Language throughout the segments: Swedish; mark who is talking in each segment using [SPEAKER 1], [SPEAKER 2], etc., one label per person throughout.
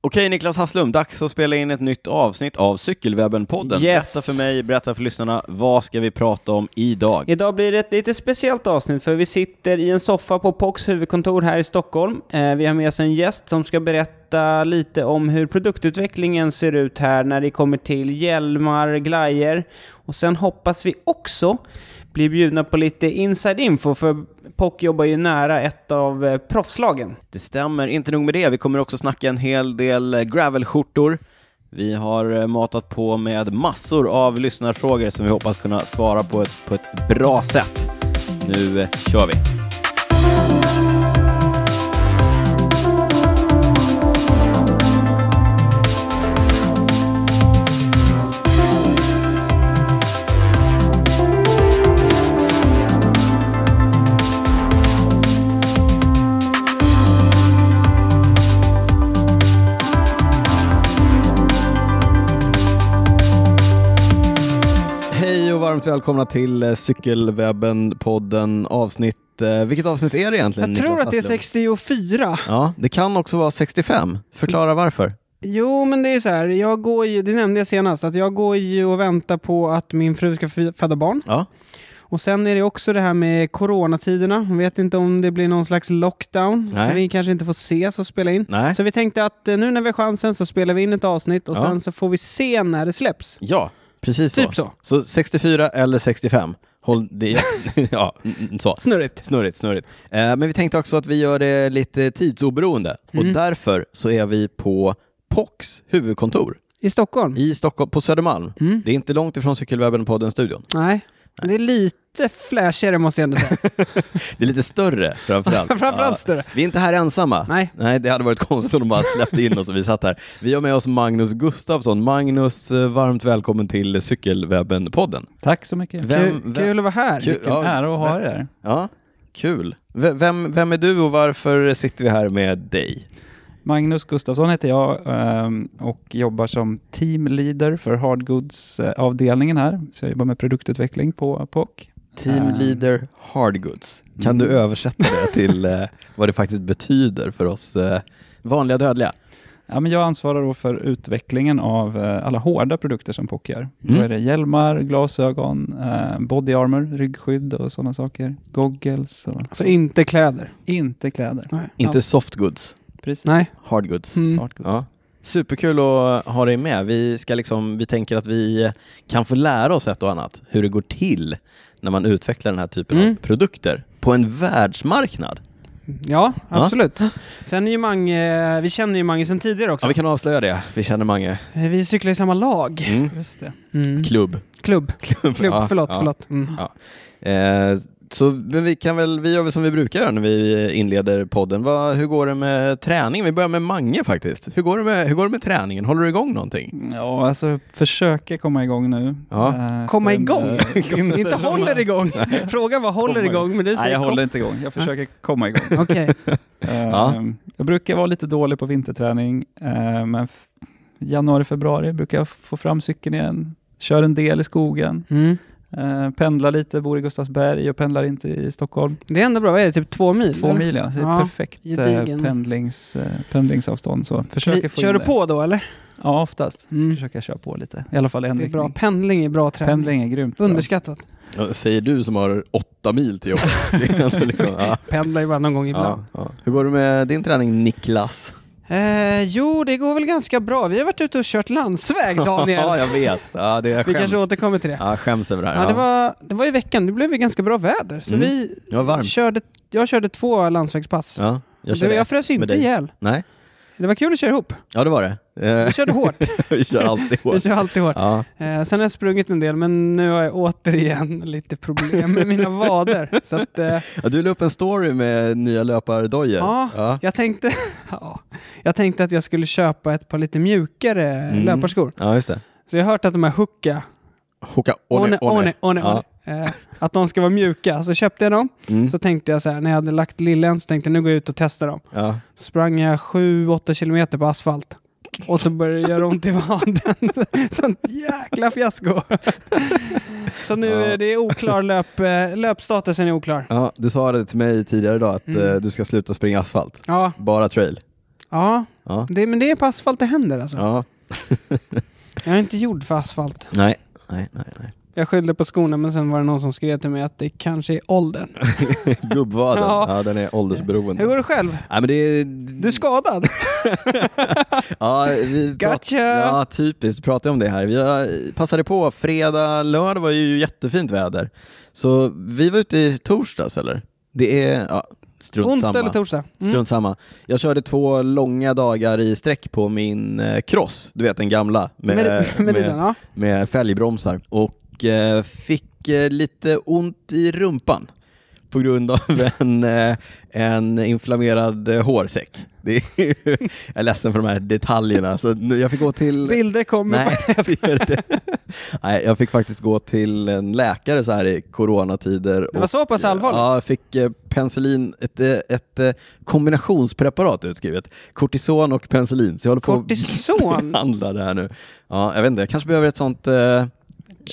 [SPEAKER 1] Okej Niklas Hasslum, dags att spela in ett nytt avsnitt av Cykelwebben-podden.
[SPEAKER 2] Yes.
[SPEAKER 1] Berätta för mig, berätta för lyssnarna, vad ska vi prata om idag?
[SPEAKER 2] Idag blir det ett lite speciellt avsnitt för vi sitter i en soffa på POCs huvudkontor här i Stockholm. Eh, Vi har med oss en gäst som ska berätta lite om hur produktutvecklingen ser ut här när det kommer till hjälmar, glajer och sen hoppas vi också bli bjudna på lite inside info för POC jobbar ju nära ett av eh, proffslagen.
[SPEAKER 1] Det stämmer, inte nog med det, vi kommer också snacka en hel del eh, gravelskjortor. Vi har eh, matat på med massor av lyssnarfrågor som vi hoppas kunna svara på ett, på ett bra sätt. Nu eh, kör vi!
[SPEAKER 3] Hej och varmt välkomna till eh, Cykelwebben-podden avsnitt... Eh, vilket avsnitt är det egentligen?
[SPEAKER 4] Jag tror
[SPEAKER 3] Niklas
[SPEAKER 4] att det är
[SPEAKER 3] Asplund?
[SPEAKER 4] 64.
[SPEAKER 3] Ja, det kan också vara 65. Förklara varför.
[SPEAKER 4] Jo, men det är så här. Jag går ju, det nämnde jag senast, att jag går ju och väntar på att min fru ska fy- föda barn.
[SPEAKER 3] Ja.
[SPEAKER 4] Och sen är det också det här med coronatiderna. Jag vet inte om det blir någon slags lockdown.
[SPEAKER 3] Nej.
[SPEAKER 4] Så vi kanske inte får ses och spela in.
[SPEAKER 3] Nej.
[SPEAKER 4] Så vi tänkte att eh, nu när vi har chansen så spelar vi in ett avsnitt och
[SPEAKER 3] Ja.
[SPEAKER 4] sen så får vi se när det släpps.
[SPEAKER 3] Ja, precis
[SPEAKER 4] Typ
[SPEAKER 3] så.
[SPEAKER 4] så.
[SPEAKER 3] Så 64 eller 65. Håll det... ja, mm, så.
[SPEAKER 4] Snurrigt.
[SPEAKER 3] Snurrigt, snurrigt. Eh, men vi tänkte också att vi gör det lite tidsoberoende och
[SPEAKER 4] Mm.
[SPEAKER 3] därför så är vi på POCs huvudkontor
[SPEAKER 4] I Stockholm? Mm.
[SPEAKER 3] i Stockholm, på Södermalm. Det är inte långt ifrån Cykelwebben-podden-studion.
[SPEAKER 4] Nej. Det är lite flashigare måste jag ändå säga.
[SPEAKER 3] Det är lite större framförallt.
[SPEAKER 4] Framförallt större.
[SPEAKER 3] Vi är inte här ensamma.
[SPEAKER 4] Nej.
[SPEAKER 3] Nej, det hade varit konstigt om de bara släppte in oss och vi satt här. Vi har med oss Magnus Gustafsson. Magnus, eh, varmt välkommen till Cykelwebben-podden.
[SPEAKER 5] Tack så mycket.
[SPEAKER 3] Vem-
[SPEAKER 4] Kul,
[SPEAKER 3] vem-
[SPEAKER 4] kul att vara här.
[SPEAKER 3] Kul.
[SPEAKER 5] Vilken
[SPEAKER 3] ja,
[SPEAKER 5] ära att ha er här.
[SPEAKER 3] Ja, kul. V- Vem, vem är du och varför sitter vi här med dig?
[SPEAKER 5] Magnus Gustafsson heter jag ehm, och jobbar som teamleader för Hardgoods-avdelningen här. Så jag jobbar med produktutveckling på POC.
[SPEAKER 3] Team
[SPEAKER 5] Ehm.
[SPEAKER 3] Leader Hardgoods. Kan du översätta det till eh, vad det faktiskt betyder för oss eh, vanliga dödliga?
[SPEAKER 5] Ja, men jag ansvarar då för utvecklingen av eh, alla hårda produkter som POC gör. Då
[SPEAKER 3] Mm.
[SPEAKER 5] är det hjälmar, glasögon, eh, body armor, ryggskydd och sådana saker. Goggles och
[SPEAKER 4] Så Alltså inte kläder.
[SPEAKER 5] inte kläder.
[SPEAKER 4] Nej.
[SPEAKER 3] Inte softgoods,
[SPEAKER 5] Precis.
[SPEAKER 4] Nej.
[SPEAKER 3] hardgoods.
[SPEAKER 4] Mm.
[SPEAKER 5] Hardgoods.
[SPEAKER 3] Ja. Superkul att ha dig med. Vi, ska liksom, vi tänker att vi kan få lära oss ett och annat hur det går till när man utvecklar den här typen av
[SPEAKER 4] Mm.
[SPEAKER 3] produkter på en världsmarknad.
[SPEAKER 4] Ja,
[SPEAKER 3] Ja.
[SPEAKER 4] absolut. Sen är ju Mange, eh, vi känner ju Mange sedan tidigare också.
[SPEAKER 3] Ja, vi kan avslöja det. Vi känner Mange.
[SPEAKER 4] Eh, Vi cyklar i samma lag.
[SPEAKER 3] Mm.
[SPEAKER 5] Just det.
[SPEAKER 4] Mm.
[SPEAKER 3] Klubb.
[SPEAKER 4] Klubb.
[SPEAKER 3] Klubb,
[SPEAKER 4] Klubb,
[SPEAKER 3] ja,
[SPEAKER 4] förlåt,
[SPEAKER 3] ja.
[SPEAKER 4] förlåt. Mm.
[SPEAKER 3] Eh, så men vi, kan väl, vi gör väl som vi brukar göra när vi inleder podden. Vad- hur går det med träningen? Vi börjar med Mange faktiskt. Hur går det med, hur går det med träningen? Håller du igång någonting?
[SPEAKER 5] Ja, alltså försöka komma igång nu.
[SPEAKER 3] Ja.
[SPEAKER 5] Eh,
[SPEAKER 4] Komma
[SPEAKER 5] för en,
[SPEAKER 4] igång?
[SPEAKER 5] eh,
[SPEAKER 4] Inte håller igång. Frågan var håller
[SPEAKER 5] Komma
[SPEAKER 4] igång, men du säger
[SPEAKER 5] Nej, jag
[SPEAKER 4] kom-
[SPEAKER 5] håller inte igång. Jag försöker komma igång.
[SPEAKER 4] Okej.
[SPEAKER 3] Ja.
[SPEAKER 5] Ehm, Jag brukar vara lite dålig på vinterträning, eh, men f- januari, februari brukar jag f- få fram cykeln igen. Kör en del i skogen,
[SPEAKER 4] Mm.
[SPEAKER 5] eh, pendlar lite, bor i Gustavsberg och pendlar inte i Stockholm.
[SPEAKER 4] Det är ändå bra. Vad är det? Typ två mil?
[SPEAKER 5] Två
[SPEAKER 4] eller?
[SPEAKER 5] mil ja, så det är
[SPEAKER 4] Ja,
[SPEAKER 5] perfekt
[SPEAKER 4] gedigen.
[SPEAKER 5] eh, pendlings, eh, pendlingsavstånd. Så försöker få
[SPEAKER 4] Kör
[SPEAKER 5] in
[SPEAKER 4] du
[SPEAKER 5] det.
[SPEAKER 4] på då eller?
[SPEAKER 5] Ja, oftast.
[SPEAKER 4] Mm.
[SPEAKER 5] Försöker jag köra på lite, i alla fall en
[SPEAKER 4] Det är bra.
[SPEAKER 5] riktning.
[SPEAKER 4] Pendling är bra träning.
[SPEAKER 5] Pendling är grymt bra.
[SPEAKER 4] Underskattat.
[SPEAKER 3] Ja, Säger du som har åtta mil till jobbet. Det är ändå liksom, ja.
[SPEAKER 4] Pendlar ju bara någon gång ibland.
[SPEAKER 3] Ja, ja. Hur går det med din träning Niklas?
[SPEAKER 4] Eh, jo, det går väl ganska bra. Vi har varit ute och kört landsväg,
[SPEAKER 3] ja,
[SPEAKER 4] Daniel.
[SPEAKER 3] jag vet. Ja, det är jag
[SPEAKER 4] vi
[SPEAKER 3] skäms.
[SPEAKER 4] kanske återkommer till det.
[SPEAKER 3] Ja, jag skäms över det här.
[SPEAKER 4] Ja, det, var, det var i veckan. Det blev ju ganska bra väder. Så
[SPEAKER 3] Mm.
[SPEAKER 4] vi
[SPEAKER 3] Det var varmt.
[SPEAKER 4] körde, jag körde två landsvägspass.
[SPEAKER 3] Ja, jag
[SPEAKER 4] Jag,
[SPEAKER 3] körde
[SPEAKER 4] jag frös
[SPEAKER 3] med
[SPEAKER 4] inte
[SPEAKER 3] dig.
[SPEAKER 4] ihjäl.
[SPEAKER 3] Nej,
[SPEAKER 4] Det var kul att köra ihop.
[SPEAKER 3] ja det var det. Eh,
[SPEAKER 4] Jag körde hårt.
[SPEAKER 3] vi kör alltid
[SPEAKER 4] Jag
[SPEAKER 3] hårt.
[SPEAKER 4] kör alltid hårt.
[SPEAKER 3] Ja.
[SPEAKER 4] Eh, sen har jag sprungit en del, men nu har jag återigen lite problem med mina vader. Så att, eh,
[SPEAKER 3] Ja, du la upp en story med nya löpardojor.
[SPEAKER 4] Ja.
[SPEAKER 3] ja.
[SPEAKER 4] jag, tänkte, ja, jag tänkte att jag skulle köpa ett par lite mjukare
[SPEAKER 3] Mm.
[SPEAKER 4] löparskor.
[SPEAKER 3] Ja, just det.
[SPEAKER 4] Så jag har hört att de här Hooka,
[SPEAKER 3] Hoka
[SPEAKER 4] One, One, One,
[SPEAKER 3] Ja.
[SPEAKER 4] One, eh, att de ska vara mjuka. Så köpte jag dem.
[SPEAKER 3] Mm.
[SPEAKER 4] Så tänkte jag så här, när jag hade lagt lillen så tänkte jag nu går jag ut och testar dem.
[SPEAKER 3] Ja.
[SPEAKER 4] Så sprang jag 7-8 kilometer på asfalt. Och så började det göra ont i vaden. Så- Sånt jäkla fiasko. Så nu
[SPEAKER 3] Ja.
[SPEAKER 4] är det oklar löp, eh, löpstatusen är oklar.
[SPEAKER 3] ja, du sa det till mig tidigare idag att
[SPEAKER 4] Mm.
[SPEAKER 3] eh, du ska sluta springa asfalt.
[SPEAKER 4] Ja,
[SPEAKER 3] Bara trail.
[SPEAKER 4] Ja,
[SPEAKER 3] Ja.
[SPEAKER 4] det, men det är på asfalt det händer alltså.
[SPEAKER 3] Ja.
[SPEAKER 4] Jag är inte gjord för asfalt.
[SPEAKER 3] Nej. Nej, nej, nej.
[SPEAKER 4] Jag skyllde på skorna men sen var det någon som skrev till mig att det kanske är åldern.
[SPEAKER 3] Gubbvaden.
[SPEAKER 4] Ja.
[SPEAKER 3] Ja. den är åldersberoende.
[SPEAKER 4] Hur går det själv?
[SPEAKER 3] Nej, men det är...
[SPEAKER 4] Du är skadad?
[SPEAKER 3] Ja, vi prat...
[SPEAKER 4] Gotcha!
[SPEAKER 3] ja, typiskt. Vi pratade om det här. Vi har- passade på. Fredag, lördag var ju jättefint väder. Så vi var ute i torsdags, eller? Det är... Ja, strunt
[SPEAKER 4] Onsdag
[SPEAKER 3] samma.
[SPEAKER 4] eller torsdag? Mm.
[SPEAKER 3] Strunt samma. Jag körde två långa dagar i sträck på min eh, cross, du vet den gamla med,
[SPEAKER 4] Med,
[SPEAKER 3] med,
[SPEAKER 4] med, den, ja.
[SPEAKER 3] med fälgbromsar. Och eh, fick eh, lite ont i rumpan på grund av en, eh, en inflammerad eh, hårsäck. Det är ju, jag är ledsen för de här detaljerna, så nu- jag fick gå till...
[SPEAKER 4] Bilder kommer.
[SPEAKER 3] Nej, det gör det inte. Nej, jag fick faktiskt gå till en läkare så här i coronatider.
[SPEAKER 4] Det var så pass allvarligt?
[SPEAKER 3] Ja, jag fick eh, penicillin, ett, eh, ett eh, kombinationspreparat utskrivet. Kortison och penicillin. Så jag håller på att
[SPEAKER 4] Kortison?
[SPEAKER 3] behandla det här nu. Ja, jag vet inte, jag kanske behöver ett sånt eh,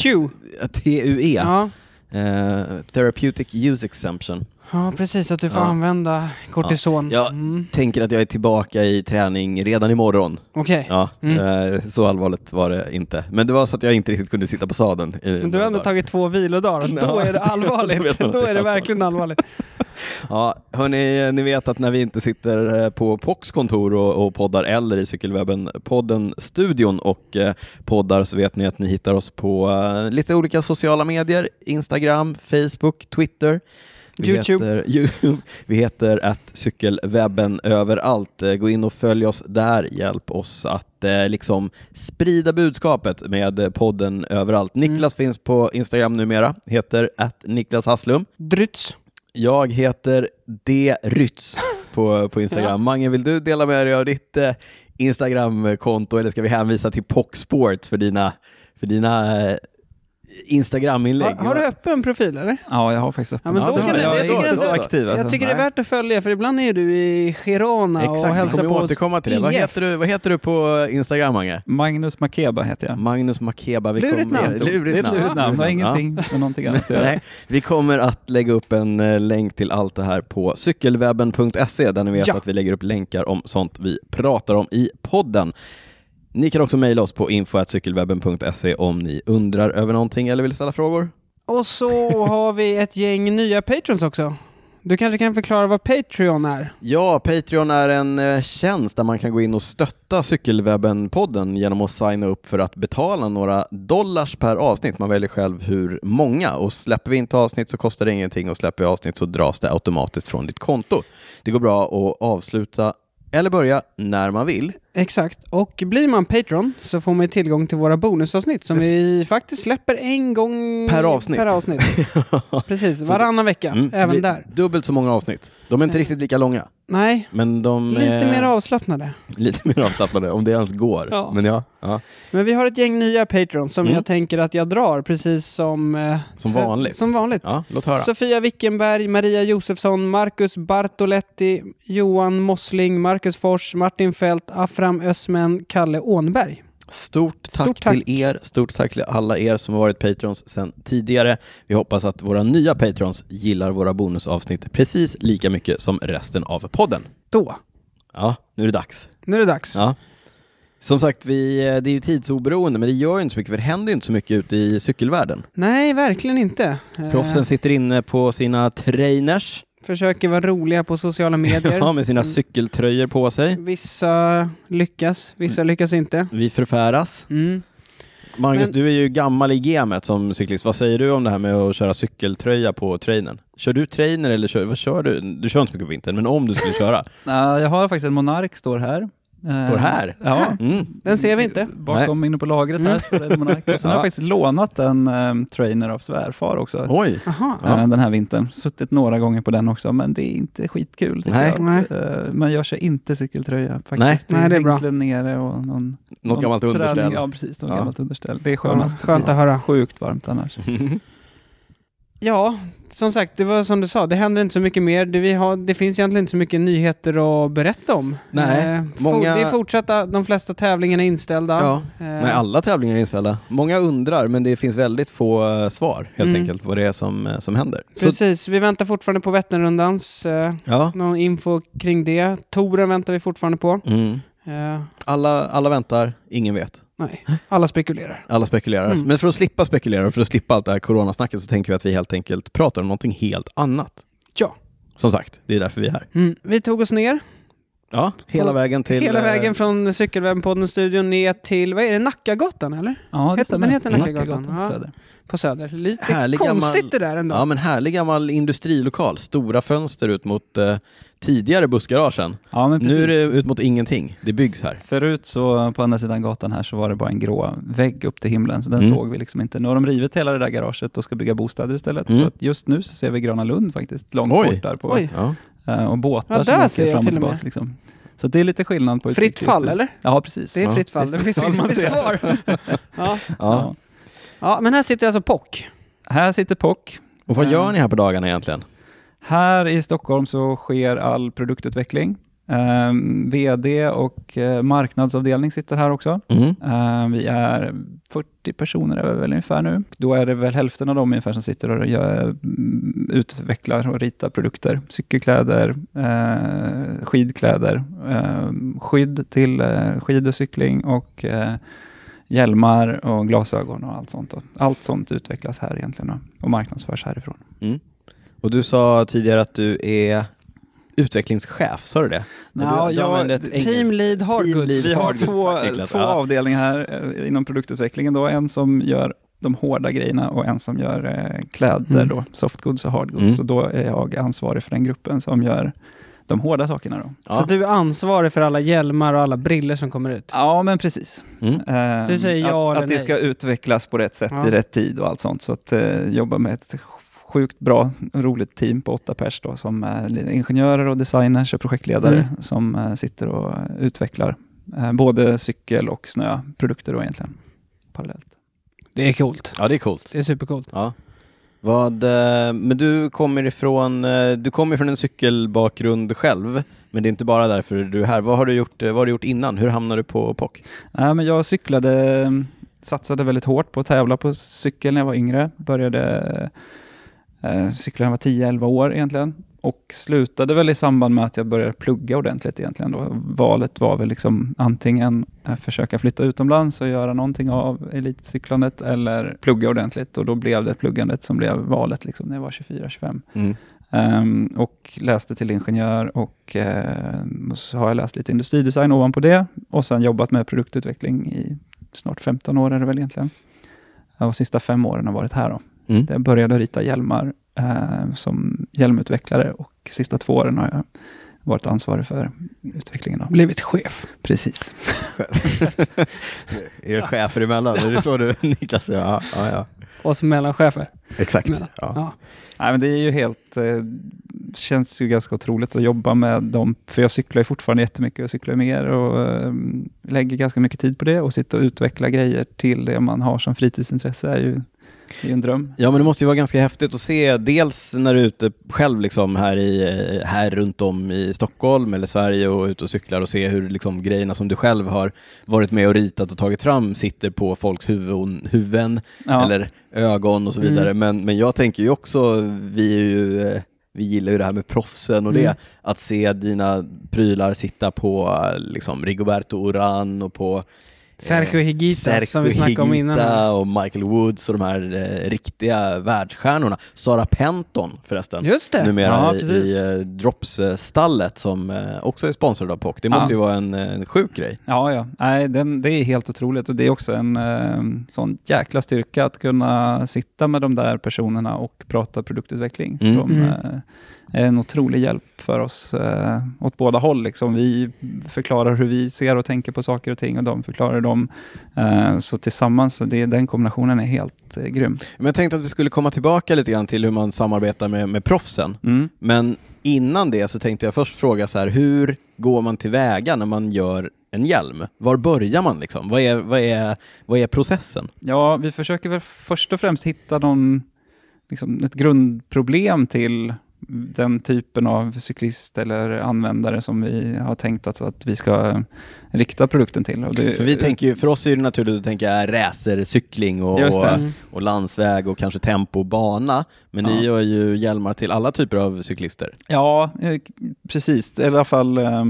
[SPEAKER 4] Q?
[SPEAKER 3] TUE,
[SPEAKER 4] Ja.
[SPEAKER 3] eh, Therapeutic Use Exemption.
[SPEAKER 4] ja, precis. Att du får
[SPEAKER 3] Ja.
[SPEAKER 4] använda kortison.
[SPEAKER 3] Ja.
[SPEAKER 4] Mm.
[SPEAKER 3] Tänker att jag är tillbaka i träning redan imorgon.
[SPEAKER 4] Okej.
[SPEAKER 3] Ja,
[SPEAKER 4] Mm.
[SPEAKER 3] eh, så allvarligt var det inte. Men det var så att jag inte riktigt kunde sitta på sadeln. i
[SPEAKER 4] Men du
[SPEAKER 3] några
[SPEAKER 4] har ändå
[SPEAKER 3] dagar.
[SPEAKER 4] tagit två vilodagar. Då
[SPEAKER 3] Ja.
[SPEAKER 4] är
[SPEAKER 3] Då
[SPEAKER 4] det allvarligt.
[SPEAKER 3] vet man att
[SPEAKER 4] Då
[SPEAKER 3] det
[SPEAKER 4] är
[SPEAKER 3] är
[SPEAKER 4] det verkligen allvarligt.
[SPEAKER 3] Ja, hörni, ni vet att när vi inte sitter eh, på Pox kontor och, och poddar eller i Cykelwebben-podden Studion och eh, poddar så vet ni att ni hittar oss på eh, lite olika sociala medier, Instagram, Facebook, Twitter. Vi
[SPEAKER 4] YouTube.
[SPEAKER 3] Heter, YouTube. Vi heter att cykelwebben överallt. Eh, Gå in och följ oss där. Hjälp oss att eh, liksom sprida budskapet med eh, podden överallt. Niklas finns på Instagram numera, heter att Niklas Hasslum.
[SPEAKER 4] Drytz.
[SPEAKER 3] Jag heter D. Rytz på, på Instagram. Mange, vill du dela med dig av ditt eh, Instagramkonto eller ska vi hänvisa till Pocksports för dina, för dina eh,
[SPEAKER 4] Har,
[SPEAKER 3] Instagraminlägg?
[SPEAKER 4] har du öppen profil eller?
[SPEAKER 5] Ja, jag har faktiskt öppen.
[SPEAKER 4] Ja, men
[SPEAKER 3] Ja,
[SPEAKER 4] då
[SPEAKER 3] det
[SPEAKER 4] kan
[SPEAKER 3] har
[SPEAKER 4] det,
[SPEAKER 3] jag.
[SPEAKER 4] jag,
[SPEAKER 5] jag
[SPEAKER 3] det
[SPEAKER 4] tycker
[SPEAKER 5] är inte
[SPEAKER 4] ändå,
[SPEAKER 5] så aktiv.
[SPEAKER 4] jag
[SPEAKER 5] alltså.
[SPEAKER 4] tycker det är
[SPEAKER 5] Nej.
[SPEAKER 4] värt att följa för ibland är ju du i Girona och
[SPEAKER 3] Exakt, vi
[SPEAKER 4] hälsar
[SPEAKER 3] kommer
[SPEAKER 4] på oss.
[SPEAKER 3] återkomma till det. Vad
[SPEAKER 4] IF.
[SPEAKER 3] heter, du, vad heter du på Instagram, Mange?
[SPEAKER 5] Magnus Makeba heter jag.
[SPEAKER 3] Magnus Makeba. Vi
[SPEAKER 4] Lurigt
[SPEAKER 3] kommer,
[SPEAKER 4] namn.
[SPEAKER 5] Det är ett lurigt namn, det har
[SPEAKER 3] Ja.
[SPEAKER 5] ingenting med någonting annat att göra.
[SPEAKER 3] Nej, vi kommer att lägga upp en eh, länk till allt det här på cykelwebben.se där ni vet
[SPEAKER 4] Ja.
[SPEAKER 3] att vi lägger upp länkar om sånt vi pratar om i podden. Ni kan också mejla oss på info.cykelwebben.se om ni undrar över någonting eller vill ställa frågor.
[SPEAKER 4] Och så har vi ett gäng nya patrons också. Du kanske kan förklara vad Patreon är?
[SPEAKER 3] Ja, Patreon är en eh, tjänst där man kan gå in och stötta Cykelwebben-podden genom att signa upp för att betala några dollars per avsnitt. Man väljer själv hur många och släpper vi inte avsnitt så kostar det ingenting och släpper vi avsnitt så dras det automatiskt från ditt konto. Det går bra att avsluta eller börja när man vill.
[SPEAKER 4] Exakt. Och blir man Patreon så får man ju tillgång till våra bonusavsnitt som vi faktiskt släpper en gång
[SPEAKER 3] Per avsnitt.
[SPEAKER 4] Per avsnitt. Precis, varannan vecka.
[SPEAKER 3] Mm, så det
[SPEAKER 4] även
[SPEAKER 3] blir
[SPEAKER 4] där.
[SPEAKER 3] Dubbelt så många avsnitt. De är inte riktigt lika långa,
[SPEAKER 4] Nej,
[SPEAKER 3] men de
[SPEAKER 4] lite
[SPEAKER 3] är
[SPEAKER 4] mer avslappnade.
[SPEAKER 3] lite mer avslappnade om det ens går.
[SPEAKER 4] Ja.
[SPEAKER 3] Men ja, ja.
[SPEAKER 4] Men vi har ett gäng nya Patreons som
[SPEAKER 3] Mm.
[SPEAKER 4] jag tänker att jag drar precis som... eh,
[SPEAKER 3] Som
[SPEAKER 4] för-
[SPEAKER 3] vanligt.
[SPEAKER 4] Som vanligt.
[SPEAKER 3] ja låt höra.
[SPEAKER 4] Sofia Wickenberg, Maria Josefsson, Marcus Bartoletti, Johan Mossling, Marcus Fors, Martin Fält, Afram Ösmen, Kalle Ånberg.
[SPEAKER 3] Stort tack,
[SPEAKER 4] Stort tack.
[SPEAKER 3] till er. Stort tack till alla er som har varit Patrons sedan tidigare. Vi hoppas att våra nya Patrons gillar våra bonusavsnitt precis lika mycket som resten av podden.
[SPEAKER 4] Då,
[SPEAKER 3] Ja, nu är det dags.
[SPEAKER 4] nu är det dags.
[SPEAKER 3] Ja. Som sagt, vi, eh, det är ju tidsoberoende, men det gör ju inte så mycket, för det händer ju inte så mycket ute i cykelvärlden.
[SPEAKER 4] Nej, verkligen inte. Eh,
[SPEAKER 3] Proffsen sitter inne på sina trainers,
[SPEAKER 4] försöker vara roliga på sociala medier.
[SPEAKER 3] ja, med sina
[SPEAKER 4] Mm.
[SPEAKER 3] cykeltröjor på sig.
[SPEAKER 4] Vissa lyckas, vissa
[SPEAKER 3] Mm.
[SPEAKER 4] lyckas inte.
[SPEAKER 3] Vi förfäras.
[SPEAKER 4] Mm.
[SPEAKER 3] Magnus,
[SPEAKER 4] Men-
[SPEAKER 3] du är ju gammal i gamet som cyklist. Vad säger du om det här med att köra cykeltröja på trainen? Kör du trainer eller kör, vad kör du? Du kör inte så mycket på vintern, men om du skulle köra?
[SPEAKER 5] Ja, jag har faktiskt en Monark, står här. Eh,
[SPEAKER 3] Står här?
[SPEAKER 5] Ja.
[SPEAKER 3] Mm.
[SPEAKER 4] Den ser vi inte.
[SPEAKER 5] Bakom inne på lagret här står det en Monark. Och sen har jag
[SPEAKER 3] Ja.
[SPEAKER 5] faktiskt lånat en ehm, trainer av svärfar också.
[SPEAKER 3] Oj!
[SPEAKER 4] Aha.
[SPEAKER 3] Ja.
[SPEAKER 5] eh, Den här vintern. Suttit några gånger på den också, men det är inte skitkul. tycker
[SPEAKER 3] Nej.
[SPEAKER 5] jag.
[SPEAKER 4] Nej.
[SPEAKER 5] Eh, Man gör sig inte cykeltröja faktiskt.
[SPEAKER 3] Nej.
[SPEAKER 4] Nej, det är bra.
[SPEAKER 5] hängslen nere och någon,
[SPEAKER 3] Något gammalt
[SPEAKER 5] träning.
[SPEAKER 3] underställ.
[SPEAKER 5] Ja, precis. Något
[SPEAKER 3] Ja.
[SPEAKER 5] gammalt underställ. Det är
[SPEAKER 4] Ja,
[SPEAKER 5] skönast.
[SPEAKER 4] skönt att höra.
[SPEAKER 5] Sjukt varmt annars.
[SPEAKER 4] Ja, som sagt, det var som du sa, det händer inte så mycket mer. Det, vi har, det finns egentligen inte så mycket nyheter att berätta om. Eh,
[SPEAKER 3] Nej,
[SPEAKER 4] for-
[SPEAKER 3] många-
[SPEAKER 4] Det är fortsatta, de flesta tävlingarna är inställda.
[SPEAKER 3] Ja.
[SPEAKER 4] Eh,
[SPEAKER 3] Nej, alla tävlingar är inställda. Många undrar, men det finns väldigt få eh, svar helt
[SPEAKER 4] Mm.
[SPEAKER 3] enkelt vad det är som, eh, som händer. Så,
[SPEAKER 4] Precis, vi väntar fortfarande på Vätternrundans, eh,
[SPEAKER 3] ja.
[SPEAKER 4] någon info kring det. Toren väntar vi fortfarande på.
[SPEAKER 3] mm.
[SPEAKER 4] Eh,
[SPEAKER 3] alla, alla väntar, ingen vet.
[SPEAKER 4] nej, alla spekulerar.
[SPEAKER 3] Alla spekulerar.
[SPEAKER 4] Mm.
[SPEAKER 3] Men för att slippa spekulera och för att slippa allt det här coronasnacket så tänker vi att vi helt enkelt pratar om någonting helt annat.
[SPEAKER 4] Ja.
[SPEAKER 3] Som sagt, det är därför vi är här.
[SPEAKER 4] Mm. Vi tog oss ner,
[SPEAKER 3] Ja, hela vägen till...
[SPEAKER 4] hela
[SPEAKER 3] eh,
[SPEAKER 4] vägen från Cykelwebben-podden-studion ner till, vad är det, Nackagatan eller?
[SPEAKER 5] Ja,
[SPEAKER 4] Heter-
[SPEAKER 5] det stämmer.
[SPEAKER 4] den heter Nackagatan,
[SPEAKER 5] Nackagatan på
[SPEAKER 4] ja.
[SPEAKER 5] Söder.
[SPEAKER 4] På Söder. Lite
[SPEAKER 3] Härlig
[SPEAKER 4] konstigt
[SPEAKER 3] gammal-
[SPEAKER 4] det där ändå.
[SPEAKER 3] Ja, men härlig gammal industrilokal. Stora fönster ut mot eh, tidigare bussgaragen.
[SPEAKER 5] Ja, men precis.
[SPEAKER 3] Nu är det ut mot ingenting. Det byggs här.
[SPEAKER 5] Förut så på andra sidan gatan här så var det bara en grå vägg upp till himlen, så den
[SPEAKER 3] Mm.
[SPEAKER 5] såg vi liksom inte. Nu har de rivit hela det där garaget och ska bygga bostäder istället.
[SPEAKER 3] Mm.
[SPEAKER 5] Så att just nu så ser vi Gröna Lund faktiskt, långt
[SPEAKER 3] Oj.
[SPEAKER 5] bort där på.
[SPEAKER 4] Oj.
[SPEAKER 3] Ja.
[SPEAKER 5] Eh, Och båtar
[SPEAKER 4] Ja,
[SPEAKER 5] som
[SPEAKER 4] där ser
[SPEAKER 5] åker
[SPEAKER 4] jag
[SPEAKER 5] fram och
[SPEAKER 4] till och
[SPEAKER 5] tillbaka.
[SPEAKER 4] med.
[SPEAKER 5] Liksom. Så det är lite skillnad på utsikt
[SPEAKER 4] Fritt
[SPEAKER 5] just
[SPEAKER 4] fall
[SPEAKER 5] nu.
[SPEAKER 4] eller?
[SPEAKER 5] Ja, precis.
[SPEAKER 4] Det är
[SPEAKER 3] Ja.
[SPEAKER 4] fritt fall, det finns
[SPEAKER 5] fall man
[SPEAKER 4] inget
[SPEAKER 5] ser.
[SPEAKER 4] kvar. ja.
[SPEAKER 3] Ja.
[SPEAKER 5] Ja.
[SPEAKER 4] ja, men här sitter alltså Pock.
[SPEAKER 5] Här sitter POC.
[SPEAKER 3] Och vad gör ni här på dagarna egentligen?
[SPEAKER 5] Här i Stockholm så sker all produktutveckling. Ehm, VD och eh, marknadsavdelning sitter här också.
[SPEAKER 3] Mm.
[SPEAKER 5] Eh, vi är 40 personer är vi väl ungefär nu. Då är det väl hälften av dem ungefär som sitter och gör, mm, utvecklar och ritar produkter. Cykelkläder, eh, skidkläder, eh, skydd till eh, skid och cykling och eh, hjälmar och glasögon och allt sånt. då. Allt sånt utvecklas här egentligen då, och marknadsförs härifrån.
[SPEAKER 3] Mm. Och du sa tidigare att du är utvecklingschef, sa du det? Men du-
[SPEAKER 5] Nå,
[SPEAKER 3] du använde ett engelskt-
[SPEAKER 4] Team
[SPEAKER 3] Team
[SPEAKER 4] Lead
[SPEAKER 3] Lead
[SPEAKER 4] Hardgoods.
[SPEAKER 5] Vi har
[SPEAKER 3] Hardwood, tack,
[SPEAKER 5] två,
[SPEAKER 3] Niklas.
[SPEAKER 5] två
[SPEAKER 3] Ja.
[SPEAKER 5] avdelningar här eh, inom produktutvecklingen. Då. En som gör de hårda grejerna och en som gör eh, kläder,
[SPEAKER 4] Mm.
[SPEAKER 5] då, softgoods och hardgoods.
[SPEAKER 3] Mm.
[SPEAKER 5] Så då är jag ansvarig för den gruppen som gör de hårda sakerna. Då.
[SPEAKER 3] Ja.
[SPEAKER 4] Så du är ansvarig för alla hjälmar och alla briller som kommer ut.
[SPEAKER 5] Ja, men precis.
[SPEAKER 3] Mm.
[SPEAKER 5] Eh,
[SPEAKER 4] Du säger ja
[SPEAKER 5] att,
[SPEAKER 4] eller
[SPEAKER 5] att det
[SPEAKER 4] nej.
[SPEAKER 5] ska utvecklas på rätt sätt
[SPEAKER 4] Ja.
[SPEAKER 5] i rätt tid och allt sånt. Så att eh, jobba med ett sjukt bra, roligt team på åtta pers då, som är ingenjörer och designers och projektledare
[SPEAKER 4] Mm.
[SPEAKER 5] som eh, sitter och eh, utvecklar eh, både cykel och snöprodukter då egentligen parallellt.
[SPEAKER 4] Det är coolt.
[SPEAKER 3] Ja, det är coolt.
[SPEAKER 4] Det är supercoolt.
[SPEAKER 3] Ja. Vad, eh, men du kommer ifrån eh, du kommer från en cykelbakgrund själv, men det är inte bara därför du är här. Vad har du gjort, eh, vad har du gjort innan? Hur hamnade du på POC?
[SPEAKER 5] Nej, men jag cyklade, eh, satsade väldigt hårt på att tävla på cykel när jag var yngre. Började eh, cykla när jag var 10-11 år egentligen. Och slutade väl i samband med att jag började plugga ordentligt egentligen. Då. Valet var väl liksom antingen eh, försöka flytta utomlands och göra någonting av elitcyklandet eller plugga ordentligt. Och då blev det pluggandet som blev valet liksom, när jag var 24-25.
[SPEAKER 3] Mm.
[SPEAKER 5] Ehm, och läste till ingenjör och ehm, och så har jag läst lite industridesign ovanpå det och sen jobbat med produktutveckling i snart 15 år är det väl egentligen. Ja, Och sista fem åren har varit här då.
[SPEAKER 3] Mm.
[SPEAKER 5] Där jag började rita hjälmar ehm, som hjälmutvecklare och sista två åren har jag varit ansvarig för utvecklingen. Då.
[SPEAKER 4] Blivit chef.
[SPEAKER 5] Precis.
[SPEAKER 3] Er chefer emellan, är det så du Niklas? Ja, ja, ja.
[SPEAKER 4] Oss mellanchefer.
[SPEAKER 3] exakt.
[SPEAKER 4] Mellan.
[SPEAKER 3] Ja.
[SPEAKER 4] Ja.
[SPEAKER 5] Nej, men det är ju helt, eh, känns ju ganska otroligt att jobba med dem, för jag cyklar ju fortfarande jättemycket och cyklar mer och eh, lägger ganska mycket tid på det och sitta och utveckla grejer till det man har som fritidsintresse är ju, det är ju en dröm.
[SPEAKER 3] ja, men det måste ju vara ganska häftigt att se, dels när du är ute själv liksom här, i, eh, här runt om i Stockholm eller Sverige och ute och cyklar och se hur liksom grejerna som du själv har varit med och ritat och tagit fram sitter på folks huvuden, huvuden
[SPEAKER 5] Ja,
[SPEAKER 3] eller ögon och så vidare.
[SPEAKER 4] Mm.
[SPEAKER 3] Men, men jag tänker ju också, vi, är ju, eh, vi gillar ju det här med proffsen och det,
[SPEAKER 4] Mm.
[SPEAKER 3] att se dina prylar sitta på eh, liksom, Rigoberto Oran och på
[SPEAKER 4] Sergio Higuita som vi snackade om innan. här.
[SPEAKER 3] Higuita och Michael Woods och de här eh, riktiga världsstjärnorna. Sara Penton förresten.
[SPEAKER 4] Just det.
[SPEAKER 3] Numera
[SPEAKER 5] Ja,
[SPEAKER 3] i,
[SPEAKER 5] precis.
[SPEAKER 3] i eh, Drops-stallet som eh, också är sponsrad av POC. Det måste
[SPEAKER 5] Ja.
[SPEAKER 3] ju vara en, eh, en sjuk grej.
[SPEAKER 5] ja, ja. Nej, den, det är helt otroligt och det är också en eh, sån jäkla styrka att kunna sitta med de där personerna och prata produktutveckling.
[SPEAKER 3] Mm.
[SPEAKER 5] De,
[SPEAKER 4] Mm.
[SPEAKER 5] eh, är en otrolig hjälp för oss eh, åt båda håll. Liksom. Vi förklarar hur vi ser och tänker på saker och ting och de förklarar dem. Eh, så tillsammans, så det, den kombinationen är helt eh, grym.
[SPEAKER 3] Men jag tänkte att vi skulle komma tillbaka lite grann till hur man samarbetar med, med proffsen. Men innan det så tänkte jag först fråga så här, hur går man tillväga när man gör en hjälm? Var börjar man liksom? Vad är, vad är, vad är processen?
[SPEAKER 5] Ja, vi försöker väl först och främst hitta någon liksom ett grundproblem till den typen av cyklist eller användare som vi har tänkt att, att vi ska eh, rikta produkten till. Och det-
[SPEAKER 3] För, vi tänker ju, för oss är det naturligt att tänka racercykling och,
[SPEAKER 5] Just det.
[SPEAKER 4] Mm.
[SPEAKER 3] och, och landsväg och kanske tempo och bana. Men ni
[SPEAKER 5] Ja.
[SPEAKER 3] gör ju hjälmar till alla typer av cyklister.
[SPEAKER 5] Ja, eh, precis. I alla fall eh,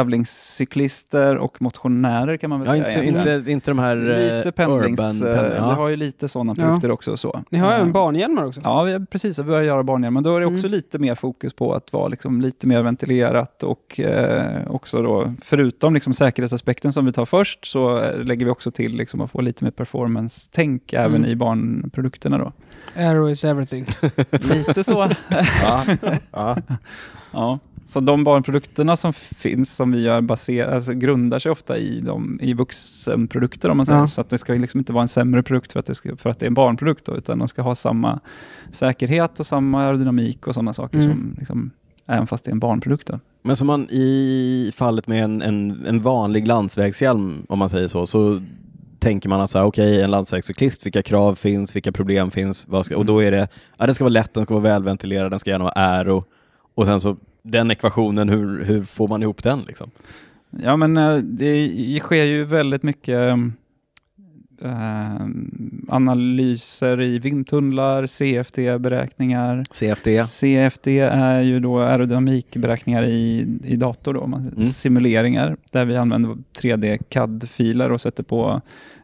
[SPEAKER 5] tävlingscyklister och motionärer kan man väl
[SPEAKER 3] Ja,
[SPEAKER 5] säga.
[SPEAKER 3] inte,
[SPEAKER 5] egentligen.
[SPEAKER 3] inte, inte de här eh,
[SPEAKER 5] Lite pendlings...
[SPEAKER 3] urban
[SPEAKER 5] eh,
[SPEAKER 3] pendling.
[SPEAKER 5] Vi
[SPEAKER 3] Ja.
[SPEAKER 5] har ju lite sådana
[SPEAKER 4] Ja.
[SPEAKER 5] produkter också. Så.
[SPEAKER 4] Ni har
[SPEAKER 5] Eh,
[SPEAKER 4] även barnhjälmar också?
[SPEAKER 5] Ja, vi har precis vi börjar göra barnhjälm, men då är det också
[SPEAKER 4] Mm.
[SPEAKER 5] lite mer fokus på att vara liksom lite mer ventilerat och eh, också då, förutom liksom säkerhetsaspekten som vi tar först, så eh, lägger vi också till liksom att få lite mer performance-tänk även
[SPEAKER 4] Mm.
[SPEAKER 5] i barnprodukterna då.
[SPEAKER 4] Aero is everything.
[SPEAKER 5] Lite så.
[SPEAKER 3] Ja. Ja.
[SPEAKER 5] Ja. Så de barnprodukterna som finns, som vi gör, baser, alltså grundar sig ofta i, de, i vuxenprodukter om man säger.
[SPEAKER 4] Ja.
[SPEAKER 5] Så att det ska ju liksom inte vara en sämre produkt för att det, ska, för att det är en barnprodukt, då, utan de ska ha samma säkerhet och samma aerodynamik och sådana saker,
[SPEAKER 4] Mm.
[SPEAKER 5] som, liksom, även fast det är en barnprodukt. Då.
[SPEAKER 3] Men som man i fallet med en, en, en vanlig landsvägshjälm, om man säger så, så tänker man att så här, okej, en landsvägscyklist, vilka krav finns, vilka problem finns, vad ska, och då är det, ja, den ska vara lätt, den ska vara välventilerad, den ska gärna vara aero, och sen så den ekvationen, hur, hur får man ihop den liksom?
[SPEAKER 5] Ja, men eh, det sker ju väldigt mycket eh, analyser i vindtunnlar, CFD-beräkningar.
[SPEAKER 3] CFD.
[SPEAKER 5] CFD är ju då aerodynamikberäkningar i, i dator, då, man-
[SPEAKER 3] Mm.
[SPEAKER 5] simuleringar, där vi använder 3D-CAD-filer och sätter på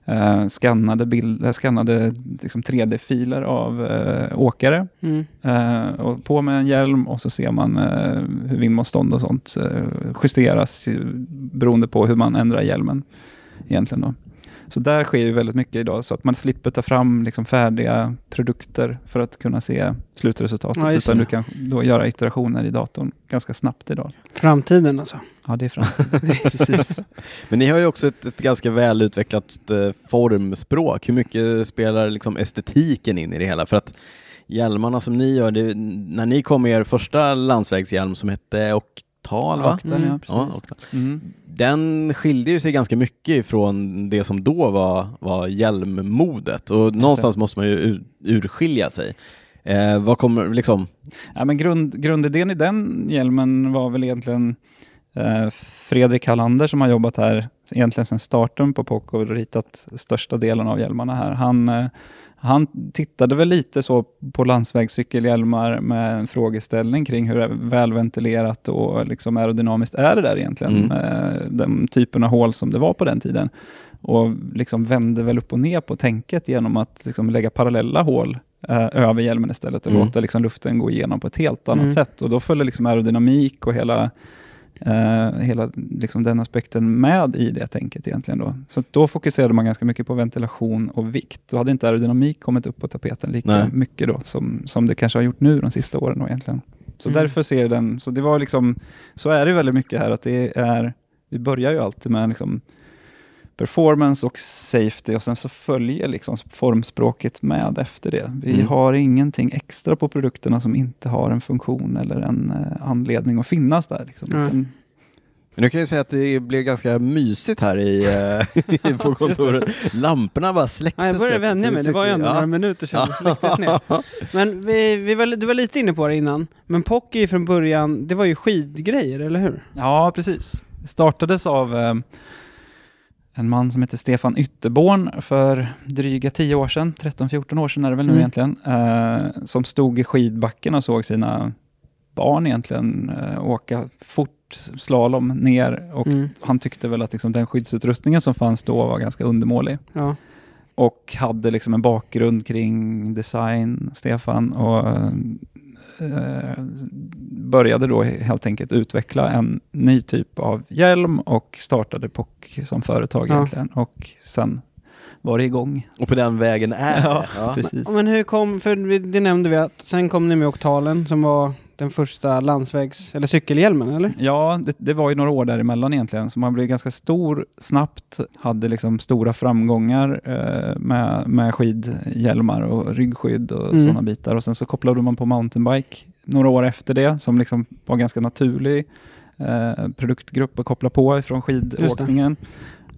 [SPEAKER 5] eh, skannade, bild, eh, skannade liksom 3D-filer av eh, åkare.
[SPEAKER 4] Mm.
[SPEAKER 5] Eh, och på med en hjälm och så ser man eh, hur vindmotstånd och sånt eh, justeras eh, beroende på hur man ändrar hjälmen. egentligen då. Så där sker ju väldigt mycket idag, så att man slipper ta fram liksom färdiga produkter för att kunna se slutresultatet,
[SPEAKER 4] Ja, just
[SPEAKER 5] utan
[SPEAKER 4] det.
[SPEAKER 5] du kan då göra iterationer i datorn ganska snabbt idag.
[SPEAKER 4] Framtiden alltså.
[SPEAKER 5] Ja, det är fram. Precis.
[SPEAKER 3] Men ni har ju också ett, ett ganska välutvecklat eh, formspråk. Hur mycket spelar liksom estetiken in i det hela? För att hjälmarna som ni gör, det, när ni kom med er första landsvägshjälm som hette Oktal, va?
[SPEAKER 5] Akten, ja,
[SPEAKER 4] Mm.
[SPEAKER 3] Ja,
[SPEAKER 5] precis.
[SPEAKER 3] Oktal.
[SPEAKER 5] Mm.
[SPEAKER 3] Den skilde ju sig ganska mycket från det som då var, var hjälmmodet och någonstans måste man ju ur, urskilja sig. Eh, vad kommer, liksom,
[SPEAKER 5] Ja, men grund, grundidén i den hjälmen var väl egentligen eh, Fredrik Hallander som har jobbat här egentligen sedan starten på POC och ritat största delen av hjälmarna här. Han, eh, han tittade väl lite så på landsvägscykelhjälmar med en frågeställning kring hur välventilerat och liksom aerodynamiskt är det där
[SPEAKER 3] Mm.
[SPEAKER 5] egentligen? Eh, den typen av hål som det var på den tiden. Och liksom vände väl upp och ner på tänket genom att liksom lägga parallella hål eh, över hjälmen istället och
[SPEAKER 3] Mm.
[SPEAKER 5] låta liksom luften gå igenom på ett helt annat
[SPEAKER 4] Mm.
[SPEAKER 5] sätt. Och då följer liksom aerodynamik och hela, eh, hela liksom den aspekten med i det tänket egentligen. Då. Så att då fokuserade man ganska mycket på ventilation och vikt. Då hade inte aerodynamik kommit upp på tapeten lika
[SPEAKER 3] Nej.
[SPEAKER 5] mycket då som, som det kanske har gjort nu de sista åren då egentligen. Så
[SPEAKER 4] Mm.
[SPEAKER 5] därför ser den, så det var liksom, så är det väldigt mycket här att det är, vi börjar ju alltid med liksom performance och safety och sen så följer liksom formspråket med efter det. Vi
[SPEAKER 3] Mm.
[SPEAKER 5] har ingenting extra på produkterna som inte har en funktion eller en eh, anledning att finnas där. Liksom.
[SPEAKER 4] Mm.
[SPEAKER 5] Utan-
[SPEAKER 3] Men nu kan jag ju säga att det blev ganska mysigt här i, eh, på kontoret. Lamporna bara släcktes.
[SPEAKER 4] Ja, jag började
[SPEAKER 3] plötsligt,
[SPEAKER 4] vänja
[SPEAKER 3] så
[SPEAKER 4] mig,
[SPEAKER 3] vi
[SPEAKER 4] det var ju
[SPEAKER 3] sitter-
[SPEAKER 4] ändå
[SPEAKER 3] ja.
[SPEAKER 4] några minuter sedan det släcktes ner. Men vi, vi var, du var lite inne på det innan, men Pocky är ju från början, det var ju skidgrejer, eller hur?
[SPEAKER 5] Ja, precis. Det startades av eh, en man som heter Stefan Ytterborn för dryga 10 år sedan, 13-14 år sedan är det väl nu
[SPEAKER 4] Mm.
[SPEAKER 5] egentligen, eh, som stod i skidbacken och såg sina barn egentligen eh, åka fort slalom ner och
[SPEAKER 4] Mm.
[SPEAKER 5] han tyckte väl att liksom, den skyddsutrustningen som fanns då var ganska undermålig
[SPEAKER 4] Ja.
[SPEAKER 5] och hade liksom en bakgrund kring design, Stefan, och eh, började då helt enkelt utveckla en ny typ av hjälm och startade POC som företag
[SPEAKER 4] Ja.
[SPEAKER 5] egentligen. Och sen var det igång.
[SPEAKER 3] Och på den vägen är det. Ja.
[SPEAKER 5] Precis.
[SPEAKER 4] Äh. Ja, Men hur kom, för vi- det nämnde vi att sen kom ni med Oktalen som var den första landsvägs eller cykelhjälmen, eller?
[SPEAKER 5] Ja, det, det var ju några år däremellan egentligen, så man blev ganska stor snabbt, hade liksom stora framgångar eh, med, med skidhjälmar och ryggskydd och
[SPEAKER 4] Mm.
[SPEAKER 5] sådana bitar. Och sen så kopplade man på mountainbike några år efter det, som liksom var ganska naturlig eh, produktgrupp att koppla på ifrån
[SPEAKER 4] Just det.
[SPEAKER 5] skidåkningen.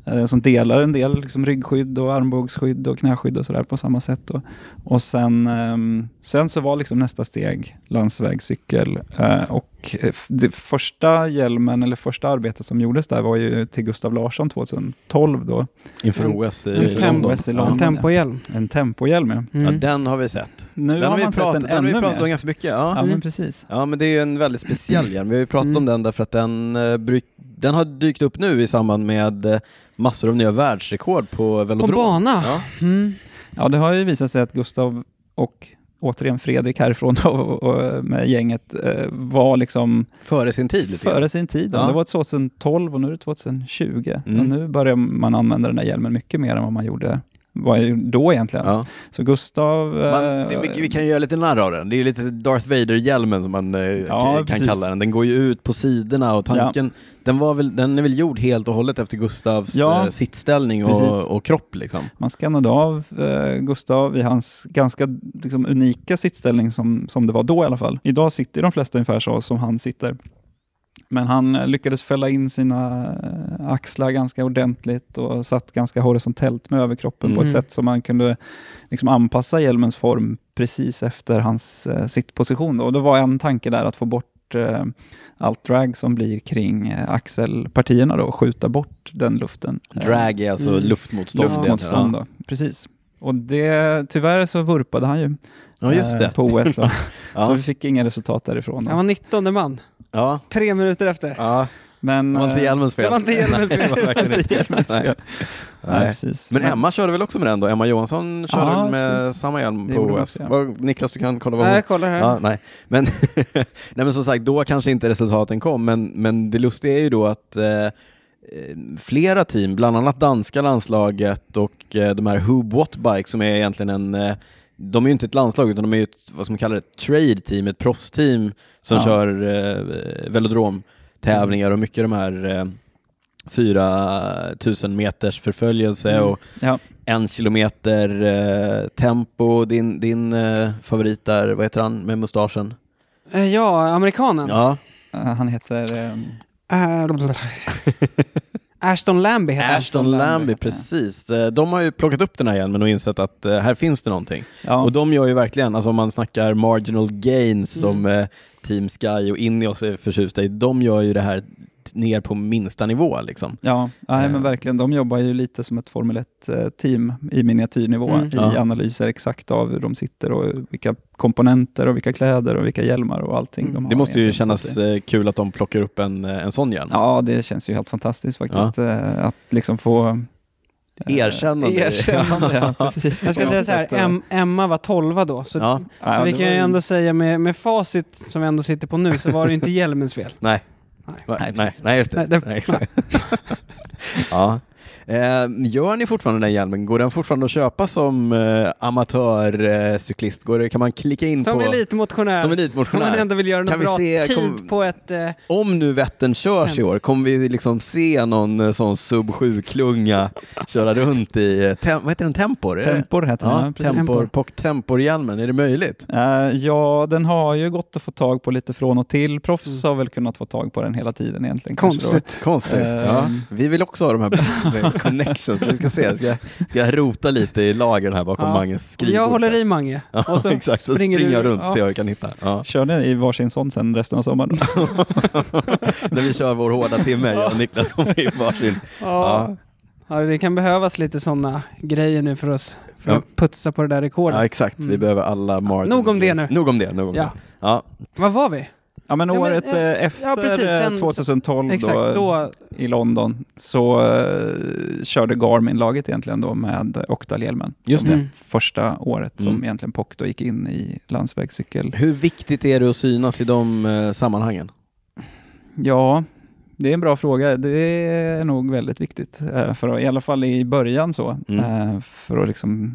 [SPEAKER 5] eh, som delar en del liksom ryggskydd och armbågsskydd och knäskydd och sådär på samma sätt. Och, och sen, ehm, sen så var liksom nästa steg landsvägscykel. Eh, och eh, f- det första hjälmen, eller första arbetet som gjordes där var ju till Gustav Larsson 2012 då.
[SPEAKER 3] Inför
[SPEAKER 4] En-
[SPEAKER 3] OS i
[SPEAKER 4] en
[SPEAKER 3] London.
[SPEAKER 5] OS i
[SPEAKER 3] Ja.
[SPEAKER 5] London.
[SPEAKER 4] Tempohjälm.
[SPEAKER 5] En tempohjälm ja.
[SPEAKER 4] Mm.
[SPEAKER 3] Ja, den har vi sett.
[SPEAKER 5] Nu
[SPEAKER 3] Den
[SPEAKER 5] har
[SPEAKER 3] har vi
[SPEAKER 5] man sett
[SPEAKER 3] pratat,
[SPEAKER 5] den
[SPEAKER 3] den har vi
[SPEAKER 5] ännu
[SPEAKER 3] pratat om Mm.
[SPEAKER 5] mer.
[SPEAKER 3] ganska mycket.
[SPEAKER 5] Ja,
[SPEAKER 3] Ja.
[SPEAKER 5] men precis.
[SPEAKER 3] Ja, men det är ju en väldigt speciell hjälm. Vi har ju pratat om den därför att den, eh, bryk, den har dykt upp nu i samband med eh, massor av nya världsrekord på
[SPEAKER 4] På
[SPEAKER 3] velodrom.
[SPEAKER 4] bana.
[SPEAKER 3] Ja.
[SPEAKER 4] Mm.
[SPEAKER 5] Ja, det har ju visat sig att Gustav och återigen Fredrik härifrån då, och, och med gänget eh, var liksom
[SPEAKER 3] Före sin tid lite grann.
[SPEAKER 5] före sin tid. då.
[SPEAKER 3] Ja.
[SPEAKER 5] Det var 2012 och nu är det 2020.
[SPEAKER 3] Mm.
[SPEAKER 5] Och nu börjar man använda den här hjälmen mycket mer än vad man gjorde vad jag gjorde då egentligen.
[SPEAKER 3] Ja.
[SPEAKER 5] Så Gustav... eh,
[SPEAKER 3] Man, det, vi, vi kan ju göra lite narr av den. Det är ju lite Darth Vader-hjälmen som man eh,
[SPEAKER 5] Ja,
[SPEAKER 3] kan
[SPEAKER 5] precis.
[SPEAKER 3] kalla den. Den går ju ut på sidorna och tanken, den, var väl, den är väl gjord helt och hållet efter Gustavs
[SPEAKER 5] Ja.
[SPEAKER 3] eh, sittställning
[SPEAKER 5] Precis.
[SPEAKER 3] och, och kropp liksom.
[SPEAKER 5] Man skannade av eh, Gustav i hans ganska liksom, unika sittställning som, som det var då i alla fall. Idag sitter de flesta ungefär så som han sitter. Men han eh, lyckades fälla in sina eh, axlar ganska ordentligt och satt ganska horisontellt med överkroppen på ett
[SPEAKER 4] Mm.
[SPEAKER 5] sätt som man kunde liksom, anpassa hjälmens form precis efter hans eh, sittposition. Då. Och det var en tanke där att få bort eh, allt drag som blir kring eh, axelpartierna då, och skjuta bort den luften. Eh,
[SPEAKER 3] Drag är alltså
[SPEAKER 4] Mm.
[SPEAKER 3] luftmotstånd.
[SPEAKER 5] luftmotstånd. Då. Precis. Och det, tyvärr så vurpade han ju
[SPEAKER 3] Ja, just
[SPEAKER 5] eh,
[SPEAKER 3] det.
[SPEAKER 5] på OS. Då. Så
[SPEAKER 3] Ja.
[SPEAKER 5] vi fick inga resultat därifrån. Då.
[SPEAKER 4] Han var 19 man.
[SPEAKER 3] Ja.
[SPEAKER 4] Tre minuter efter.
[SPEAKER 3] Ja.
[SPEAKER 5] Men,
[SPEAKER 3] Det var inte
[SPEAKER 5] eh,
[SPEAKER 3] hjälmens fel.
[SPEAKER 4] Det var inte hjälmens
[SPEAKER 3] Nej, det
[SPEAKER 4] fel.
[SPEAKER 3] var verkligen
[SPEAKER 5] det är hjälmens
[SPEAKER 3] Nej.
[SPEAKER 5] fel. Nej,
[SPEAKER 3] Nej.
[SPEAKER 5] precis.
[SPEAKER 3] Men Emma körde väl också med den då? Emma Johansson körde
[SPEAKER 5] Ja,
[SPEAKER 3] väl med
[SPEAKER 5] precis.
[SPEAKER 3] samma hjälm
[SPEAKER 5] Det
[SPEAKER 3] på
[SPEAKER 5] gjorde hon
[SPEAKER 3] OS?
[SPEAKER 5] också, ja.
[SPEAKER 3] Vad- Niklas, du kan kolla vad
[SPEAKER 4] Nej,
[SPEAKER 3] hon...
[SPEAKER 4] jag kollar här.
[SPEAKER 3] Ja, nej. Men, nej men som sagt, då kanske inte resultaten kom, men, men det lustiga är ju då att eh, eh, flera team, bland annat danska landslaget och eh, de här Hub What Bike som är egentligen en eh, de är ju inte ett landslag utan de är ju ett, vad ska man kalla det, trade team, ett proffsteam som
[SPEAKER 5] Ja.
[SPEAKER 3] kör eh, velodromtävlingar och mycket de här eh, 4000 meters förföljelse
[SPEAKER 5] Mm.
[SPEAKER 3] och
[SPEAKER 5] Ja.
[SPEAKER 3] en kilometer eh, tempo, din, din eh, favorit där, vad heter han med mustaschen?
[SPEAKER 4] Eh, Ja, amerikanen.
[SPEAKER 3] Ja,
[SPEAKER 5] Eh, Han heter... eh,
[SPEAKER 4] Eh, Ashton Lambie heter han.
[SPEAKER 3] Ashton Lambie, precis. Eh, De har ju plockat upp den här igen men och insett att eh, här finns det någonting.
[SPEAKER 5] Ja,
[SPEAKER 3] Och de gör ju verkligen, alltså om man snackar marginal gains som eh, Team Sky och Ineos är förtjusta i, de gör ju det här t- ner på minsta nivå liksom.
[SPEAKER 5] ja. Nej,
[SPEAKER 3] Eh.
[SPEAKER 5] men verkligen. De jobbar ju lite som ett Formel 1-team i miniatyrnivå
[SPEAKER 4] Mm.
[SPEAKER 5] i
[SPEAKER 3] Ja.
[SPEAKER 5] analyser exakt av hur de sitter och vilka komponenter och vilka kläder och vilka hjälmar och allting
[SPEAKER 4] Mm.
[SPEAKER 5] de har.
[SPEAKER 3] Det måste ju
[SPEAKER 5] egentligen.
[SPEAKER 3] kännas eh, kul att de plockar upp en, eh, en sån igen.
[SPEAKER 5] Ja, det känns ju helt fantastiskt faktiskt. eh, Att liksom få... eh,
[SPEAKER 3] Erkännande.
[SPEAKER 5] Erkännande, ja, precis.
[SPEAKER 4] Jag ska
[SPEAKER 5] På
[SPEAKER 4] säga
[SPEAKER 5] något
[SPEAKER 4] så här,
[SPEAKER 5] sätt, eh,
[SPEAKER 4] Em- Emma var 12 då. Så,
[SPEAKER 3] Ja,
[SPEAKER 5] ja,
[SPEAKER 4] så vi
[SPEAKER 5] det
[SPEAKER 4] kan
[SPEAKER 5] var
[SPEAKER 4] ju
[SPEAKER 5] ju-
[SPEAKER 4] ändå säga med, med facit som vi ändå sitter på nu så var det ju inte hjälmens fel.
[SPEAKER 3] Nej.
[SPEAKER 4] Nej.
[SPEAKER 3] Va-
[SPEAKER 5] Nej,
[SPEAKER 3] nej,
[SPEAKER 5] precis.
[SPEAKER 3] nej, just det.
[SPEAKER 4] Nej, det-
[SPEAKER 3] Nej, exakt. ja. eh, gör ni fortfarande den hjälmen? Går den fortfarande att köpa som eh, amatörcyklist? Eh, cyklist? Går det- kan man klicka in
[SPEAKER 4] Som
[SPEAKER 3] på...
[SPEAKER 4] elitmotionär.
[SPEAKER 3] Som elitmotionär.
[SPEAKER 4] Om man ändå vill göra
[SPEAKER 3] Kan
[SPEAKER 4] något
[SPEAKER 3] vi
[SPEAKER 4] bra
[SPEAKER 3] se-
[SPEAKER 4] tid
[SPEAKER 3] kom-
[SPEAKER 4] på ett... Eh,
[SPEAKER 3] Om nu Vättern körs i år, kommer vi liksom se någon eh, sån sub 7-klunga köra runt i... eh, Tem- vad heter den? Tempor? är det?
[SPEAKER 5] Tempor heter
[SPEAKER 3] Ja,
[SPEAKER 5] den. ja, precis.
[SPEAKER 3] tempor, Pock Tempor-hjälmen, är det möjligt?
[SPEAKER 5] Eh, ja, den har ju gått att få tag på lite från och till. Proffs har väl kunnat få tag på den hela tiden egentligen. kanske då.
[SPEAKER 4] Mm. konstigt.
[SPEAKER 3] Konstigt.
[SPEAKER 5] Eh,
[SPEAKER 3] Ja. Vi vill också ha de här connections, vi ska se. Ska, ska jag rota lite i lagren här bakom
[SPEAKER 4] Ja.
[SPEAKER 3] Manges skrivbord?
[SPEAKER 4] Jag håller
[SPEAKER 3] sen?
[SPEAKER 4] i Mange.
[SPEAKER 3] Ja,
[SPEAKER 4] Och så
[SPEAKER 3] exakt. Så
[SPEAKER 4] springer
[SPEAKER 3] springer,
[SPEAKER 4] du-
[SPEAKER 3] jag runt
[SPEAKER 4] ja.
[SPEAKER 3] och ser vad jag kan hitta. Ja.
[SPEAKER 5] Kör ni i varsin sån sen resten av sommaren?
[SPEAKER 3] När vi kör vår hårda timme, jag och Niklas kommer i varsin.
[SPEAKER 4] Ja. Ja, det kan behövas lite sådana grejer nu för oss. För
[SPEAKER 3] Ja.
[SPEAKER 4] att putsa på det där rekordet.
[SPEAKER 3] Ja, exakt. Vi
[SPEAKER 4] Mm.
[SPEAKER 3] behöver alla margins.
[SPEAKER 4] nog om det nu.
[SPEAKER 3] Nog om det, nog om
[SPEAKER 4] Ja.
[SPEAKER 3] det. Ja.
[SPEAKER 4] Vad var vi?
[SPEAKER 5] ja, men
[SPEAKER 4] Ja, men,
[SPEAKER 5] året
[SPEAKER 4] eh,
[SPEAKER 5] eh, efter
[SPEAKER 4] ja, precis.
[SPEAKER 5] eh,
[SPEAKER 4] Sen-
[SPEAKER 5] 2012
[SPEAKER 4] Exakt,
[SPEAKER 5] då,
[SPEAKER 4] då...
[SPEAKER 5] i London så eh, körde Garmin-laget egentligen då med Octal-hjälmen.
[SPEAKER 3] Just
[SPEAKER 5] som
[SPEAKER 4] det. Mm.
[SPEAKER 5] Första året som
[SPEAKER 3] Mm.
[SPEAKER 5] egentligen POC då gick in i landsvägscykel.
[SPEAKER 3] Hur viktigt är det att synas i de eh, sammanhangen? Mm.
[SPEAKER 5] Ja, det är en bra fråga. Det är nog väldigt viktigt. eh, För, I alla fall i början så.
[SPEAKER 3] Mm.
[SPEAKER 5] eh, För att liksom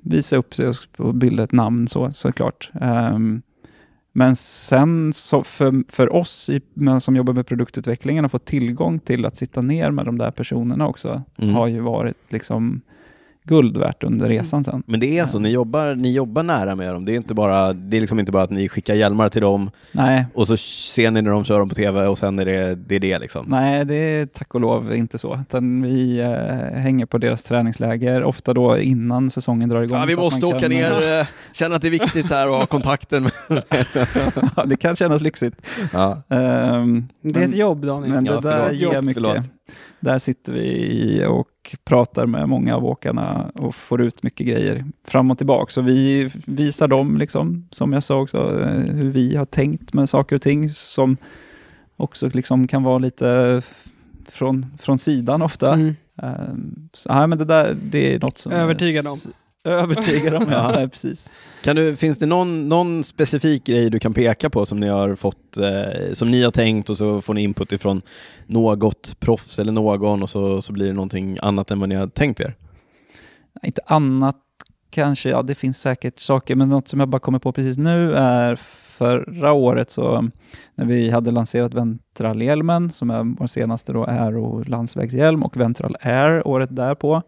[SPEAKER 5] visa upp sig och s- och bilda ett namn så, såklart. Ehm, Men sen så för, för oss i, men som jobbar med produktutvecklingen att få tillgång till att sitta ner med de där personerna också
[SPEAKER 3] Mm.
[SPEAKER 5] har ju varit liksom guld värt under resan sen.
[SPEAKER 3] Men det är så, ni jobbar, ni jobbar nära med dem. Det är, inte bara, det är liksom inte bara att ni skickar hjälmar till dem
[SPEAKER 5] Nej,
[SPEAKER 3] och så ser ni när de kör dem på tv och sen är det det, är det liksom.
[SPEAKER 5] Nej, det är tack och lov inte så. Utan vi eh, hänger på deras träningsläger, ofta då innan säsongen drar igång.
[SPEAKER 3] Ja, vi
[SPEAKER 5] så att
[SPEAKER 3] måste
[SPEAKER 5] man
[SPEAKER 3] åka
[SPEAKER 5] kan-
[SPEAKER 3] ner, eh, känna att det är viktigt här och ha kontakten. Med.
[SPEAKER 5] Ja, det kan kännas lyxigt.
[SPEAKER 3] Ja.
[SPEAKER 5] Ehm,
[SPEAKER 4] Det är ett jobb Daniel.
[SPEAKER 5] Men det
[SPEAKER 3] Ja,
[SPEAKER 5] där
[SPEAKER 3] förlåt.
[SPEAKER 5] ger
[SPEAKER 3] Jobb,
[SPEAKER 5] mycket.
[SPEAKER 3] förlåt.
[SPEAKER 5] Där sitter vi och pratar med många av åkarna och får ut mycket grejer fram och tillbaka. Så vi visar dem, liksom, som jag sa också, eh, hur vi har tänkt med saker och ting som också liksom kan vara lite f- från, från sidan ofta.
[SPEAKER 4] Mm.
[SPEAKER 5] Ehm, Så, nej, men det där det är något som...
[SPEAKER 4] Övertygad om.
[SPEAKER 5] Övertygad om, ja.
[SPEAKER 3] Ja.
[SPEAKER 5] nej, precis.
[SPEAKER 3] Kan du, finns det någon, någon specifik grej du kan peka på som ni har fått, eh, som ni har tänkt och så får ni input ifrån något proffs eller någon och så, så blir det någonting annat än vad ni har tänkt er?
[SPEAKER 5] Inte annat kanske, ja det finns säkert saker, men något som jag bara kommer på precis nu är förra året så när vi hade lanserat Ventral-hjälmen, som är vår senaste då Aero landsvägshjälm och Ventral Air året därpå,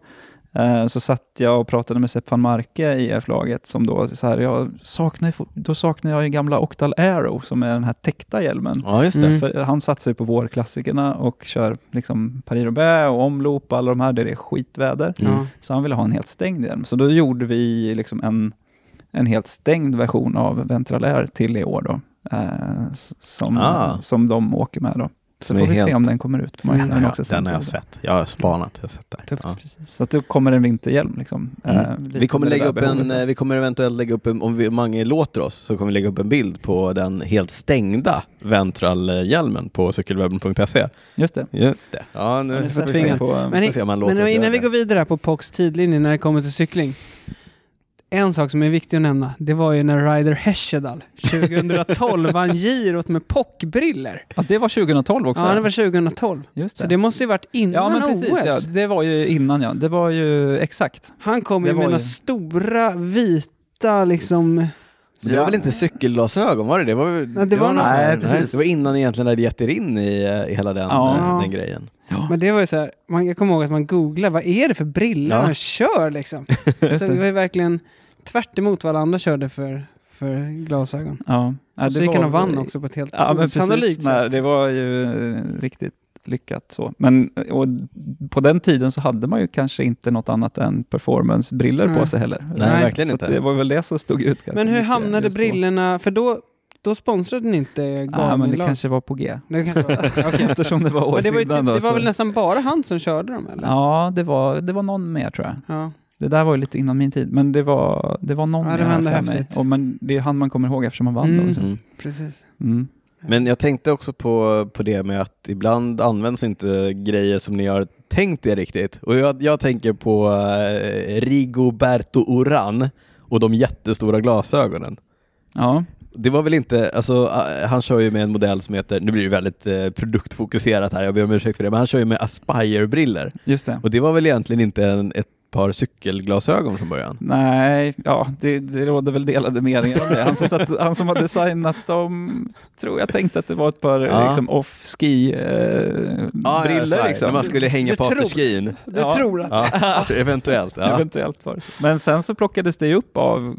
[SPEAKER 5] eh, så satt jag och pratade med Sepp van Marke i F-laget som då så här, jag saknar, ju fo- då saknar jag ju gamla Octal Aero som är den här täckta hjälmen.
[SPEAKER 3] Ja, just
[SPEAKER 4] det. Mm.
[SPEAKER 5] För han satsar ju på vårklassikerna och kör liksom Paris-Roubaix och omloop och alla de här där det är skitväder.
[SPEAKER 3] Mm.
[SPEAKER 4] Ja.
[SPEAKER 5] Så han ville ha en helt stängd hjälm. Så då gjorde vi liksom en, en helt stängd version av Ventral Air till i år då. Eh, s- som,
[SPEAKER 3] Ah.
[SPEAKER 5] som de åker med då. Så
[SPEAKER 3] Som är
[SPEAKER 5] får vi se
[SPEAKER 3] helt-
[SPEAKER 5] om den kommer ut på marknaden
[SPEAKER 3] Den, har
[SPEAKER 5] också.
[SPEAKER 3] jag, den har jag
[SPEAKER 5] samtidigt.
[SPEAKER 3] sett. Jag har spanat. Jag har sett det.
[SPEAKER 5] Tufft,
[SPEAKER 3] Ja.
[SPEAKER 5] precis. Så att då kommer en vinterhjälm liksom. Eh, lite
[SPEAKER 3] Mm. Vi kommer,
[SPEAKER 5] med det
[SPEAKER 3] lägga
[SPEAKER 5] där
[SPEAKER 3] upp en,
[SPEAKER 5] behovet.
[SPEAKER 3] eh, vi kommer eventuellt lägga upp en, om vi, Mange låter oss, så kommer vi lägga upp en bild på den helt stängda Ventral-hjälmen på cykelwebben.se.
[SPEAKER 5] Just
[SPEAKER 3] eh,
[SPEAKER 5] det.
[SPEAKER 3] Just det. Ja, nu
[SPEAKER 5] Den är
[SPEAKER 3] får vi
[SPEAKER 5] satsningen
[SPEAKER 3] se.
[SPEAKER 4] tvingad.
[SPEAKER 5] på,
[SPEAKER 4] Men,
[SPEAKER 3] Får se om han låter
[SPEAKER 4] men
[SPEAKER 3] oss göra
[SPEAKER 4] innan vi
[SPEAKER 3] det.
[SPEAKER 4] går vidare här på POCs tidlinje när det kommer till cykling. En sak som är viktig att nämna, det var ju när Ryder Hesjedal 2012 vann girot med pockbriller.
[SPEAKER 5] ja, det var 2012 också.
[SPEAKER 4] Ja, det var 2012.
[SPEAKER 5] Just det.
[SPEAKER 4] Så det måste ju varit
[SPEAKER 5] Ja
[SPEAKER 4] innan
[SPEAKER 5] men precis,
[SPEAKER 4] OS.
[SPEAKER 5] ja. det var ju innan ja. Det var ju exakt.
[SPEAKER 4] Han kom
[SPEAKER 5] Det
[SPEAKER 4] ju
[SPEAKER 5] var
[SPEAKER 4] med några
[SPEAKER 5] ju-
[SPEAKER 4] stora vita liksom...
[SPEAKER 3] Men det var väl inte cykelglasögon, var det det? Var, väl-
[SPEAKER 4] det var nog-
[SPEAKER 3] något-
[SPEAKER 5] Nej, precis.
[SPEAKER 3] Det var innan ni egentligen hade gett er in i, eh, i hela den,
[SPEAKER 5] Ja.
[SPEAKER 3] eh, den grejen.
[SPEAKER 4] Men det var ju så här, man, jag kommer ihåg att man googlade, vad är det för briller
[SPEAKER 3] Ja.
[SPEAKER 4] han kör liksom? Så det var ju verkligen tvärt emot vad alla andra körde för, för glasögon.
[SPEAKER 5] Ja. Ja,
[SPEAKER 4] så gick han och vann också på ett helt
[SPEAKER 5] Ja, men
[SPEAKER 4] osannolikt
[SPEAKER 5] precis.
[SPEAKER 4] sätt.
[SPEAKER 5] Men det var ju eh, riktigt lyckat så. Men eh, och på den tiden så hade man ju kanske inte något annat än performancebriller på
[SPEAKER 4] Nej.
[SPEAKER 5] sig heller.
[SPEAKER 3] Nej, verkligen
[SPEAKER 5] så
[SPEAKER 3] inte.
[SPEAKER 5] att Det var väl det som stod ut. ganska
[SPEAKER 4] Men hur
[SPEAKER 5] mycket
[SPEAKER 4] hamnade
[SPEAKER 5] just då.
[SPEAKER 4] brillorna för då, då sponsrade ni inte
[SPEAKER 5] Ja, men
[SPEAKER 4] Garmin
[SPEAKER 5] det
[SPEAKER 4] lag?
[SPEAKER 5] kanske var på G.
[SPEAKER 4] Det kanske var. Okej.
[SPEAKER 5] Eftersom det var
[SPEAKER 4] Men
[SPEAKER 5] året
[SPEAKER 4] det var, ju
[SPEAKER 5] innan
[SPEAKER 4] typ,
[SPEAKER 5] då,
[SPEAKER 4] det var
[SPEAKER 5] så-
[SPEAKER 4] väl nästan bara han som körde dem eller?
[SPEAKER 5] Ja, det var, det var någon mer tror jag.
[SPEAKER 4] Ja.
[SPEAKER 5] Det där var ju lite innan min tid, men det var, det var någon
[SPEAKER 4] Ja, det
[SPEAKER 5] mer
[SPEAKER 4] var ändå
[SPEAKER 5] för mig.
[SPEAKER 4] häftigt.
[SPEAKER 5] Och men det är ju han man kommer ihåg eftersom han vann
[SPEAKER 4] Mm.
[SPEAKER 5] då. Så.
[SPEAKER 3] Mm.
[SPEAKER 4] precis.
[SPEAKER 5] Mm.
[SPEAKER 3] Men jag tänkte också på, på det med att ibland används inte grejer som ni har tänkt er riktigt. Och jag, jag tänker på eh, Rigoberto Oran och de jättestora glasögonen.
[SPEAKER 5] Ja.
[SPEAKER 3] Det var väl inte, alltså eh, han kör ju med en modell som heter, nu blir det väldigt eh, produktfokuserat här, jag ber om ursäkt för det, men han kör ju med Aspire-briller.
[SPEAKER 5] Just det.
[SPEAKER 3] Och det var väl egentligen inte en, ett par cykelglasögon från början?
[SPEAKER 5] Nej, ja, det, det råder väl delade meningar om det. Han som, satt, han som har designat dem tror jag tänkte att det var ett par
[SPEAKER 3] Ja.
[SPEAKER 5] liksom,
[SPEAKER 3] Ja, ja,
[SPEAKER 5] off-ski-briller.
[SPEAKER 3] så här, När
[SPEAKER 5] liksom.
[SPEAKER 3] man skulle hänga
[SPEAKER 4] Du
[SPEAKER 3] på
[SPEAKER 4] tror-
[SPEAKER 3] afterskin.
[SPEAKER 4] Du
[SPEAKER 5] Ja.
[SPEAKER 4] tror att...
[SPEAKER 3] Ja, eventuellt. Ja.
[SPEAKER 5] Eventuellt var det så. Men sen så plockades det ju upp av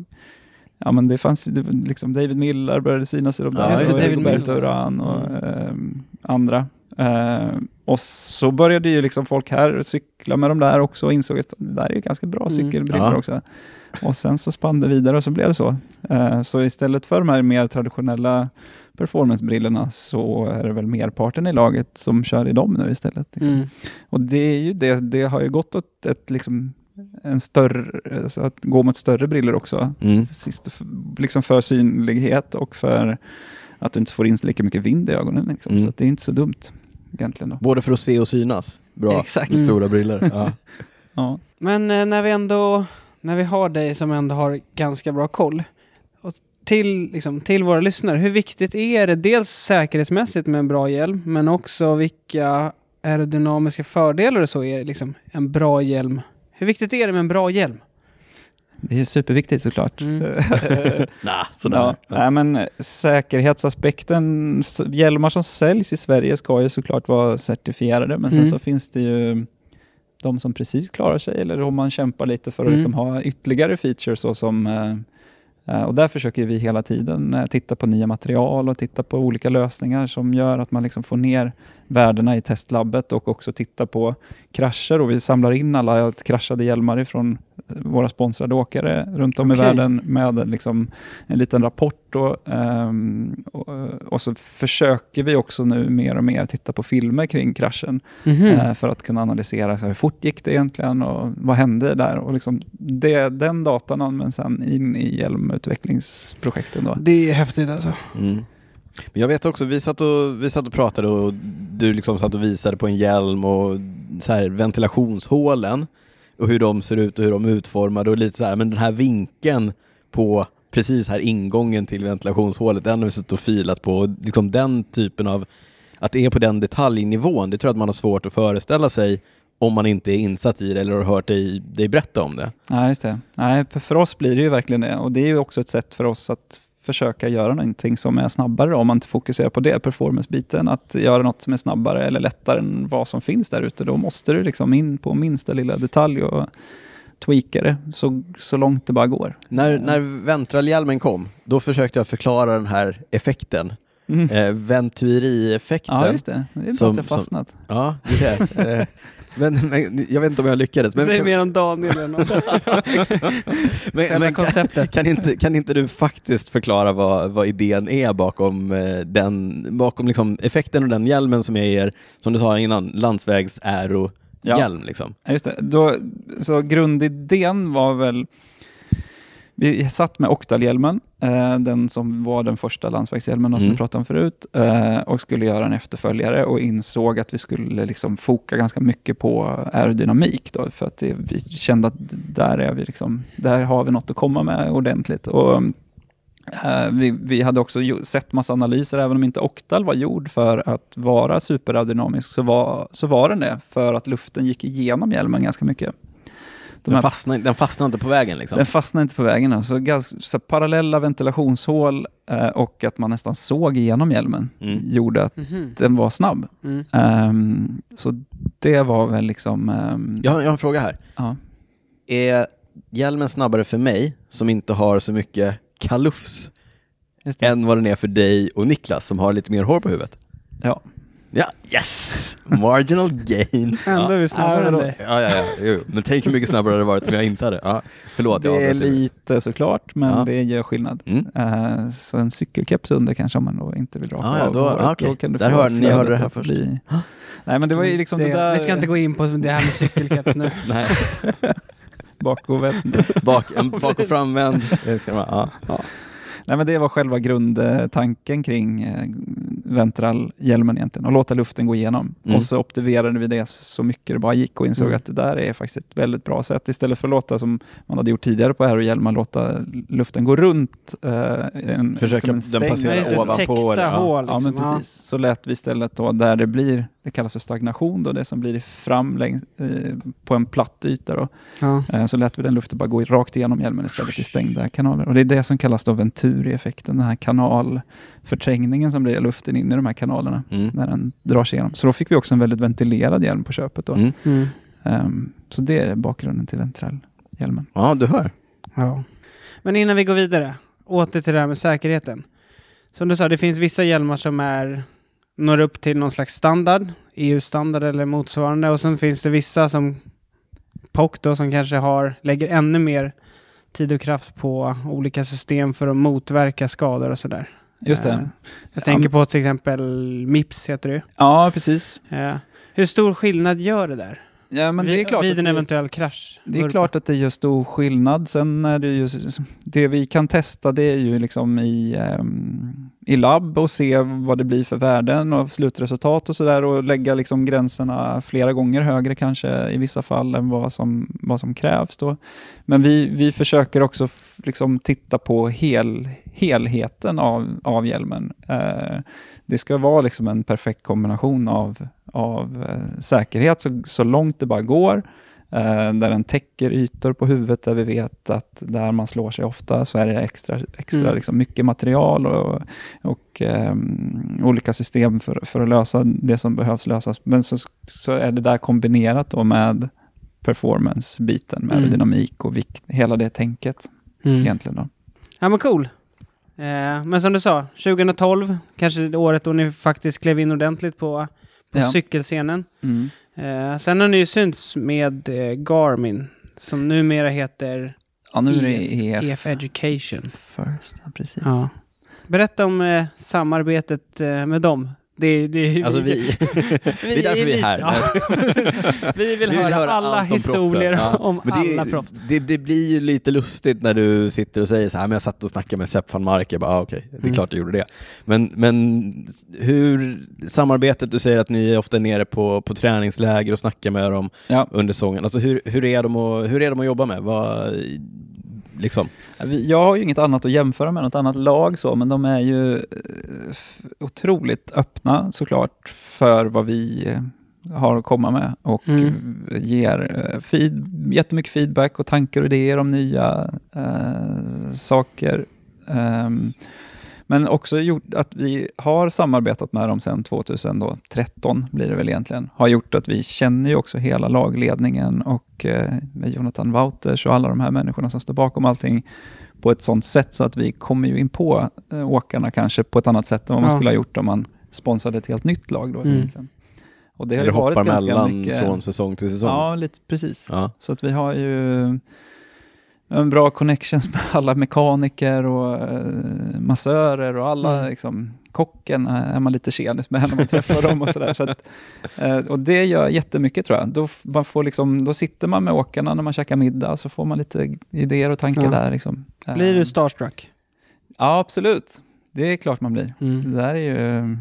[SPEAKER 5] Ja, men det fanns, det, var liksom David Millar började synas i de
[SPEAKER 3] Ja,
[SPEAKER 5] där,
[SPEAKER 3] just
[SPEAKER 5] och
[SPEAKER 3] det, Mm.
[SPEAKER 4] David
[SPEAKER 5] Roberto
[SPEAKER 4] Millar.
[SPEAKER 5] Urán och ehm, andra. Ehm, och så började ju liksom folk här cykla med de där också och insåg att det där är ju ganska bra cykelbrillor
[SPEAKER 3] Mm. Ja.
[SPEAKER 5] också. Och sen så spann det vidare och så blev det så. Ehm, så istället för de här mer traditionella performancebrillorna så är det väl merparten i laget som kör i dem nu istället. Liksom.
[SPEAKER 4] Mm.
[SPEAKER 5] Och det, är ju det, det har ju gått åt ett, liksom, en större, så att gå mot större briller också.
[SPEAKER 3] Mm.
[SPEAKER 5] Sist, f- liksom för synlighet och för att du inte får in så lika mycket vind i ögonen. Liksom.
[SPEAKER 3] Mm.
[SPEAKER 5] Så att det är inte så dumt egentligen. Då.
[SPEAKER 3] Både för att se och synas. Bra.
[SPEAKER 5] Exakt.
[SPEAKER 3] Med stora briller. Ja.
[SPEAKER 5] Ja.
[SPEAKER 4] Men eh, när vi ändå, när vi har dig som ändå har ganska bra koll. Och till, liksom, till våra lyssnare, hur viktigt är det dels säkerhetsmässigt med en bra hjälm, men också vilka aerodynamiska fördelar och så är liksom en bra hjälm. Hur viktigt är det med en bra hjälm?
[SPEAKER 5] Det är superviktigt såklart.
[SPEAKER 4] Mm.
[SPEAKER 3] Nah,
[SPEAKER 5] Ja, nej, men säkerhetsaspekten, s- hjälmar som säljs i Sverige ska ju såklart vara certifierade, men
[SPEAKER 4] Mm.
[SPEAKER 5] sen så finns det ju de som precis klarar sig eller om man kämpar lite för att
[SPEAKER 2] Mm.
[SPEAKER 5] liksom ha ytterligare features. Så som, eh, eh, och där försöker vi hela tiden eh, titta på nya material och titta på olika lösningar som gör att man liksom får ner värdena i testlabbet och också titta på krascher. Och vi samlar in alla kraschade hjälmar från våra sponsrade åkare runt om i
[SPEAKER 4] Okej.
[SPEAKER 5] världen med liksom en liten rapport. Och, ehm, och, och så försöker vi också nu mer och mer titta på filmer kring kraschen
[SPEAKER 4] Mm.
[SPEAKER 5] eh, för att kunna analysera så här, hur fort gick det egentligen och vad hände där. Och liksom det, den datan används sen in i hjälmutvecklingsprojekten. Då.
[SPEAKER 4] Det är häftigt alltså.
[SPEAKER 3] Mm. Men jag vet också, vi satt, och, vi satt och pratade och du liksom satt och visade på en hjälm och så här, ventilationshålen och hur de ser ut och hur de är utformade och lite så här, men den här vinkeln på precis här ingången till ventilationshålet, den har vi suttit och filat på och liksom den typen av, att det är på den detaljnivån, det tror jag att man har svårt att föreställa sig om man inte är insatt i det eller har hört dig, dig berätta om det.
[SPEAKER 5] Ja, just det. Nej, för- för oss blir det ju verkligen det. Och det är ju också ett sätt för oss att försöka göra någonting som är snabbare om man inte fokuserar på det, performance-biten. Att göra något som är snabbare eller lättare än vad som finns där ute. Då måste du liksom in på minsta lilla detalj och tweaka det så, så långt det bara går.
[SPEAKER 3] När, när ventralhjälmen kom, då försökte jag förklara den här effekten,
[SPEAKER 5] Mm.
[SPEAKER 3] eh, Venturi-effekten.
[SPEAKER 5] Ja, just det. Det är bra
[SPEAKER 3] Som-
[SPEAKER 5] att jag
[SPEAKER 3] som-
[SPEAKER 5] fastnat.
[SPEAKER 3] Ja, det ser jag. Eh, men, men jag vet inte om jag lyckades. Men,
[SPEAKER 4] Säg
[SPEAKER 3] kan,
[SPEAKER 4] mer om Daniel än om
[SPEAKER 3] men,
[SPEAKER 4] själva
[SPEAKER 3] men kan,
[SPEAKER 4] konceptet.
[SPEAKER 3] kan, inte, kan inte du faktiskt förklara vad, vad idén är bakom, eh, den, bakom liksom effekten och den hjälmen som jag ger, som du sa innan, landsvägs aero
[SPEAKER 5] Ja.
[SPEAKER 3] hjälm liksom.
[SPEAKER 5] Ja, just det. Då, så grundidén var väl... Vi satt med Octal-hjälmen, eh, den som var den första landsvägshjälmen som
[SPEAKER 3] Mm.
[SPEAKER 5] vi pratade om förut, eh, och skulle göra en efterföljare och insåg att vi skulle liksom foka ganska mycket på aerodynamik. Då, för att det, vi kände att där, är vi liksom, där har vi något att komma med ordentligt. Och, eh, vi, vi hade också ju- sett massa analyser, även om inte Octal var gjord för att vara superaerodynamisk, så var, så var den det, för att luften gick igenom hjälmen ganska mycket. De
[SPEAKER 3] Den
[SPEAKER 5] här-
[SPEAKER 3] fastnar, den fastnar inte på vägen liksom.
[SPEAKER 5] den fastnade inte på vägen. Alltså, ganska, så här, parallella ventilationshål eh, och att man nästan såg igenom hjälmen
[SPEAKER 3] Mm.
[SPEAKER 5] gjorde att den var snabb.
[SPEAKER 4] Mm.
[SPEAKER 5] Ehm, så det var väl liksom... ehm,
[SPEAKER 3] Jag, har- jag har en fråga här.
[SPEAKER 5] ja.
[SPEAKER 3] Är hjälmen snabbare för mig, som inte har så mycket kalufs,
[SPEAKER 5] Just det.
[SPEAKER 3] än vad den är för dig och Niklas som har lite mer hår på huvudet?
[SPEAKER 5] Ja.
[SPEAKER 3] Ja, yes! Marginal gains. Ja.
[SPEAKER 4] Ändå är vi snabbare än dig.
[SPEAKER 3] Ja, ja, ja. Jo, jo. men tänk hur mycket snabbare det hade varit om jag inte hade. Ja. Förlåt, jag
[SPEAKER 5] det är
[SPEAKER 3] avbröt dig.
[SPEAKER 5] lite såklart, men
[SPEAKER 3] Ja.
[SPEAKER 5] det gör skillnad.
[SPEAKER 3] Mm.
[SPEAKER 5] Eh, så en cykelkeps under kanske om man då inte vill raka
[SPEAKER 3] Ah, ja,
[SPEAKER 5] av
[SPEAKER 3] då-
[SPEAKER 5] håret.
[SPEAKER 3] ah, okej.
[SPEAKER 5] Då kan du
[SPEAKER 3] Där
[SPEAKER 5] få
[SPEAKER 3] hör- ni
[SPEAKER 5] flödet
[SPEAKER 3] hörde det här
[SPEAKER 5] att
[SPEAKER 3] först.
[SPEAKER 5] bli- Nej, men det var ju liksom det, där
[SPEAKER 4] Vi ska inte gå in på det här med cykelkeps nu.
[SPEAKER 3] Nej,
[SPEAKER 5] bak och vänd.
[SPEAKER 3] bak, en bak och framvänd. Jag ska bara, Ja.
[SPEAKER 5] Nej, men det var själva grundtanken kring eh, ventralhjälmen egentligen, att låta luften gå igenom.
[SPEAKER 3] Mm.
[SPEAKER 5] Och så optimerade vi det så mycket det bara gick och insåg
[SPEAKER 4] Mm.
[SPEAKER 5] att det där är faktiskt ett väldigt bra sätt. Istället för att låta, som man hade gjort tidigare på aerohjälmar, låta luften gå runt eh, en,
[SPEAKER 3] Försöka
[SPEAKER 5] som en
[SPEAKER 3] den
[SPEAKER 5] stäng.
[SPEAKER 3] passera
[SPEAKER 4] Nej,
[SPEAKER 3] Passera
[SPEAKER 4] så
[SPEAKER 3] ovanpå det,
[SPEAKER 4] Täckta
[SPEAKER 3] ja.
[SPEAKER 4] hål.
[SPEAKER 5] Ja, men
[SPEAKER 4] liksom.
[SPEAKER 5] precis. Så lät vi istället då där det blir, det kallas för stagnation, då, det som blir fram längs, eh, på en platt yta. Då.
[SPEAKER 4] Ja.
[SPEAKER 5] Eh, Så lät vi den luften bara gå i- rakt igenom hjälmen istället i stängda kanaler. Och det är det som kallas då venturi-effekten, den här kanalförträngningen som blir i luften in i de här kanalerna
[SPEAKER 3] Mm.
[SPEAKER 5] när den drar sig igenom. Så då fick vi också en väldigt ventilerad hjälm på köpet. Då.
[SPEAKER 3] Mm.
[SPEAKER 4] Mm.
[SPEAKER 5] Ehm, så det är bakgrunden till ventralhjälmen.
[SPEAKER 3] ja, du hör.
[SPEAKER 4] Ja. Men innan vi går vidare, åter till det här med säkerheten. Som du sa, det finns vissa hjälmar som är, når upp till någon slags standard, EU-standard eller motsvarande. Och sen finns det vissa som POC då, som kanske har, lägger ännu mer tid och kraft på olika system för att motverka skador och sådär.
[SPEAKER 5] Just
[SPEAKER 4] Eh,
[SPEAKER 5] det.
[SPEAKER 4] Jag tänker på till exempel MIPS heter det ju.
[SPEAKER 5] Ja, precis.
[SPEAKER 4] Eh, Hur stor skillnad gör det där?
[SPEAKER 5] Ja, men
[SPEAKER 4] vid
[SPEAKER 5] det är klart
[SPEAKER 4] vid
[SPEAKER 5] att
[SPEAKER 4] en
[SPEAKER 5] det-
[SPEAKER 4] eventuell krasch?
[SPEAKER 5] Det är klart att det gör stor skillnad. Sen är det ju, det vi kan testa det är ju liksom i, ehm, i labb och se vad det blir för värden och slutresultat och sådär och lägga liksom gränserna flera gånger högre kanske i vissa fall än vad som, vad som krävs då. Men vi, vi försöker också f- liksom titta på hel, helheten av, av hjälmen. Eh, det ska vara liksom en perfekt kombination av, av eh, säkerhet så, så långt det bara går Eh, där den täcker ytor på huvudet där vi vet att där man slår sig ofta så är det extra, extra
[SPEAKER 4] Mm.
[SPEAKER 5] liksom mycket material och, och ehm, olika system för, för att lösa det som behövs lösas. Men så, så är det där kombinerat då med performance-biten med
[SPEAKER 6] Mm.
[SPEAKER 5] dynamik och vikt, hela det tänket
[SPEAKER 6] Mm.
[SPEAKER 5] egentligen. Då.
[SPEAKER 6] Ja men cool.
[SPEAKER 4] Eh, men som du sa, 2012, kanske det året då ni faktiskt klev in ordentligt på, på
[SPEAKER 5] Ja.
[SPEAKER 4] cykelscenen. Eh, sen har ni ju synts med eh, Garmin, som numera heter
[SPEAKER 5] Ja, nu är det E
[SPEAKER 4] EF,
[SPEAKER 5] EF,
[SPEAKER 4] Education.
[SPEAKER 5] First, ja, precis.
[SPEAKER 4] E Ja. Berätta om eh, samarbetet eh, med dem. Det, det,
[SPEAKER 3] Alltså vi, det är därför vi är här.
[SPEAKER 4] Ja. vi vill
[SPEAKER 3] Vi vill
[SPEAKER 4] höra,
[SPEAKER 3] höra allt
[SPEAKER 4] alla
[SPEAKER 3] om proffsen.
[SPEAKER 4] historier
[SPEAKER 3] Ja.
[SPEAKER 4] om
[SPEAKER 3] Men det,
[SPEAKER 4] alla proffs.
[SPEAKER 3] Det, det blir ju lite lustigt när du sitter och säger så här, men jag satt och snackade med Sepp van Mark, jag bara, ah, okej, det är
[SPEAKER 4] Mm.
[SPEAKER 3] klart jag gjorde det. Men, men hur, samarbetet, du säger att ni är ofta nere på, på träningsläger och snackar med dem
[SPEAKER 5] Ja.
[SPEAKER 3] under säsongen. Alltså hur, hur, är de att, hur är de att jobba med? Vad, liksom.
[SPEAKER 5] Ja, vi- Jag har ju inget annat att jämföra med, något annat lag så, men de är ju eh, f- otroligt öppna såklart för vad vi eh, har att komma med och
[SPEAKER 4] Mm.
[SPEAKER 5] eh, ger eh, feed, jättemycket feedback och tankar och idéer om nya eh, saker. Ehm, men också gjort att vi har samarbetat med dem sedan 2013, blir det väl egentligen, har gjort att vi känner ju också hela lagledningen och eh, med Jonathan Wouters och alla de här människorna som står bakom allting på ett sånt sätt så att vi kommer ju in på eh, åkarna kanske på ett annat sätt än vad man
[SPEAKER 4] Ja.
[SPEAKER 5] skulle ha gjort om man sponsrade ett helt nytt lag då
[SPEAKER 4] Mm.
[SPEAKER 5] egentligen. Och det har
[SPEAKER 3] Eller
[SPEAKER 5] ju varit
[SPEAKER 3] hoppar
[SPEAKER 5] ganska
[SPEAKER 3] mellan
[SPEAKER 5] mycket...
[SPEAKER 3] från säsong till säsong?
[SPEAKER 5] Ja, lite precis.
[SPEAKER 3] Ja.
[SPEAKER 5] Så att vi har ju en bra connections med alla mekaniker och eh, massörer och alla
[SPEAKER 6] Mm.
[SPEAKER 5] liksom, kocken eh, är man lite tjenis med när man träffar dem och sådär. Så att, eh, och det gör jättemycket tror jag. Då, f- man får liksom, då sitter man med åkarna när man käkar middag och så får man lite idéer och tankar
[SPEAKER 6] Ja.
[SPEAKER 5] där. Liksom. Eh,
[SPEAKER 6] Blir du starstruck?
[SPEAKER 5] Ja, absolut. Det är klart man blir.
[SPEAKER 6] Mm.
[SPEAKER 5] Det där är ju...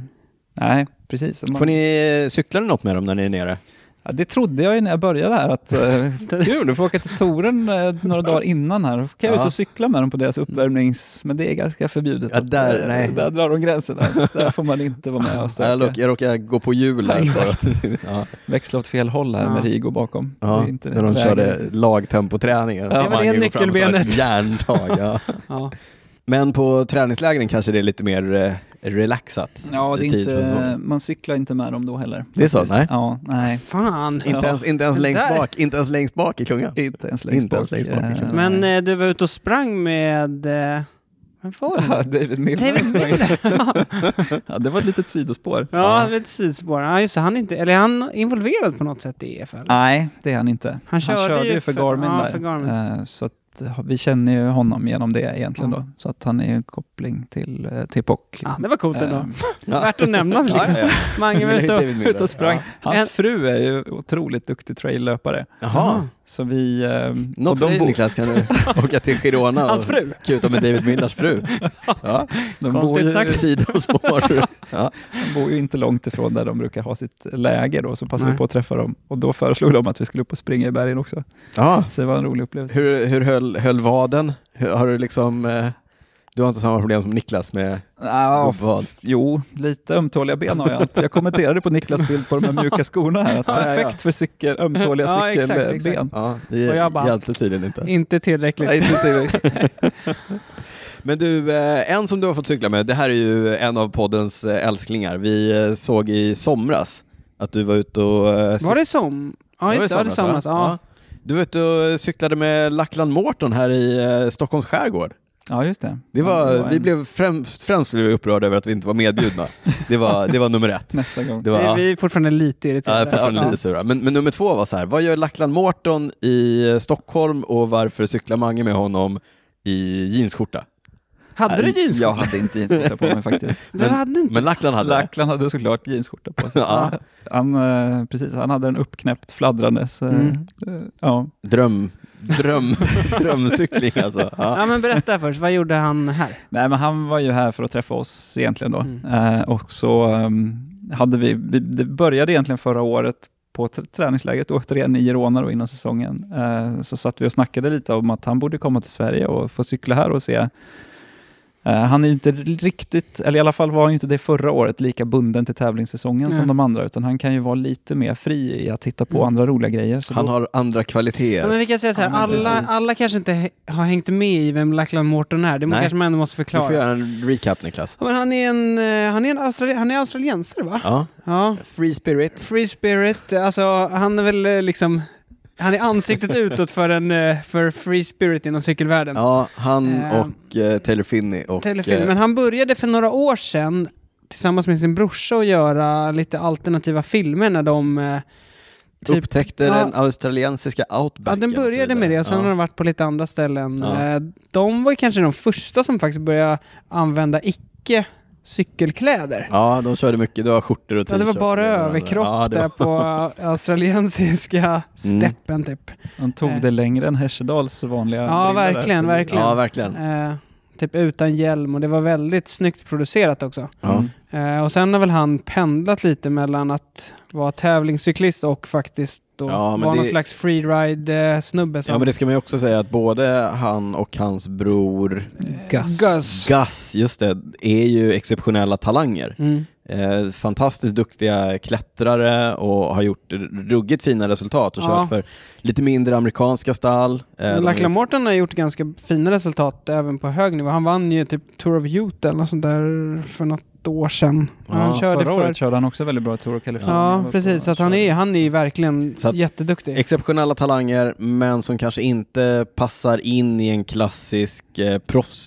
[SPEAKER 5] Nej, precis. Man,
[SPEAKER 3] Får ni, cyklar ni något med dem när ni är nere?
[SPEAKER 5] Ja, det trodde jag ju när jag började här att eh, kul, du får åka till Toren eh, några dagar innan här. Då kan
[SPEAKER 3] Ja.
[SPEAKER 5] jag ut
[SPEAKER 3] Mm.
[SPEAKER 5] och cykla med dem på deras uppvärmnings... Men det är ganska förbjudet.
[SPEAKER 3] Ja,
[SPEAKER 5] att,
[SPEAKER 3] där-
[SPEAKER 5] eh,
[SPEAKER 3] nej.
[SPEAKER 5] där drar de gränserna. Där får man inte vara med och
[SPEAKER 3] Jag,
[SPEAKER 5] stöka.
[SPEAKER 3] råk, jag råkar gå på hjul här. så att- ja.
[SPEAKER 5] Växla åt fel håll här med
[SPEAKER 4] Ja.
[SPEAKER 5] Rigo bakom.
[SPEAKER 3] Ja, när de
[SPEAKER 5] rätt
[SPEAKER 3] körde
[SPEAKER 5] läge.
[SPEAKER 3] lagtempoträningen.
[SPEAKER 5] Ja, det
[SPEAKER 3] Man
[SPEAKER 5] var
[SPEAKER 4] det
[SPEAKER 3] går fram och tar ett Järntag, ja.
[SPEAKER 4] Ja.
[SPEAKER 3] Men på träningslägren kanske det är lite mer eh, relaxat.
[SPEAKER 5] Ja, det är
[SPEAKER 3] Tid på
[SPEAKER 5] inte,
[SPEAKER 3] säsongen.
[SPEAKER 5] man cyklar inte med dem då heller.
[SPEAKER 3] Det är så,
[SPEAKER 5] Faktiskt.
[SPEAKER 3] nej.
[SPEAKER 5] Ja, nej.
[SPEAKER 4] Fan!
[SPEAKER 3] Inte,
[SPEAKER 5] Ja.
[SPEAKER 3] ens, inte, ens
[SPEAKER 4] Den
[SPEAKER 3] längst
[SPEAKER 4] där.
[SPEAKER 3] bak, inte ens längst bak i klungan.
[SPEAKER 5] Inte ens längst
[SPEAKER 3] Inte ens
[SPEAKER 5] bak.
[SPEAKER 3] längst bak,
[SPEAKER 5] Eh,
[SPEAKER 3] kanske.
[SPEAKER 4] Men
[SPEAKER 5] nej.
[SPEAKER 4] eh, du var ute och sprang med... Eh, vem var det?
[SPEAKER 5] Ja, David Miller.
[SPEAKER 4] David Miller!
[SPEAKER 5] Ja, det var ett litet sidospår.
[SPEAKER 4] ja, lite sidospår. Ja, just det, han är inte... Eller är han involverad på något sätt i E EF? eller?
[SPEAKER 5] Nej, det är han inte. Han körde, ju för, Garmin
[SPEAKER 4] ja,
[SPEAKER 5] där.
[SPEAKER 4] för Garmin.
[SPEAKER 5] Eh, Så att eh, vi känner ju honom genom det egentligen
[SPEAKER 4] Ja.
[SPEAKER 5] då. Så att han är ju en koppling till, eh, till POC.
[SPEAKER 4] Ja,
[SPEAKER 5] liksom.
[SPEAKER 4] det var coolt ändå.
[SPEAKER 5] Eh,
[SPEAKER 4] Värt att nämnas liksom.
[SPEAKER 3] Ja, ja.
[SPEAKER 4] Mange
[SPEAKER 3] Gillar
[SPEAKER 4] var
[SPEAKER 3] ju
[SPEAKER 4] ute och...
[SPEAKER 3] David Miller.
[SPEAKER 5] Ut och sprang.
[SPEAKER 3] Ja.
[SPEAKER 5] Hans
[SPEAKER 4] En-
[SPEAKER 5] fru är ju otroligt duktig traillöpare.
[SPEAKER 3] Jaha,
[SPEAKER 5] Så vi... ehm,
[SPEAKER 3] något
[SPEAKER 5] och
[SPEAKER 3] för dig
[SPEAKER 5] bor-
[SPEAKER 3] Niklas kan du åka till Girona och
[SPEAKER 4] Hans fru!
[SPEAKER 3] kuta med David Millers fru. Ja.
[SPEAKER 5] de, bor
[SPEAKER 4] Konstigt
[SPEAKER 5] ju,
[SPEAKER 4] sagt.
[SPEAKER 3] Sidospår. Ja.
[SPEAKER 5] de bor ju inte långt ifrån där de brukar ha sitt läger då, så passade
[SPEAKER 4] Nej.
[SPEAKER 5] vi på att träffa dem. Och då föreslog de att vi skulle upp och springa i bergen också.
[SPEAKER 3] Ja.
[SPEAKER 5] Så det var en rolig upplevelse.
[SPEAKER 3] Hur, hur höll, höll vaden? Hur- Har du liksom, eh, du har inte samma problem som Niklas med
[SPEAKER 5] Ja,
[SPEAKER 3] vad?
[SPEAKER 5] Jo, lite ömtåliga ben har jag. inte. Jag kommenterade på Niklas bild på de här mjuka skorna här, att
[SPEAKER 3] Ja, ja, ja.
[SPEAKER 5] perfekt för cykel, ömtåliga
[SPEAKER 4] Ja, exakt,
[SPEAKER 5] cykelben.
[SPEAKER 4] exakt.
[SPEAKER 3] Ja,
[SPEAKER 4] Och
[SPEAKER 3] det
[SPEAKER 4] jag bara-
[SPEAKER 3] hjälpte tydligen inte.
[SPEAKER 4] Inte tillräckligt.
[SPEAKER 5] Nej, inte tillräckligt.
[SPEAKER 3] Men du, eh, en som du har fått cykla med, det här är ju en av poddens eh, älsklingar. Vi eh, såg i somras att du var ute och... eh, cyk-
[SPEAKER 4] Var det som? Ja,
[SPEAKER 3] var i
[SPEAKER 4] just det. Ja, det
[SPEAKER 3] va?
[SPEAKER 4] somras. Ja.
[SPEAKER 3] Du var ute och cyklade med Lackland Morton här i eh, Stockholms skärgård.
[SPEAKER 5] Ja, just det.
[SPEAKER 3] Det var,
[SPEAKER 5] Ja, det var
[SPEAKER 3] vi
[SPEAKER 5] en-
[SPEAKER 3] blev främst, främst blev vi upprörda över att vi inte var medbjudna. Det var, det var nummer ett.
[SPEAKER 5] Nästa gång.
[SPEAKER 3] Det var, ja.
[SPEAKER 4] Vi är fortfarande lite
[SPEAKER 3] Ja, jag är
[SPEAKER 4] irriterade.
[SPEAKER 3] fortfarande lite sura. Men, men nummer två var så här, vad gör Lackland Morton i eh, Stockholm och varför cyklar Mange med honom i jeansskjorta?
[SPEAKER 4] Hade du
[SPEAKER 5] Nej,
[SPEAKER 4] jeans?
[SPEAKER 5] Jag hade inte jeansskjorta på mig faktiskt.
[SPEAKER 4] Du hade inte?
[SPEAKER 3] Men Lackland hade det.
[SPEAKER 5] Lackland hade såklart jeansskjorta på sig.
[SPEAKER 3] Ja.
[SPEAKER 5] Han, eh, precis, han hade den uppknäppt fladdrandes. eh,
[SPEAKER 4] Mm.
[SPEAKER 5] eh, Ja.
[SPEAKER 3] Dröm, dröm, drömcykling alltså. Ja.
[SPEAKER 4] Ja, men berätta först. Vad gjorde han här?
[SPEAKER 5] Nej, men han var ju här för att träffa oss egentligen då.
[SPEAKER 4] Mm.
[SPEAKER 5] Eh, och så ehm, hade vi, vi, det började egentligen förra året på tr- träningslägret, återigen i Girona då innan säsongen, eh, så satt vi och snackade lite om att han borde komma till Sverige och få cykla här och se. Eh, han är ju inte riktigt, eller i alla fall var han ju inte det förra året, lika bunden till tävlingssäsongen
[SPEAKER 4] Nej.
[SPEAKER 5] som de andra, utan han kan ju vara lite mer fri i att titta på
[SPEAKER 4] Mm.
[SPEAKER 5] andra roliga grejer. Så
[SPEAKER 3] Han
[SPEAKER 5] då,
[SPEAKER 3] har andra
[SPEAKER 4] Ja,
[SPEAKER 3] kvaliteter.
[SPEAKER 4] men vi kan säga så här,
[SPEAKER 5] Ja, men
[SPEAKER 4] alla,
[SPEAKER 5] precis.
[SPEAKER 4] alla kanske inte he- har hängt med i vem Lackland Morton är. Det må-
[SPEAKER 3] Nej.
[SPEAKER 4] kanske man ändå måste
[SPEAKER 3] Du
[SPEAKER 4] förklara.
[SPEAKER 3] får göra en recap Niklas.
[SPEAKER 4] ja, men han är en, eh, han är en australi- han är australiensare va?
[SPEAKER 3] Ja.
[SPEAKER 4] Ja.
[SPEAKER 3] Free spirit.
[SPEAKER 4] Free spirit, alltså han är väl eh, liksom Han är ansiktet utåt för, en, eh, för free spirit inom cykelvärlden.
[SPEAKER 3] Ja, han
[SPEAKER 4] Ehm,
[SPEAKER 3] och eh, Taylor Finney och...
[SPEAKER 4] Telefilm.
[SPEAKER 3] eh,
[SPEAKER 4] Men han började för några år sedan tillsammans med sin brorsa att göra lite alternativa filmer när de... eh, typ-
[SPEAKER 3] upptäckte
[SPEAKER 4] Ja.
[SPEAKER 3] den australiensiska
[SPEAKER 4] Ja,
[SPEAKER 3] outbacken.
[SPEAKER 4] den började med det och sen har
[SPEAKER 3] ja.
[SPEAKER 4] den varit på lite andra ställen.
[SPEAKER 3] Ja.
[SPEAKER 4] Eh, De var ju kanske de första som faktiskt började använda icke cykelkläder.
[SPEAKER 3] ja, de körde mycket. Det var skjortor och
[SPEAKER 4] Ja, det var
[SPEAKER 3] t-shirts
[SPEAKER 4] bara
[SPEAKER 3] och det ena och det
[SPEAKER 4] överkropp
[SPEAKER 3] andra. Ja, det
[SPEAKER 4] där
[SPEAKER 3] var... Mm.
[SPEAKER 4] på australiensiska steppen typ.
[SPEAKER 5] De tog det längre än Hesjedals vanliga
[SPEAKER 4] Ja,
[SPEAKER 5] brillor där.
[SPEAKER 4] verkligen, verkligen.
[SPEAKER 3] Ja, verkligen.
[SPEAKER 4] Eh, typ utan hjälm och det var väldigt snyggt producerat också.
[SPEAKER 3] Ja.
[SPEAKER 4] Eh, och sen har väl han pendlat lite mellan att vara tävlingscyklist och faktiskt då
[SPEAKER 3] Ja, men
[SPEAKER 4] vara någon
[SPEAKER 3] det-
[SPEAKER 4] slags freeride-snubbe.
[SPEAKER 3] Ja, men det ska man ju också säga att både han och hans bror
[SPEAKER 5] Gus.
[SPEAKER 4] Gus.
[SPEAKER 3] Gus, just det, är ju exceptionella talanger.
[SPEAKER 4] Mm.
[SPEAKER 3] Eh, fantastiskt duktiga klättrare och har gjort ruggigt fina resultat och
[SPEAKER 4] Ja.
[SPEAKER 3] kört för lite mindre amerikanska stall. Eh,
[SPEAKER 4] Men
[SPEAKER 3] de-
[SPEAKER 4] Lachlan Morton har gjort ganska fina resultat även på hög nivå. Han vann ju typ Tour of Utah eller något sånt där för något år sedan.
[SPEAKER 3] Ja,
[SPEAKER 4] han körde
[SPEAKER 5] Förra
[SPEAKER 4] för...
[SPEAKER 5] året körde han också väldigt bra i Tour of California. Han
[SPEAKER 4] Ja,
[SPEAKER 5] var på-
[SPEAKER 4] precis. Så att han, är, han är ju verkligen
[SPEAKER 3] Så att-
[SPEAKER 4] jätteduktig.
[SPEAKER 3] Exceptionella talanger, men som kanske inte passar in i en klassisk eh,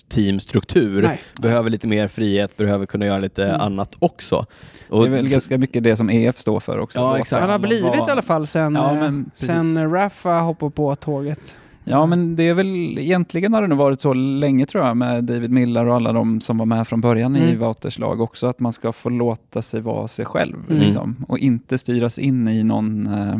[SPEAKER 3] proffsteamstruktur.
[SPEAKER 4] Nej.
[SPEAKER 3] Behöver lite mer frihet, behöver kunna göra lite
[SPEAKER 4] Mm.
[SPEAKER 3] annat också.
[SPEAKER 5] Det
[SPEAKER 3] Och
[SPEAKER 5] är väl
[SPEAKER 3] s-
[SPEAKER 5] ganska mycket det som EF står för också.
[SPEAKER 3] Ja,
[SPEAKER 5] Låta
[SPEAKER 3] exakt.
[SPEAKER 4] Han har
[SPEAKER 5] honom
[SPEAKER 4] blivit
[SPEAKER 5] vara-
[SPEAKER 4] i alla fall sen,
[SPEAKER 5] Ja,
[SPEAKER 4] eh,
[SPEAKER 5] men precis.
[SPEAKER 4] sen Rafa hoppade på tåget.
[SPEAKER 5] Ja, men det är väl egentligen har det nog varit så länge tror jag med David Millar och alla de som var med från början i
[SPEAKER 4] Mm.
[SPEAKER 5] Wouters lag också, att man ska få låta sig vara sig själv
[SPEAKER 4] Mm.
[SPEAKER 5] liksom, och inte styras in i någon... Eh,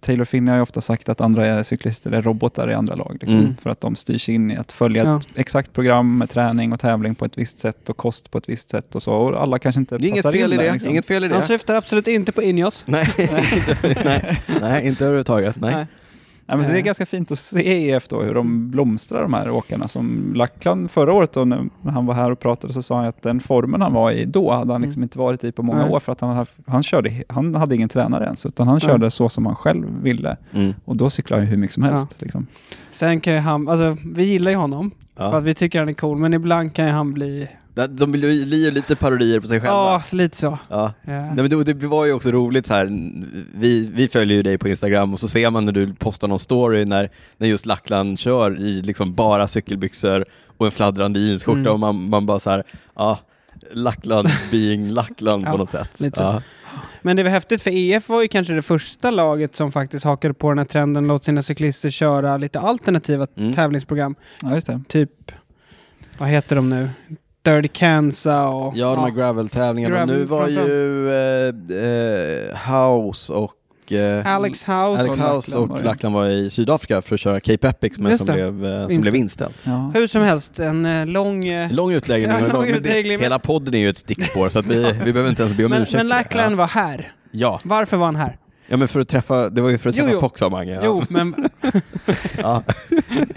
[SPEAKER 5] Taylor Finney har ju ofta sagt att andra cyklister är robotar i andra lag liksom,
[SPEAKER 3] Mm.
[SPEAKER 5] för att de styrs in i att följa
[SPEAKER 4] Ja.
[SPEAKER 5] ett exakt program med träning och tävling på ett visst sätt och kost på ett visst sätt och så. Och alla kanske inte
[SPEAKER 3] det är inget
[SPEAKER 5] passar
[SPEAKER 3] fel,
[SPEAKER 5] in
[SPEAKER 3] i
[SPEAKER 5] där,
[SPEAKER 3] det.
[SPEAKER 5] liksom.
[SPEAKER 3] inget fel i det.
[SPEAKER 4] Han syftar absolut inte på Ineos.
[SPEAKER 3] Nej, nej, nej, inte överhuvudtaget. Nej.
[SPEAKER 4] Nej.
[SPEAKER 5] Ja, men så det är
[SPEAKER 4] Eh.
[SPEAKER 5] ganska fint att se i EF då, hur de blomstrar de här åkarna. Som Lackland förra året då, när han var här och pratade så sa han att den formen han var i då hade han liksom
[SPEAKER 4] Mm.
[SPEAKER 5] inte varit i på många
[SPEAKER 4] Nej.
[SPEAKER 5] år för att han, hade haft- han, körde, han hade ingen tränare ens utan han körde så som han själv ville
[SPEAKER 3] Mm.
[SPEAKER 5] och då cyklar han ju hur mycket som helst. Liksom.
[SPEAKER 4] Sen kan ju han, alltså vi gillar ju honom
[SPEAKER 3] Ja.
[SPEAKER 4] för att vi tycker han är cool, men ibland kan ju han bli,
[SPEAKER 3] De blir ju lite parodier på sig själva.
[SPEAKER 4] ja, lite så.
[SPEAKER 3] Ja.
[SPEAKER 4] Eh,
[SPEAKER 3] Nej, men det, det var ju också roligt så här, vi, vi följer ju dig på Instagram och så ser man när du postar någon story när, när just Lackland kör i liksom bara cykelbyxor och en fladdrande jeansskjorta
[SPEAKER 4] Mm.
[SPEAKER 3] och man, man bara så här, ja, Lackland being Lackland på
[SPEAKER 4] Ja,
[SPEAKER 3] något sätt.
[SPEAKER 4] lite så.
[SPEAKER 3] Ja.
[SPEAKER 4] Men det var häftigt för EF var ju kanske det första laget som faktiskt hakade på den här trenden, låt sina cyklister köra lite alternativa
[SPEAKER 3] Mm.
[SPEAKER 4] tävlingsprogram.
[SPEAKER 5] Ja, just det.
[SPEAKER 4] Typ, vad heter de nu? Dirty Kansa och...
[SPEAKER 3] Ja, de här graveltävlingarna.
[SPEAKER 4] Gravel
[SPEAKER 3] Nu var ju eh, eh, House och eh,
[SPEAKER 4] Alex House.
[SPEAKER 3] Alex
[SPEAKER 5] och
[SPEAKER 3] House
[SPEAKER 5] Lackland
[SPEAKER 3] och
[SPEAKER 5] var det.
[SPEAKER 3] Lackland var i Sydafrika för att köra Cape Epic men
[SPEAKER 4] Just
[SPEAKER 3] som,
[SPEAKER 4] det.
[SPEAKER 3] blev, eh, som
[SPEAKER 4] Just
[SPEAKER 3] blev
[SPEAKER 4] det.
[SPEAKER 3] inställt.
[SPEAKER 5] Ja.
[SPEAKER 4] Hur som helst, en eh, lång... eh,
[SPEAKER 3] Lång utläggning.
[SPEAKER 4] Ja,
[SPEAKER 3] men-
[SPEAKER 4] lång
[SPEAKER 3] men det-
[SPEAKER 4] utläggning, men-
[SPEAKER 3] Hela podden är ju ett stickspår så att vi, vi behöver inte ens be om
[SPEAKER 4] men
[SPEAKER 3] ursäkt.
[SPEAKER 4] men
[SPEAKER 3] för det.
[SPEAKER 4] Lackland var här.
[SPEAKER 3] Ja.
[SPEAKER 4] Varför var han här?
[SPEAKER 3] ja, men för att träffa, det var ju för att
[SPEAKER 4] Jo,
[SPEAKER 3] träffa
[SPEAKER 4] jo.
[SPEAKER 3] Pock sa Mange. Ja.
[SPEAKER 4] Jo, men
[SPEAKER 3] Ja.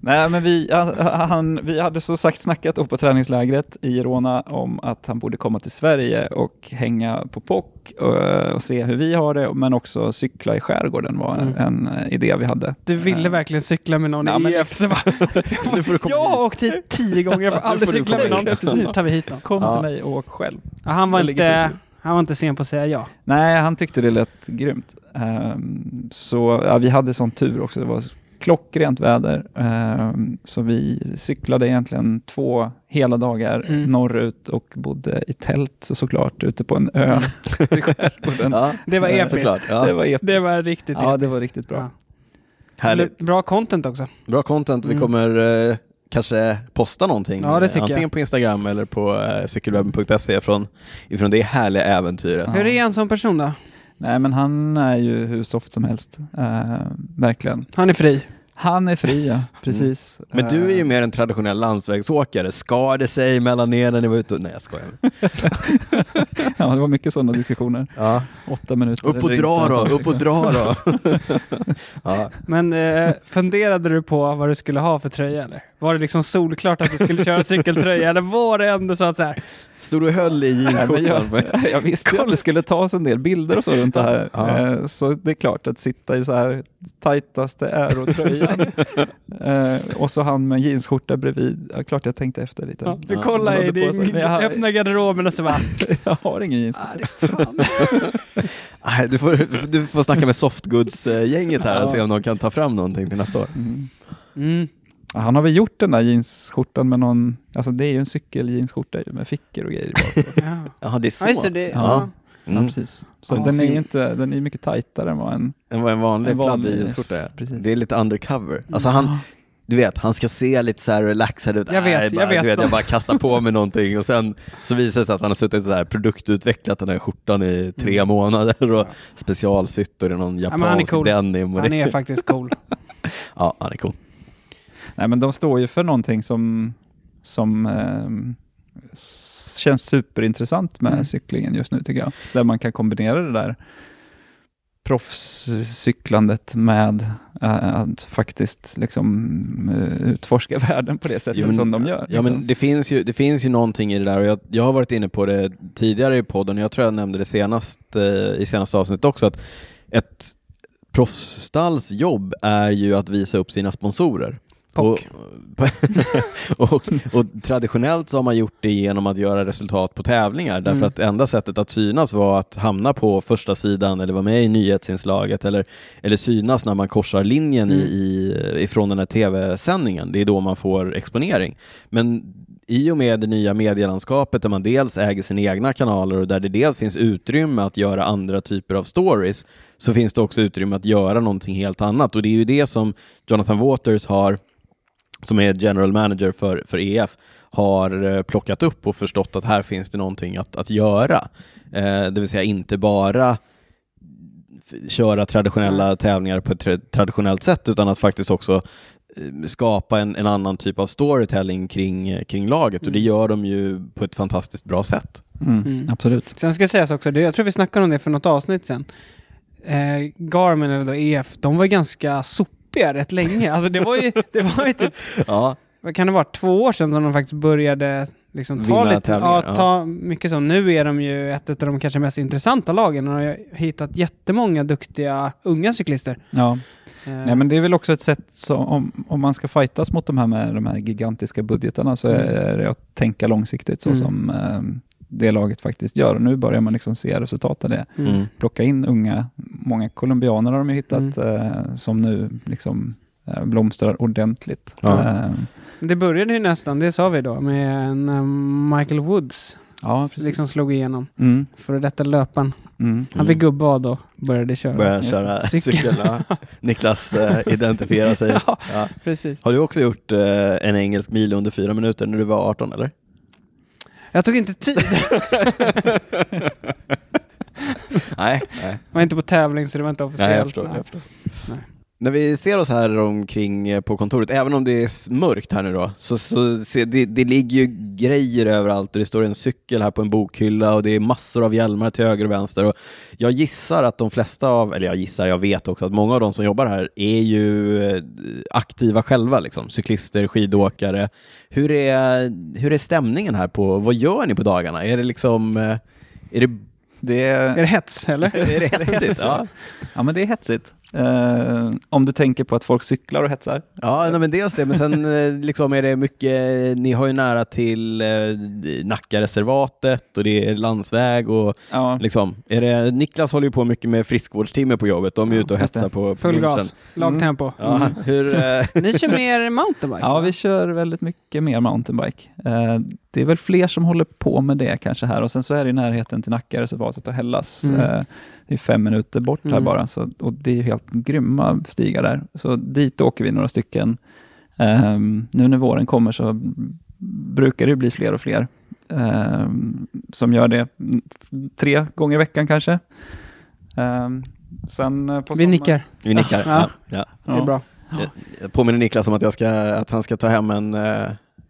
[SPEAKER 5] Nej, men vi, han, vi hade så sagt snackat upp på träningslägret i Girona om att han borde komma till Sverige och hänga på POC och, och se hur vi har det, men också cykla i skärgården var
[SPEAKER 4] Mm.
[SPEAKER 5] en, en idé vi hade.
[SPEAKER 4] du ville verkligen cykla med någon
[SPEAKER 5] Ja,
[SPEAKER 4] i
[SPEAKER 5] men
[SPEAKER 4] EF.
[SPEAKER 3] liksom,
[SPEAKER 4] Så bara,
[SPEAKER 3] Nu får du komma
[SPEAKER 4] jag har åkt hit tio gånger, jag får aldrig
[SPEAKER 3] får du
[SPEAKER 4] cykla med
[SPEAKER 3] komma
[SPEAKER 4] någon. Precis, tar vi hit någon.
[SPEAKER 5] Kom
[SPEAKER 3] Ja.
[SPEAKER 5] till mig och åk själv.
[SPEAKER 4] Ja, han, var
[SPEAKER 5] Jag lägger
[SPEAKER 4] inte, han var inte sen på att säga ja.
[SPEAKER 5] Nej, han tyckte det lät grymt. Ehm, så ja, vi hade sån tur också. Det var klockrent väder. Ehm, så vi cyklade egentligen två hela dagar
[SPEAKER 4] Mm.
[SPEAKER 5] norrut och bodde i tält så såklart ute på en ö i skärgården.
[SPEAKER 3] Ja,
[SPEAKER 4] Det var
[SPEAKER 5] Mm. Ja,
[SPEAKER 4] episkt.
[SPEAKER 3] såklart. Ja.
[SPEAKER 5] Det var episkt.
[SPEAKER 4] Det var riktigt
[SPEAKER 5] ja, det
[SPEAKER 4] episkt.
[SPEAKER 5] var riktigt bra.
[SPEAKER 4] Ja.
[SPEAKER 3] Härligt.
[SPEAKER 4] Bra content också.
[SPEAKER 3] Bra content. Vi
[SPEAKER 4] Mm.
[SPEAKER 3] kommer eh, kanske posta någonting.
[SPEAKER 4] Ja, det tycker
[SPEAKER 3] Antingen
[SPEAKER 4] jag.
[SPEAKER 3] på Instagram eller på eh, cykelwebben.se från, ifrån det härliga äventyret.
[SPEAKER 5] Ja.
[SPEAKER 4] Hur är han som person då?
[SPEAKER 5] Nej, men han är ju hur soft som helst. Ehm, verkligen.
[SPEAKER 4] Han är fri.
[SPEAKER 5] Han är fri, ja. Precis.
[SPEAKER 3] Men du är ju
[SPEAKER 5] Ehm,
[SPEAKER 3] mer en traditionell landsvägsåkare. Skar det sig mellan er när ni var ute? och- Nej, jag skojar.
[SPEAKER 5] Ehm, ja, det var mycket sådana diskussioner.
[SPEAKER 3] Ja.
[SPEAKER 5] Åtta minuter.
[SPEAKER 3] Upp och
[SPEAKER 5] eller
[SPEAKER 3] dra
[SPEAKER 5] inte,
[SPEAKER 3] då,
[SPEAKER 5] alltså.
[SPEAKER 3] upp och dra då. ja.
[SPEAKER 4] Men eh, funderade du på vad du skulle ha för tröja eller? Var det liksom solklart att du skulle köra cykeltröja? Eller var det ändå så att så här,
[SPEAKER 3] Stod du och höll i
[SPEAKER 5] Nej, men jag,
[SPEAKER 3] jeansskjortan?
[SPEAKER 5] jag visste ju att det skulle tas en del bilder och så runt det här.
[SPEAKER 3] Ja.
[SPEAKER 5] Eh, Så det är klart att sitta i så här tajtaste aerotröjan eh, och så han med en jeansskjorta bredvid. Ja, klart jag tänkte efter lite.
[SPEAKER 4] ja, du
[SPEAKER 3] Ja,
[SPEAKER 4] kollar
[SPEAKER 5] man
[SPEAKER 4] i
[SPEAKER 5] hade på
[SPEAKER 4] din,
[SPEAKER 5] sig- men jag har-
[SPEAKER 4] öppna garderoben och så bara,
[SPEAKER 5] Jag har ingen jeansskjorta.
[SPEAKER 4] "Ah, det är fan.
[SPEAKER 3] Nej, du, får, du får snacka med softgoods-gänget här och se om de kan ta fram någonting till nästa år.
[SPEAKER 5] Mm.
[SPEAKER 4] Mm.
[SPEAKER 5] Ja, Han har väl gjort den där jeansskjortan med någon, alltså det är ju en cykeljeansskjorta med fickor och grejer. i bak.
[SPEAKER 4] Ja.
[SPEAKER 3] Jaha, det är
[SPEAKER 4] Ja, just det, det, ja.
[SPEAKER 5] Ja. Ja,
[SPEAKER 3] Mm.
[SPEAKER 5] precis. Så
[SPEAKER 4] Ja,
[SPEAKER 5] den är
[SPEAKER 4] syn-
[SPEAKER 5] ju inte, den är mycket tajtare än vad en...
[SPEAKER 3] Det var en vanlig,
[SPEAKER 5] En vanlig-
[SPEAKER 3] fladdrig jeansskjorta. ja.
[SPEAKER 5] precis.
[SPEAKER 3] Det är lite undercover.
[SPEAKER 4] Mm.
[SPEAKER 3] Alltså han, du vet, han ska se lite så här relaxad ut.
[SPEAKER 4] Jag vet,
[SPEAKER 3] Nej, bara,
[SPEAKER 4] jag vet
[SPEAKER 3] Du vet,
[SPEAKER 4] dem.
[SPEAKER 3] jag bara kastar på mig någonting och sen så visar det sig att han har suttit och så här produktutvecklat den här skjortan i tre månader och specialsytt och det är någon
[SPEAKER 4] Mm. men han är
[SPEAKER 3] japansk
[SPEAKER 4] cool.
[SPEAKER 3] denim. Och
[SPEAKER 4] Han
[SPEAKER 3] det,
[SPEAKER 4] är faktiskt cool.
[SPEAKER 3] ja, han är cool.
[SPEAKER 5] Nej men de står ju för någonting som, som ehm, s- känns superintressant med
[SPEAKER 4] Mm.
[SPEAKER 5] cyklingen just nu tycker jag. Där man kan kombinera det där proffscyklandet med eh, att faktiskt liksom, eh, utforska världen på det sättet
[SPEAKER 3] Jo, men-
[SPEAKER 5] som de gör. liksom.
[SPEAKER 3] Ja, men det finns, ju, det finns ju någonting i det där och jag, jag har varit inne på det tidigare i podden och jag tror jag nämnde det senast eh, i senaste avsnittet också att ett proffsstalls jobb är ju att visa upp sina sponsorer. Och,
[SPEAKER 4] Pock.
[SPEAKER 3] och, och, traditionellt så har man gjort det genom att göra resultat på tävlingar därför
[SPEAKER 4] Mm.
[SPEAKER 3] att enda sättet att synas var att hamna på första sidan eller vara med i nyhetsinslaget eller, eller synas när man korsar linjen i,
[SPEAKER 4] Mm.
[SPEAKER 3] i, ifrån den här tv-sändningen. Det är då man får exponering. Men i och med det nya medielandskapet där man dels äger sina egna kanaler och där det dels finns utrymme att göra andra typer av stories så finns det också utrymme att göra någonting helt annat och det är ju det som Jonathan Waters har som är general manager för, för EF har eh, plockat upp och förstått att här finns det någonting att, att göra. Eh, det vill säga inte bara f- köra traditionella tävlingar på ett tra- traditionellt sätt utan att faktiskt också eh, skapa en, en annan typ av storytelling kring, eh, kring laget och det
[SPEAKER 4] Mm.
[SPEAKER 3] gör de ju på ett fantastiskt bra sätt.
[SPEAKER 5] Mm,
[SPEAKER 4] Mm.
[SPEAKER 5] Absolut.
[SPEAKER 4] Sen ska sägas också, det- jag tror vi snackade om det för något avsnitt sen. Eh, Garmin eller då EF, de var ju ganska sopiga rätt länge. Alltså det var ju, det var ju typ,
[SPEAKER 3] Ja,
[SPEAKER 4] vad kan det vara, två år sedan som de faktiskt började liksom ta
[SPEAKER 3] Vinna
[SPEAKER 4] lite,
[SPEAKER 3] tävlingar,
[SPEAKER 4] ja,
[SPEAKER 3] ja.
[SPEAKER 4] ta mycket som. Nu är de ju ett av de kanske mest intressanta lagen och de har ju hittat jättemånga duktiga unga cyklister.
[SPEAKER 5] Ja.
[SPEAKER 4] Eh,
[SPEAKER 5] Nej, men det är väl också ett sätt som, om, om man ska fightas mot de här, med de här gigantiska budgetarna så är det att tänka långsiktigt så
[SPEAKER 4] Mm.
[SPEAKER 5] som eh, det laget faktiskt gör. Och nu börjar man liksom se resultat av det.
[SPEAKER 4] Mm.
[SPEAKER 3] Mm.
[SPEAKER 5] Plocka in unga, många colombianer har de ju hittat
[SPEAKER 4] Mm.
[SPEAKER 5] eh, som nu liksom eh, blomstrar ordentligt.
[SPEAKER 3] Ja.
[SPEAKER 5] Eh,
[SPEAKER 4] Det började ju nästan, det sa vi då, med en, eh, Michael Woods
[SPEAKER 5] ja precis.
[SPEAKER 4] liksom slog igenom.
[SPEAKER 5] Mm,
[SPEAKER 4] Före detta löparen.
[SPEAKER 5] mm.
[SPEAKER 4] Han fick gubbad och började köra.
[SPEAKER 3] Börja
[SPEAKER 5] just
[SPEAKER 3] köra
[SPEAKER 4] det. Cykel.
[SPEAKER 3] cykel. ja. Niklas eh, identifierar sig.
[SPEAKER 4] Ja.
[SPEAKER 3] Ja.
[SPEAKER 4] Precis.
[SPEAKER 3] Har du också gjort eh, en engelsk mil under fyra minuter när du var 18 eller?
[SPEAKER 4] Jag tog inte tid.
[SPEAKER 3] Nej. Nej.
[SPEAKER 4] Jag var inte på tävling så det var inte officiellt.
[SPEAKER 3] jag förstår, jag förstår. När vi ser oss här omkring eh, på kontoret, även om det är s- mörkt här nu då, så, så se, det, det ligger ju grejer överallt och det står en cykel här på en bokhylla och det är massor av hjälmar till höger och vänster. Och jag gissar att de flesta av, eller jag gissar, jag vet också att många av de som jobbar här är ju eh, aktiva själva, liksom. cyklister, skidåkare. Hur är, hur är stämningen här? på, Vad gör ni på dagarna? Är det liksom, eh, är det,
[SPEAKER 5] Det
[SPEAKER 4] Är det hets eller?
[SPEAKER 3] är det hetsigt? Ja,
[SPEAKER 5] ja, men det är hetsigt. Eh, om du tänker på att folk cyklar och hetsar.
[SPEAKER 3] Ja, nej, men dels det, men sen eh, liksom är det mycket, eh, ni har ju nära till eh, Nackareservatet och det är landsväg och
[SPEAKER 5] Ja.
[SPEAKER 3] liksom, är det, Niklas håller ju på mycket med friskvårdstimme på jobbet, de är ju ute och
[SPEAKER 5] just det.
[SPEAKER 3] hetsar på, på
[SPEAKER 4] Full
[SPEAKER 3] lunchen.
[SPEAKER 4] gas, Mm. lagtempo.
[SPEAKER 3] Ja, hur, eh,
[SPEAKER 4] Ni kör mer mountainbike?
[SPEAKER 5] Ja,
[SPEAKER 4] va?
[SPEAKER 5] vi kör väldigt mycket mer mountainbike. Eh, det är väl fler som håller på med det kanske här och sen så är det i närheten till Nackareservatet och Hällas.
[SPEAKER 4] Mm.
[SPEAKER 5] Eh, det är fem minuter bort här
[SPEAKER 4] Mm.
[SPEAKER 5] bara så, och det är ju helt grymma stigar där. Så dit åker vi några stycken. Ehm, nu när våren kommer så brukar det bli fler och fler ehm, som gör det mm, tre gånger i veckan kanske. Ehm, sen eh, på
[SPEAKER 4] vi
[SPEAKER 5] sommar-
[SPEAKER 4] nickar.
[SPEAKER 3] vi nickar.
[SPEAKER 4] Ja.
[SPEAKER 3] Ja. Ja.
[SPEAKER 4] Det är bra.
[SPEAKER 3] Jag påminner Niklas om att, jag ska, att han ska ta hem en, eh,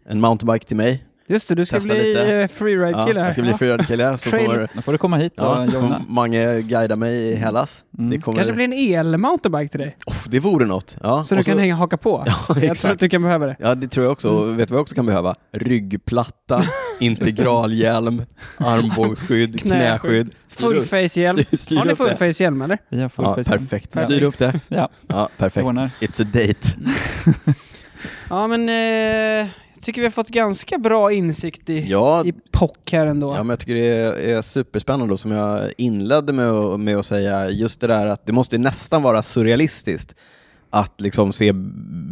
[SPEAKER 3] en mountainbike till mig.
[SPEAKER 4] Just det, du ska
[SPEAKER 3] Testa
[SPEAKER 4] bli
[SPEAKER 3] lite.
[SPEAKER 4] eh, freeride-kille
[SPEAKER 3] Ja,
[SPEAKER 4] här.
[SPEAKER 3] jag ska bli
[SPEAKER 4] Ja.
[SPEAKER 3] freeride-kille så
[SPEAKER 4] Trail-
[SPEAKER 3] får,
[SPEAKER 5] Då får du komma hit och
[SPEAKER 3] ja,
[SPEAKER 5] joina.
[SPEAKER 3] får Mange guida mig i Hellas.
[SPEAKER 5] Mm.
[SPEAKER 3] Det, kommer,
[SPEAKER 4] kanske blir en el-mountainbike till dig.
[SPEAKER 3] oh, det vore något. Ja,
[SPEAKER 4] Så
[SPEAKER 3] och
[SPEAKER 4] du kan hänga haka på.
[SPEAKER 3] Ja,
[SPEAKER 4] jag tror att
[SPEAKER 3] exakt.
[SPEAKER 4] du kan behöva det.
[SPEAKER 3] Ja, det tror jag också. Och Vet du vad jag också kan behöva? Ryggplatta, integralhjälm, armbågsskydd,
[SPEAKER 4] Knäskydd.
[SPEAKER 3] knäskydd. Styr upp-
[SPEAKER 4] Fullface-hjälm.
[SPEAKER 3] styr- styr
[SPEAKER 4] Har ni
[SPEAKER 3] upp det.
[SPEAKER 4] fullface-hjälm eller?
[SPEAKER 5] Vi har full
[SPEAKER 3] Ja,
[SPEAKER 5] face.
[SPEAKER 3] perfekt.
[SPEAKER 5] Ja.
[SPEAKER 3] Styr upp det.
[SPEAKER 5] Ja.
[SPEAKER 3] Ja,
[SPEAKER 5] Vi
[SPEAKER 3] perfekt.
[SPEAKER 5] ordnar.
[SPEAKER 3] It's a date.
[SPEAKER 4] Ja men eh, jag tycker vi har fått ganska bra insikt i,
[SPEAKER 3] Ja,
[SPEAKER 4] i POC här ändå.
[SPEAKER 3] Ja, men jag tycker det är, är superspännande då, som jag inledde med, att- med att säga, just det där att det måste nästan vara surrealistiskt att liksom se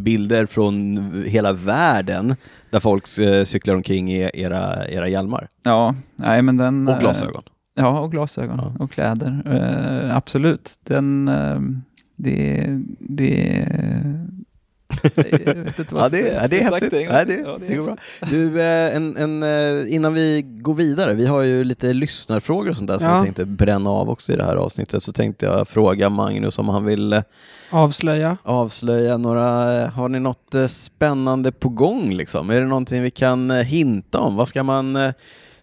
[SPEAKER 3] bilder från hela världen där folk eh, cyklar omkring i era, era hjälmar
[SPEAKER 5] Ja, nej men den...
[SPEAKER 3] och
[SPEAKER 5] eh,
[SPEAKER 3] glasögon.
[SPEAKER 5] Ja, och glasögon
[SPEAKER 3] Ja.
[SPEAKER 5] och kläder. Eh, absolut. Den... eh, det... det eh, jag vet inte vad
[SPEAKER 3] Ja
[SPEAKER 5] jag ska
[SPEAKER 3] det,
[SPEAKER 5] säga.
[SPEAKER 3] ja, det är
[SPEAKER 5] Exakt
[SPEAKER 3] häftigt.
[SPEAKER 5] det.
[SPEAKER 3] Ja, det,
[SPEAKER 5] Ja,
[SPEAKER 3] det går bra. Du, eh, en, en, eh, innan vi går vidare, vi har ju lite lyssnarfrågor och sånt där som
[SPEAKER 4] Ja.
[SPEAKER 3] jag tänkte bränna av också i det här avsnittet, så tänkte jag fråga Magnus om han vill eh,
[SPEAKER 4] Avslöja.
[SPEAKER 3] avslöja några, har ni något eh, spännande på gång liksom? Är det någonting vi kan eh, hinta om? Vad ska man, eh,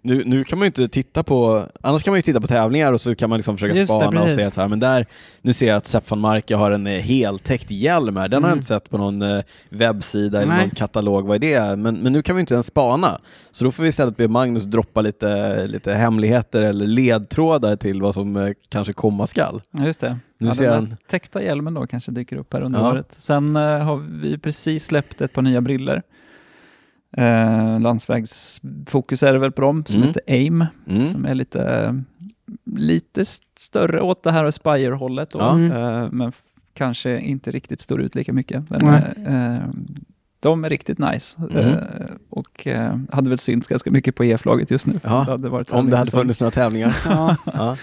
[SPEAKER 3] nu, nu kan man ju inte titta på, annars kan man ju titta på tävlingar och så kan man liksom försöka
[SPEAKER 4] Just det,
[SPEAKER 3] spana och
[SPEAKER 4] precis.
[SPEAKER 3] säga så här, men där, nu ser jag att Sepp van Marke har en eh, heltäckt hjälm här, den har jag
[SPEAKER 4] Mm.
[SPEAKER 3] inte sett på någon eh, webbsida eller
[SPEAKER 4] Nej.
[SPEAKER 3] någon katalog, vad är det? Men, men nu kan vi inte ens spana, så då får vi istället be Magnus droppa lite, lite hemligheter eller ledtrådar till vad som eh, kanske komma skall.
[SPEAKER 5] Ja, just det.
[SPEAKER 3] Nu
[SPEAKER 5] ja,
[SPEAKER 3] ser
[SPEAKER 5] den
[SPEAKER 3] jag
[SPEAKER 5] där täckta hjälmen då kanske dyker upp här under
[SPEAKER 3] Ja.
[SPEAKER 5] året. Sen eh, har vi precis släppt ett par nya briller. Eh, landsvägsfokus är det väl på dem, som
[SPEAKER 3] Mm.
[SPEAKER 5] heter AIM,
[SPEAKER 3] Mm.
[SPEAKER 5] som är lite, lite st- större åt det här Aspire-hållet. Då,
[SPEAKER 3] Ja. Mm.
[SPEAKER 5] eh, men f- kanske inte riktigt står ut lika mycket. Men,
[SPEAKER 4] Nej.
[SPEAKER 5] eh, eh, de är riktigt nice
[SPEAKER 3] Mm.
[SPEAKER 5] eh, och eh, hade väl synts ganska mycket på EF-laget just nu.
[SPEAKER 3] Ja,
[SPEAKER 5] hade varit
[SPEAKER 3] Om det hade
[SPEAKER 5] tävlingssäsong.
[SPEAKER 3] funnits några tävlingar.
[SPEAKER 4] Ja.
[SPEAKER 3] Ja.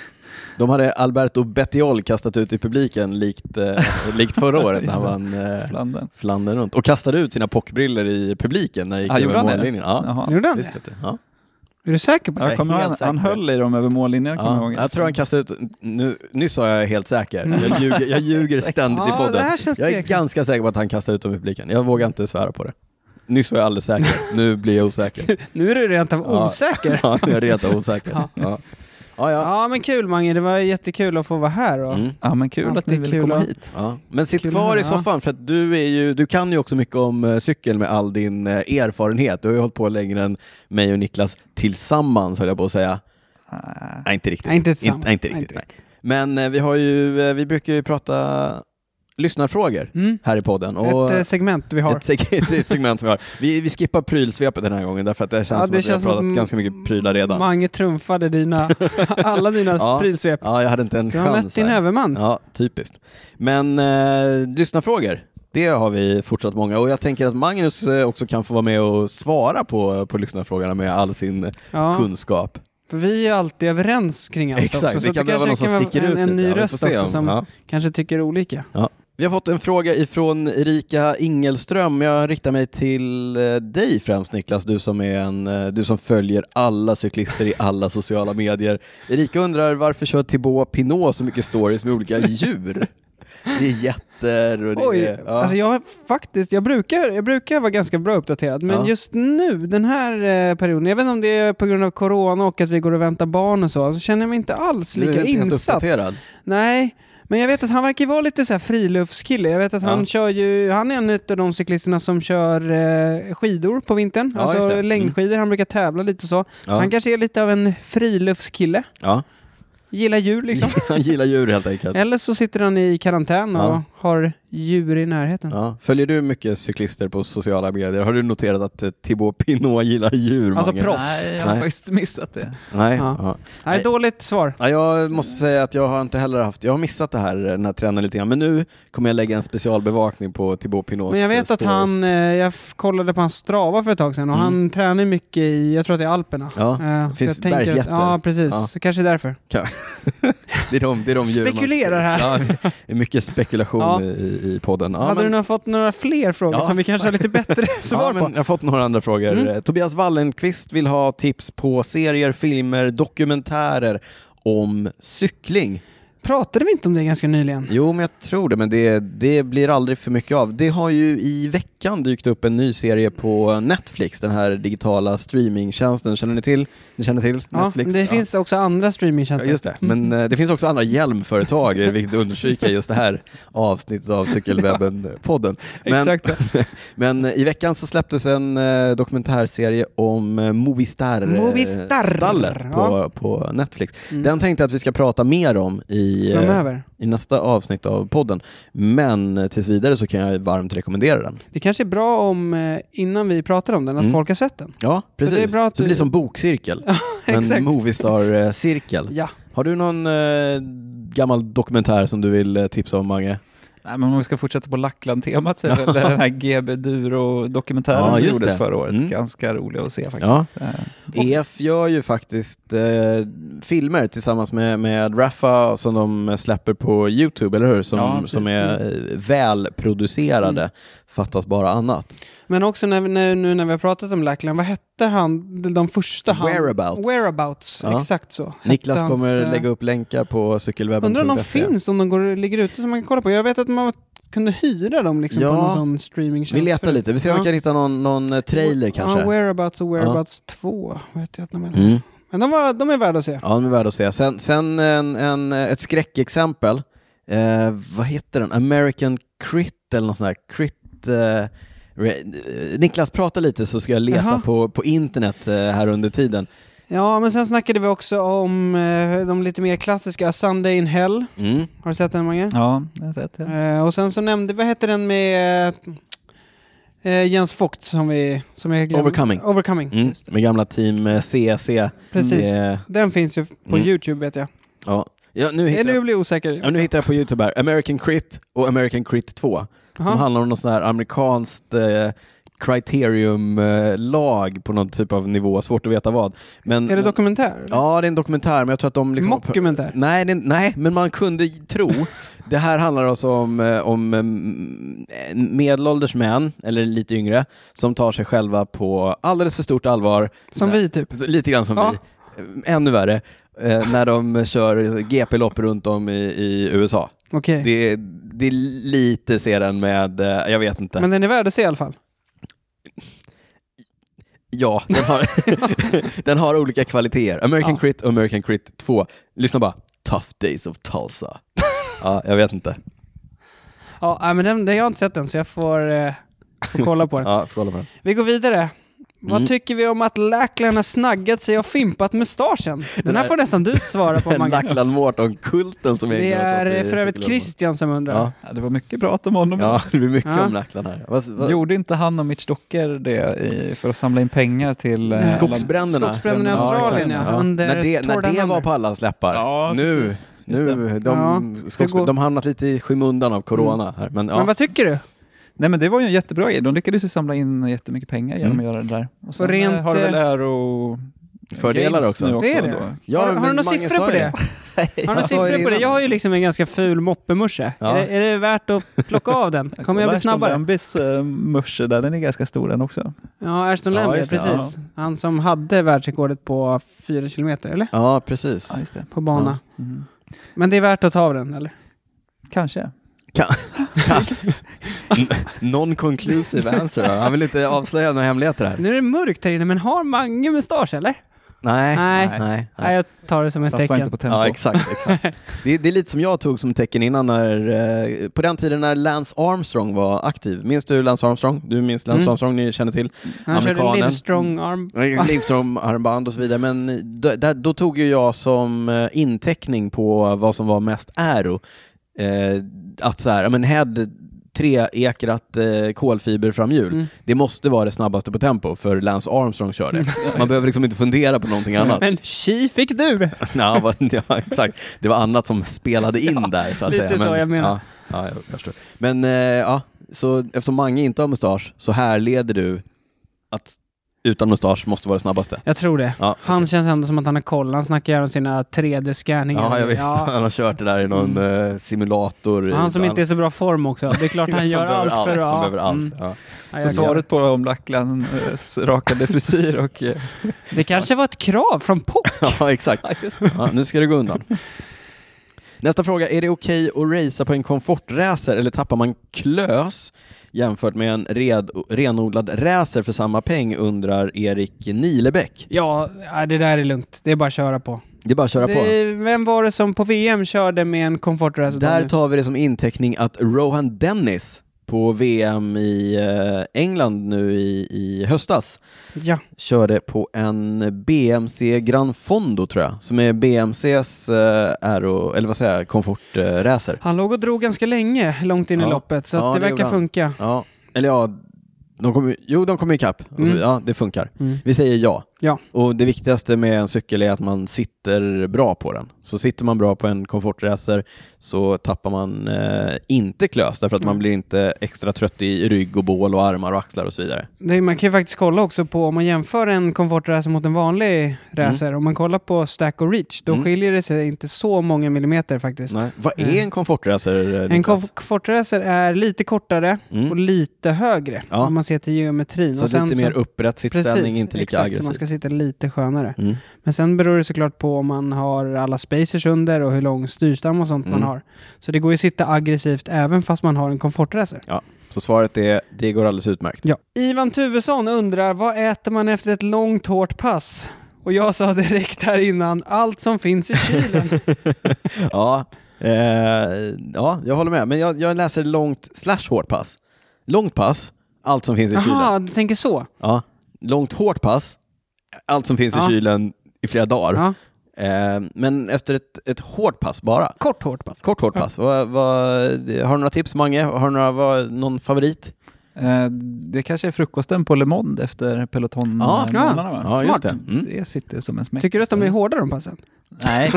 [SPEAKER 3] De hade Alberto Bettiol kastat ut i publiken likt, eh, likt förra året när
[SPEAKER 5] Just
[SPEAKER 3] han
[SPEAKER 5] det.
[SPEAKER 3] vann eh,
[SPEAKER 5] Flandern.
[SPEAKER 3] Flandern runt. Och kastade ut sina pockbriller i publiken när han gick
[SPEAKER 5] Ja, gjorde
[SPEAKER 3] över
[SPEAKER 5] han det?
[SPEAKER 3] mållinjen. Ja.
[SPEAKER 5] Jaha.
[SPEAKER 4] Gjorde han det?
[SPEAKER 3] Visst vet du. Ja.
[SPEAKER 4] Är du säker på det?
[SPEAKER 5] Ja,
[SPEAKER 3] Jag är
[SPEAKER 5] jag kommer
[SPEAKER 3] helt
[SPEAKER 5] han,
[SPEAKER 3] säker
[SPEAKER 5] han
[SPEAKER 3] på det.
[SPEAKER 5] höll i dem över mållinjen, jag kommer
[SPEAKER 3] Ja,
[SPEAKER 5] ihåg.
[SPEAKER 3] jag tror han kastade ut, nu, nyss sa jag helt säker, jag ljuger, jag ljuger ständigt i
[SPEAKER 4] Ja, det
[SPEAKER 3] podden.
[SPEAKER 4] här känns
[SPEAKER 3] Jag är
[SPEAKER 4] tveksamt.
[SPEAKER 3] ganska säker på att han kastade ut dem i publiken, jag vågar inte svära på det. Nyss var jag alldeles säker, nu blir jag osäker.
[SPEAKER 4] Nu är du rent av
[SPEAKER 3] Ja.
[SPEAKER 4] osäker.
[SPEAKER 3] Ja, jag är rent av osäker. Ja. Ja. Ja, ja.
[SPEAKER 4] Ja men kul Mange, det var jättekul att få vara här. Och...
[SPEAKER 3] Mm.
[SPEAKER 5] Ja, men kul
[SPEAKER 4] Alltid
[SPEAKER 5] att ni ville
[SPEAKER 4] kul
[SPEAKER 5] komma
[SPEAKER 4] att-
[SPEAKER 5] hit.
[SPEAKER 3] Ja. Men sitt
[SPEAKER 4] Kul att
[SPEAKER 3] kvar
[SPEAKER 4] höra,
[SPEAKER 3] i
[SPEAKER 4] ja.
[SPEAKER 3] soffan för att du, är ju, du kan ju också mycket om eh, cykel med all din eh, erfarenhet. Du har ju hållit på längre än mig och Niklas tillsammans höll jag på att säga.
[SPEAKER 5] Äh,
[SPEAKER 3] Nej, inte riktigt.
[SPEAKER 4] Nej, inte tillsammans.
[SPEAKER 3] inte, inte riktigt.
[SPEAKER 4] Inte
[SPEAKER 3] Nej. Men eh, vi, har ju, eh, vi brukar ju prata lyssnarfrågor
[SPEAKER 4] Mm.
[SPEAKER 3] här i podden. Och
[SPEAKER 4] Ett eh, segment vi har.
[SPEAKER 3] ett, seg- ett, ett segment som vi har. Vi, vi skippar prylsvepet den här gången därför att det känns
[SPEAKER 4] Ja,
[SPEAKER 3] som
[SPEAKER 4] det
[SPEAKER 3] att vi har
[SPEAKER 4] känns som
[SPEAKER 3] pratat
[SPEAKER 4] att-
[SPEAKER 3] ganska mycket prylar redan.
[SPEAKER 4] Mange trumfade dina, alla dina
[SPEAKER 3] Ja.
[SPEAKER 4] prylsvep.
[SPEAKER 3] Ja, jag hade inte en
[SPEAKER 4] Du har
[SPEAKER 3] chans.
[SPEAKER 4] mött din
[SPEAKER 3] här.
[SPEAKER 4] överman.
[SPEAKER 3] Ja, typiskt. Men eh, lyssna frågor. Det har vi fortsatt många och jag tänker att Magnus eh, också kan få vara med och svara på, på lyssnarfrågorna med all sin
[SPEAKER 4] Ja.
[SPEAKER 3] kunskap.
[SPEAKER 4] För Vi är alltid överens kring allt
[SPEAKER 3] Exakt,
[SPEAKER 4] också.
[SPEAKER 3] vi kan behöva någon som sticker
[SPEAKER 4] en,
[SPEAKER 3] ut
[SPEAKER 4] En
[SPEAKER 3] lite. Ja,
[SPEAKER 4] ny
[SPEAKER 3] vi får
[SPEAKER 4] röst
[SPEAKER 3] se
[SPEAKER 4] också
[SPEAKER 3] om-
[SPEAKER 4] som
[SPEAKER 3] ja.
[SPEAKER 4] kanske tycker olika.
[SPEAKER 3] Vi har fått en fråga ifrån Erika Ingelström. Jag riktar mig till eh, dig främst Niklas, du som, är en, eh, du som följer alla cyklister i alla sociala medier. Erika undrar varför kör Thibaut Pinot så mycket stories med olika djur? Det är jätter och det
[SPEAKER 4] Oj,
[SPEAKER 3] är...
[SPEAKER 4] alltså jag har faktiskt, jag brukar, jag brukar vara ganska bra uppdaterad, men
[SPEAKER 3] Ja.
[SPEAKER 4] just nu, den här eh, perioden, jag vet inte om det är på grund av corona och att vi går och väntar barn och så, så känner jag mig inte alls
[SPEAKER 3] Du är
[SPEAKER 4] lika
[SPEAKER 3] inte helt
[SPEAKER 4] insatt.
[SPEAKER 3] uppdaterad.
[SPEAKER 4] Nej, men jag vet att han verkar ju vara lite så här friluftskille. Jag vet att
[SPEAKER 3] Ja.
[SPEAKER 4] han kör ju, han är en av de cyklisterna som kör eh, skidor på vintern,
[SPEAKER 3] Ja, just det.
[SPEAKER 4] alltså
[SPEAKER 3] Mm.
[SPEAKER 4] längdskidor, han brukar tävla lite så.
[SPEAKER 3] Ja.
[SPEAKER 4] Så han kanske är lite av en friluftskille,
[SPEAKER 3] Ja.
[SPEAKER 4] gillar djur liksom.
[SPEAKER 3] Han gillar djur helt enkelt.
[SPEAKER 4] Eller så sitter han i karantän och
[SPEAKER 3] Ja.
[SPEAKER 4] har djur i närheten.
[SPEAKER 3] Ja. Följer du mycket cyklister på sociala medier? Har du noterat att eh, Thibaut Pinot gillar djur?
[SPEAKER 4] Alltså
[SPEAKER 3] Mange?
[SPEAKER 4] proffs.
[SPEAKER 5] Nej, jag har
[SPEAKER 3] Nej.
[SPEAKER 5] faktiskt missat det.
[SPEAKER 3] Nej.
[SPEAKER 4] Ja.
[SPEAKER 3] Ja.
[SPEAKER 4] Nej,
[SPEAKER 3] Nej.
[SPEAKER 4] dåligt svar.
[SPEAKER 3] Ja, jag måste säga att jag har inte heller haft, jag har missat det här, den här trenden lite grann, men nu kommer jag lägga en specialbevakning på Thibaut Pinots
[SPEAKER 4] Men jag vet
[SPEAKER 3] eh,
[SPEAKER 4] att
[SPEAKER 3] stories.
[SPEAKER 4] han, eh, jag f- kollade på hans strava för ett tag sedan och
[SPEAKER 3] Mm.
[SPEAKER 4] han tränar mycket i, jag tror att det är Alperna.
[SPEAKER 3] Ja,
[SPEAKER 4] Eh,
[SPEAKER 3] det
[SPEAKER 4] så
[SPEAKER 3] finns
[SPEAKER 4] jag tänker att-
[SPEAKER 3] bergsjätter.
[SPEAKER 4] Ja, precis.
[SPEAKER 3] Ja.
[SPEAKER 4] Så kanske därför.
[SPEAKER 3] Det är de, det är de djur man-
[SPEAKER 4] Spekulerar här.
[SPEAKER 3] Ja, det är mycket spekulation
[SPEAKER 4] Ja.
[SPEAKER 3] i, i podden. Ja,
[SPEAKER 4] hade
[SPEAKER 3] men-
[SPEAKER 4] du nog fått några fler frågor
[SPEAKER 3] Ja.
[SPEAKER 4] som vi kanske har lite bättre svar
[SPEAKER 3] ja, men
[SPEAKER 4] på?
[SPEAKER 3] Jag har fått några andra frågor.
[SPEAKER 4] Mm.
[SPEAKER 3] Eh, Tobias Wallenqvist vill ha tips på serier, filmer, dokumentärer om cykling.
[SPEAKER 4] Pratade vi inte om det ganska nyligen?
[SPEAKER 3] Jo, men jag tror det, men det, det blir aldrig för mycket av. Det har ju i veckan veckan dykt upp en ny serie på Netflix, den här digitala streamingtjänsten. Känner ni till? Ni känner till
[SPEAKER 4] Ja,
[SPEAKER 3] Netflix?
[SPEAKER 4] det finns också andra
[SPEAKER 3] Ja,
[SPEAKER 4] streamingtjänster.
[SPEAKER 3] just det. Men eh, det finns också andra hjälmföretag, eh, vilket understryker just det här avsnittet av Cykelwebben-podden. Men,
[SPEAKER 5] Exakt så.
[SPEAKER 3] men eh, i veckan så släpptes en eh, dokumentärserie om eh, Movistar, eh,
[SPEAKER 4] Movistar, Mm.
[SPEAKER 3] stallet på, på Netflix. Den tänkte jag att vi ska prata mer om i, eh,
[SPEAKER 4] Framöver.
[SPEAKER 3] i nästa avsnitt av podden. Men eh, tills vidare så kan jag varmt rekommendera den.
[SPEAKER 4] Det kanske är bra om, eh, innan vi pratar om den, att
[SPEAKER 3] Mm.
[SPEAKER 4] folk har sett den.
[SPEAKER 3] Ja, precis.
[SPEAKER 4] det är bra att
[SPEAKER 3] det
[SPEAKER 4] du-
[SPEAKER 3] blir som bokcirkel. en
[SPEAKER 4] exakt.
[SPEAKER 3] Movistar-cirkel.
[SPEAKER 4] Ja.
[SPEAKER 3] Har du någon eh, gammal dokumentär som du vill eh, tipsa om, Mange?
[SPEAKER 5] Nej, men om vi ska fortsätta på Lackland-temat så är väl den här GB Duro-dokumentären
[SPEAKER 3] Ja,
[SPEAKER 5] som
[SPEAKER 3] just
[SPEAKER 5] gjordes
[SPEAKER 3] det.
[SPEAKER 5] förra året
[SPEAKER 3] Mm.
[SPEAKER 5] ganska rolig att se faktiskt.
[SPEAKER 3] Ja.
[SPEAKER 5] Eh,
[SPEAKER 3] EF E gör ju faktiskt eh, filmer tillsammans med, med Rafa som de släpper på Youtube, eller hur? Som,
[SPEAKER 5] Ja, precis.
[SPEAKER 3] som är eh, välproducerade, fattas bara annat.
[SPEAKER 4] Men också när, vi- när, nu när vi har pratat om Lackland, vad hette han, de första han...
[SPEAKER 3] Whereabouts.
[SPEAKER 4] Whereabouts,
[SPEAKER 3] Ja.
[SPEAKER 4] exakt så. Hette
[SPEAKER 3] Niklas
[SPEAKER 4] hans,
[SPEAKER 3] kommer
[SPEAKER 4] eh,
[SPEAKER 3] lägga upp länkar på cykelwebben.
[SPEAKER 4] Undrar om de finns, om de går, ligger ute som man kan kolla på. Jag vet att man kunde hyra dem liksom
[SPEAKER 3] Ja.
[SPEAKER 4] på någon sån streamingtjänst.
[SPEAKER 3] Vi letar
[SPEAKER 4] förut.
[SPEAKER 3] lite, vi ser om
[SPEAKER 4] Ja.
[SPEAKER 3] vi kan hitta någon, någon eh, trailer kanske.
[SPEAKER 4] Ja, whereabouts och whereabouts 2 vet jag att de är.
[SPEAKER 3] Mm.
[SPEAKER 4] Men de, var, de är värda att se.
[SPEAKER 3] Ja, de är värda att se. Sen, sen en, en, ett skräckexempel. Eh, vad heter den? American Crit eller något sånt där. Crit... Eh, re, eh, Niklas, prata lite så ska jag leta
[SPEAKER 4] Jaha.
[SPEAKER 3] på, på internet eh, här under tiden.
[SPEAKER 4] Ja, men sen snackade vi också om eh, de lite mer klassiska, Sunday in Hell.
[SPEAKER 3] Mm.
[SPEAKER 4] Har du sett den Mange?
[SPEAKER 5] ja, jag har sett det.
[SPEAKER 4] Eh, och sen så nämnde, vad heter den med eh, Jens Vogt som vi... Som jag glömde-
[SPEAKER 3] Overcoming.
[SPEAKER 4] Overcoming.
[SPEAKER 3] Mm. Med gamla team eh, CC.
[SPEAKER 4] Precis.
[SPEAKER 3] Eh,
[SPEAKER 4] Den finns ju på
[SPEAKER 3] Mm.
[SPEAKER 4] Youtube vet jag.
[SPEAKER 3] ja. Ja, nu hittar
[SPEAKER 4] Eller
[SPEAKER 3] jag.
[SPEAKER 4] jag blir osäker.
[SPEAKER 3] Ja, nu hittar jag på YouTube här. American Crit och American Crit 2.
[SPEAKER 4] Aha.
[SPEAKER 3] Som handlar om något sånt här amerikanskt eh, criterium-lag på någon typ av nivå. Svårt att veta vad. Men,
[SPEAKER 4] Är det
[SPEAKER 3] men-
[SPEAKER 4] dokumentär?
[SPEAKER 3] Ja, det är en dokumentär, men jag tror att de... Liksom
[SPEAKER 4] Mockumentär?
[SPEAKER 3] Nej, det, nej, men man kunde j- tro. Det här handlar alltså om, eh, om eh, medelålders män, eller lite yngre, som tar sig själva på alldeles för stort allvar.
[SPEAKER 4] Som vi typ.
[SPEAKER 3] Så Lite grann som
[SPEAKER 4] Ja.
[SPEAKER 3] vi. Eh, Ännu värre. eh, När de kör GP-lopp runt om i, i USA.
[SPEAKER 4] Okej.
[SPEAKER 3] Det, det är lite sedan med, eh, jag vet inte.
[SPEAKER 4] Men den är värd att se i alla fall.
[SPEAKER 3] Ja, den har, den har olika kvaliteter. American
[SPEAKER 4] Ja.
[SPEAKER 3] Crit och American Crit 2. Lyssna bara. Tough Days of Tulsa. ja, jag vet inte.
[SPEAKER 4] Ja, nej, men den, den, jag har inte sett den så jag får, eh, får kolla på den.
[SPEAKER 3] Ja, får kolla på den.
[SPEAKER 4] Vi går vidare.
[SPEAKER 3] Mm.
[SPEAKER 4] Vad tycker vi om att Lackland har snaggat sig och fimpat mustaschen? Den här får nästan du svara på Mange.
[SPEAKER 3] Lackland Morton-kulten som
[SPEAKER 4] Det
[SPEAKER 3] ägnar oss åt
[SPEAKER 4] är eh,
[SPEAKER 3] i
[SPEAKER 4] för övrigt
[SPEAKER 3] cykelklubben.
[SPEAKER 4] Christian som undrar.
[SPEAKER 3] Ja.
[SPEAKER 5] Ja, det var mycket prat om honom.
[SPEAKER 3] Ja, det blir mycket
[SPEAKER 4] Ja.
[SPEAKER 3] om Lackland här. Vad, vad,
[SPEAKER 5] Gjorde inte han och Mitch Docker det i, för att samla in pengar till... eh,
[SPEAKER 3] skogsbränderna.
[SPEAKER 4] Skogsbränderna i
[SPEAKER 5] Ja,
[SPEAKER 4] Australien,
[SPEAKER 5] exakt.
[SPEAKER 4] ja. Under
[SPEAKER 3] När det, när
[SPEAKER 4] Torda
[SPEAKER 3] det var
[SPEAKER 4] Hammer.
[SPEAKER 3] på allas läppar.
[SPEAKER 5] Ja,
[SPEAKER 3] nu,
[SPEAKER 5] precis. Just
[SPEAKER 3] nu de,
[SPEAKER 4] Ja,
[SPEAKER 3] skogs,
[SPEAKER 4] det går- Mm.
[SPEAKER 3] de har hamnat lite i skymundan av corona här. Men, ja.
[SPEAKER 4] Men vad tycker du?
[SPEAKER 5] Nej men det var ju en jättebra grej. De lyckades ju samla in jättemycket pengar genom att göra det där. Och sen
[SPEAKER 4] rent,
[SPEAKER 5] eh, har det väl
[SPEAKER 4] eh,
[SPEAKER 5] äro...
[SPEAKER 3] Fördelar
[SPEAKER 5] gains
[SPEAKER 3] också.
[SPEAKER 5] nu
[SPEAKER 4] Det är
[SPEAKER 5] då.
[SPEAKER 4] det.
[SPEAKER 3] Ja,
[SPEAKER 4] har, har du
[SPEAKER 3] men
[SPEAKER 4] några
[SPEAKER 3] Mange
[SPEAKER 4] siffror
[SPEAKER 3] sa
[SPEAKER 4] på
[SPEAKER 3] ju
[SPEAKER 4] det? Har du några
[SPEAKER 3] Jag sa ju
[SPEAKER 4] siffror på det?
[SPEAKER 3] innan.
[SPEAKER 4] Jag har ju liksom en ganska ful moppemorse.
[SPEAKER 3] Ja.
[SPEAKER 4] Är, det- är det värt att plocka av den? Kommer jag
[SPEAKER 5] Kolla
[SPEAKER 4] bli
[SPEAKER 5] Ashton
[SPEAKER 4] snabbare?
[SPEAKER 5] Lambis eh, mörse där, den är ganska stor den också.
[SPEAKER 4] Ja, Ashton
[SPEAKER 3] Ja,
[SPEAKER 4] Lambie,
[SPEAKER 3] just det,
[SPEAKER 4] precis. Han som hade världsrekordet på 4 kilometer, eller?
[SPEAKER 3] Ja, precis.
[SPEAKER 5] Ja, just det.
[SPEAKER 4] På bana.
[SPEAKER 5] Mm.
[SPEAKER 4] Men det är värt att ta av den, eller?
[SPEAKER 5] Kanske.
[SPEAKER 3] Non-conclusive answer. va? Han vill inte avslöja några hemligheter här.
[SPEAKER 4] Nu är det mörkt här inne, men har Mange mustasch, eller?
[SPEAKER 3] Nej.
[SPEAKER 4] Nej.
[SPEAKER 3] Nej. Nej.
[SPEAKER 4] Nej, jag tar det som ett
[SPEAKER 5] Satsa inte
[SPEAKER 4] tecken.
[SPEAKER 5] på tempo.
[SPEAKER 3] Ja, exakt. exakt. Det, är- det är lite som jag tog som tecken innan, när, eh, på den tiden när Lance Armstrong var aktiv. Minns du Lance Armstrong? Du minns Lance
[SPEAKER 4] Mm.
[SPEAKER 3] Armstrong, ni känner till.
[SPEAKER 4] Han körde
[SPEAKER 3] Amerikanen.
[SPEAKER 4] live strong arm.
[SPEAKER 3] Livström-armband och så vidare. Men då, där, då tog ju jag som eh, inteckning på vad som var mest äro. Eh, att så här, ja, men head, treekrat eh, kolfiberframhjul.
[SPEAKER 4] Mm.
[SPEAKER 3] Det måste vara det snabbaste på tempo, för Lance Armstrong kör det. Man behöver liksom inte fundera på någonting annat.
[SPEAKER 4] Men tji fick du!
[SPEAKER 3] ja, vad- ja, exakt. Det var annat som spelade in där, så att
[SPEAKER 4] lite
[SPEAKER 3] säga.
[SPEAKER 4] så jag menar.
[SPEAKER 3] Ja, ja, jag förstår. Men eh, ja, så eftersom Mange inte har mustasch, så här leder du att utan mustasch måste vara det snabbaste.
[SPEAKER 4] Jag tror det.
[SPEAKER 3] Ja,
[SPEAKER 4] Han känns ändå som att han har koll. Han snackar gärna om sina 3D-scanningar.
[SPEAKER 3] Ja, jag visste.
[SPEAKER 4] Ja.
[SPEAKER 3] Han har kört det där i någon eh, simulator.
[SPEAKER 4] Och Han som inte är så bra form också. Det är klart han gör allt för
[SPEAKER 3] att...
[SPEAKER 4] att...
[SPEAKER 3] Han behöver
[SPEAKER 4] ja,
[SPEAKER 3] allt.
[SPEAKER 4] mm.
[SPEAKER 3] Ja.
[SPEAKER 4] Ja,
[SPEAKER 5] Så
[SPEAKER 4] jag-
[SPEAKER 5] svaret på om Lacklands rakade frisyr och... eh,
[SPEAKER 4] Det kanske var ett krav från Pock.
[SPEAKER 3] ja, exakt.
[SPEAKER 5] Ja, just det.
[SPEAKER 3] Ja, nu ska det gå undan. Nästa fråga, är det okej att racea på en komfortracer eller tappar man klös jämfört med en red, renodlad racer för samma peng undrar Erik Nilebäck.
[SPEAKER 4] Ja, nej, det där är lugnt. Det är bara att köra på.
[SPEAKER 3] Det är bara att köra på.
[SPEAKER 4] Det, vem var det som på VM körde med en komfortracer?
[SPEAKER 3] Där tar vi det som inteckning att Rohan Dennis på VM i eh, England nu i, i höstas
[SPEAKER 4] Ja,
[SPEAKER 3] körde på en BMC Gran Fondo tror jag, som är BMCs eh, aero, eller vad säger jag, komfortracer.
[SPEAKER 4] han låg och drog ganska länge, långt in
[SPEAKER 3] Ja.
[SPEAKER 4] i loppet, så
[SPEAKER 3] Ja,
[SPEAKER 4] att det,
[SPEAKER 3] det gjorde
[SPEAKER 4] verkar
[SPEAKER 3] han.
[SPEAKER 4] funka.
[SPEAKER 3] Ja, eller ja, de kom, ju- jo de kommer ikapp. Och så,
[SPEAKER 4] Mm.
[SPEAKER 3] Ja, det funkar.
[SPEAKER 4] Mm.
[SPEAKER 3] Vi säger ja.
[SPEAKER 4] Ja.
[SPEAKER 3] Och det viktigaste med en cykel är att man sitter bra på den. Så sitter man bra på en komfortracer så tappar man eh, inte klös därför att
[SPEAKER 4] Mm.
[SPEAKER 3] man blir inte extra trött i rygg och bål och armar och axlar och så vidare.
[SPEAKER 4] Det, man kan ju faktiskt kolla också på, om man jämför en komfortracer mot en vanlig racer, om man kollar på stack och reach, då
[SPEAKER 3] Mm.
[SPEAKER 4] skiljer det sig inte så många millimeter faktiskt.
[SPEAKER 3] Nej. Vad
[SPEAKER 4] Mm.
[SPEAKER 3] är en komfortracer? eh,
[SPEAKER 4] En
[SPEAKER 3] Niklas?
[SPEAKER 4] komfortracer är lite kortare
[SPEAKER 3] Mm.
[SPEAKER 4] och lite högre,
[SPEAKER 3] Ja.
[SPEAKER 4] om man ser till geometrin.
[SPEAKER 3] Så
[SPEAKER 4] och sen
[SPEAKER 3] lite mer upprätt
[SPEAKER 4] Precis,
[SPEAKER 3] sittställning, inte lika
[SPEAKER 4] exakt, så
[SPEAKER 3] aggressiv.
[SPEAKER 4] man ska sitta lite skönare.
[SPEAKER 3] Mm.
[SPEAKER 4] Men sen beror det såklart på om man har alla spacers under och hur lång styrstam och sånt
[SPEAKER 3] Mm.
[SPEAKER 4] man har. Så det går ju att sitta aggressivt även fast man har en komfortracer.
[SPEAKER 3] Så svaret är, det går alldeles utmärkt.
[SPEAKER 4] Ja. Ivan Tuvesson undrar, vad äter man efter ett långt hårt pass? Och jag sa direkt här innan, allt som finns i kylen.
[SPEAKER 3] Ja, eh, ja jag håller med. Men jag, jag läser långt slash hårt pass. Långt pass, allt som finns i kylen.
[SPEAKER 4] Jaha, du tänker så?
[SPEAKER 3] Ja. Långt hårt pass, allt som finns
[SPEAKER 4] Ja.
[SPEAKER 3] i kylen i flera dagar.
[SPEAKER 4] Ja.
[SPEAKER 3] Eh, men efter ett, ett hårt pass bara.
[SPEAKER 4] Kort hårt pass.
[SPEAKER 3] Kort hårt pass. Vad- vad- har du några tips Mange? Har du några, vad, någon favorit?
[SPEAKER 5] Eh, Det kanske är frukosten på Le Monde efter
[SPEAKER 3] Ja,
[SPEAKER 5] pelotonmånaderna. va?
[SPEAKER 3] Ja, just det. Mm.
[SPEAKER 5] Det sitter som en smäck.
[SPEAKER 4] Tycker du att de är hårda de passen?
[SPEAKER 5] Nej,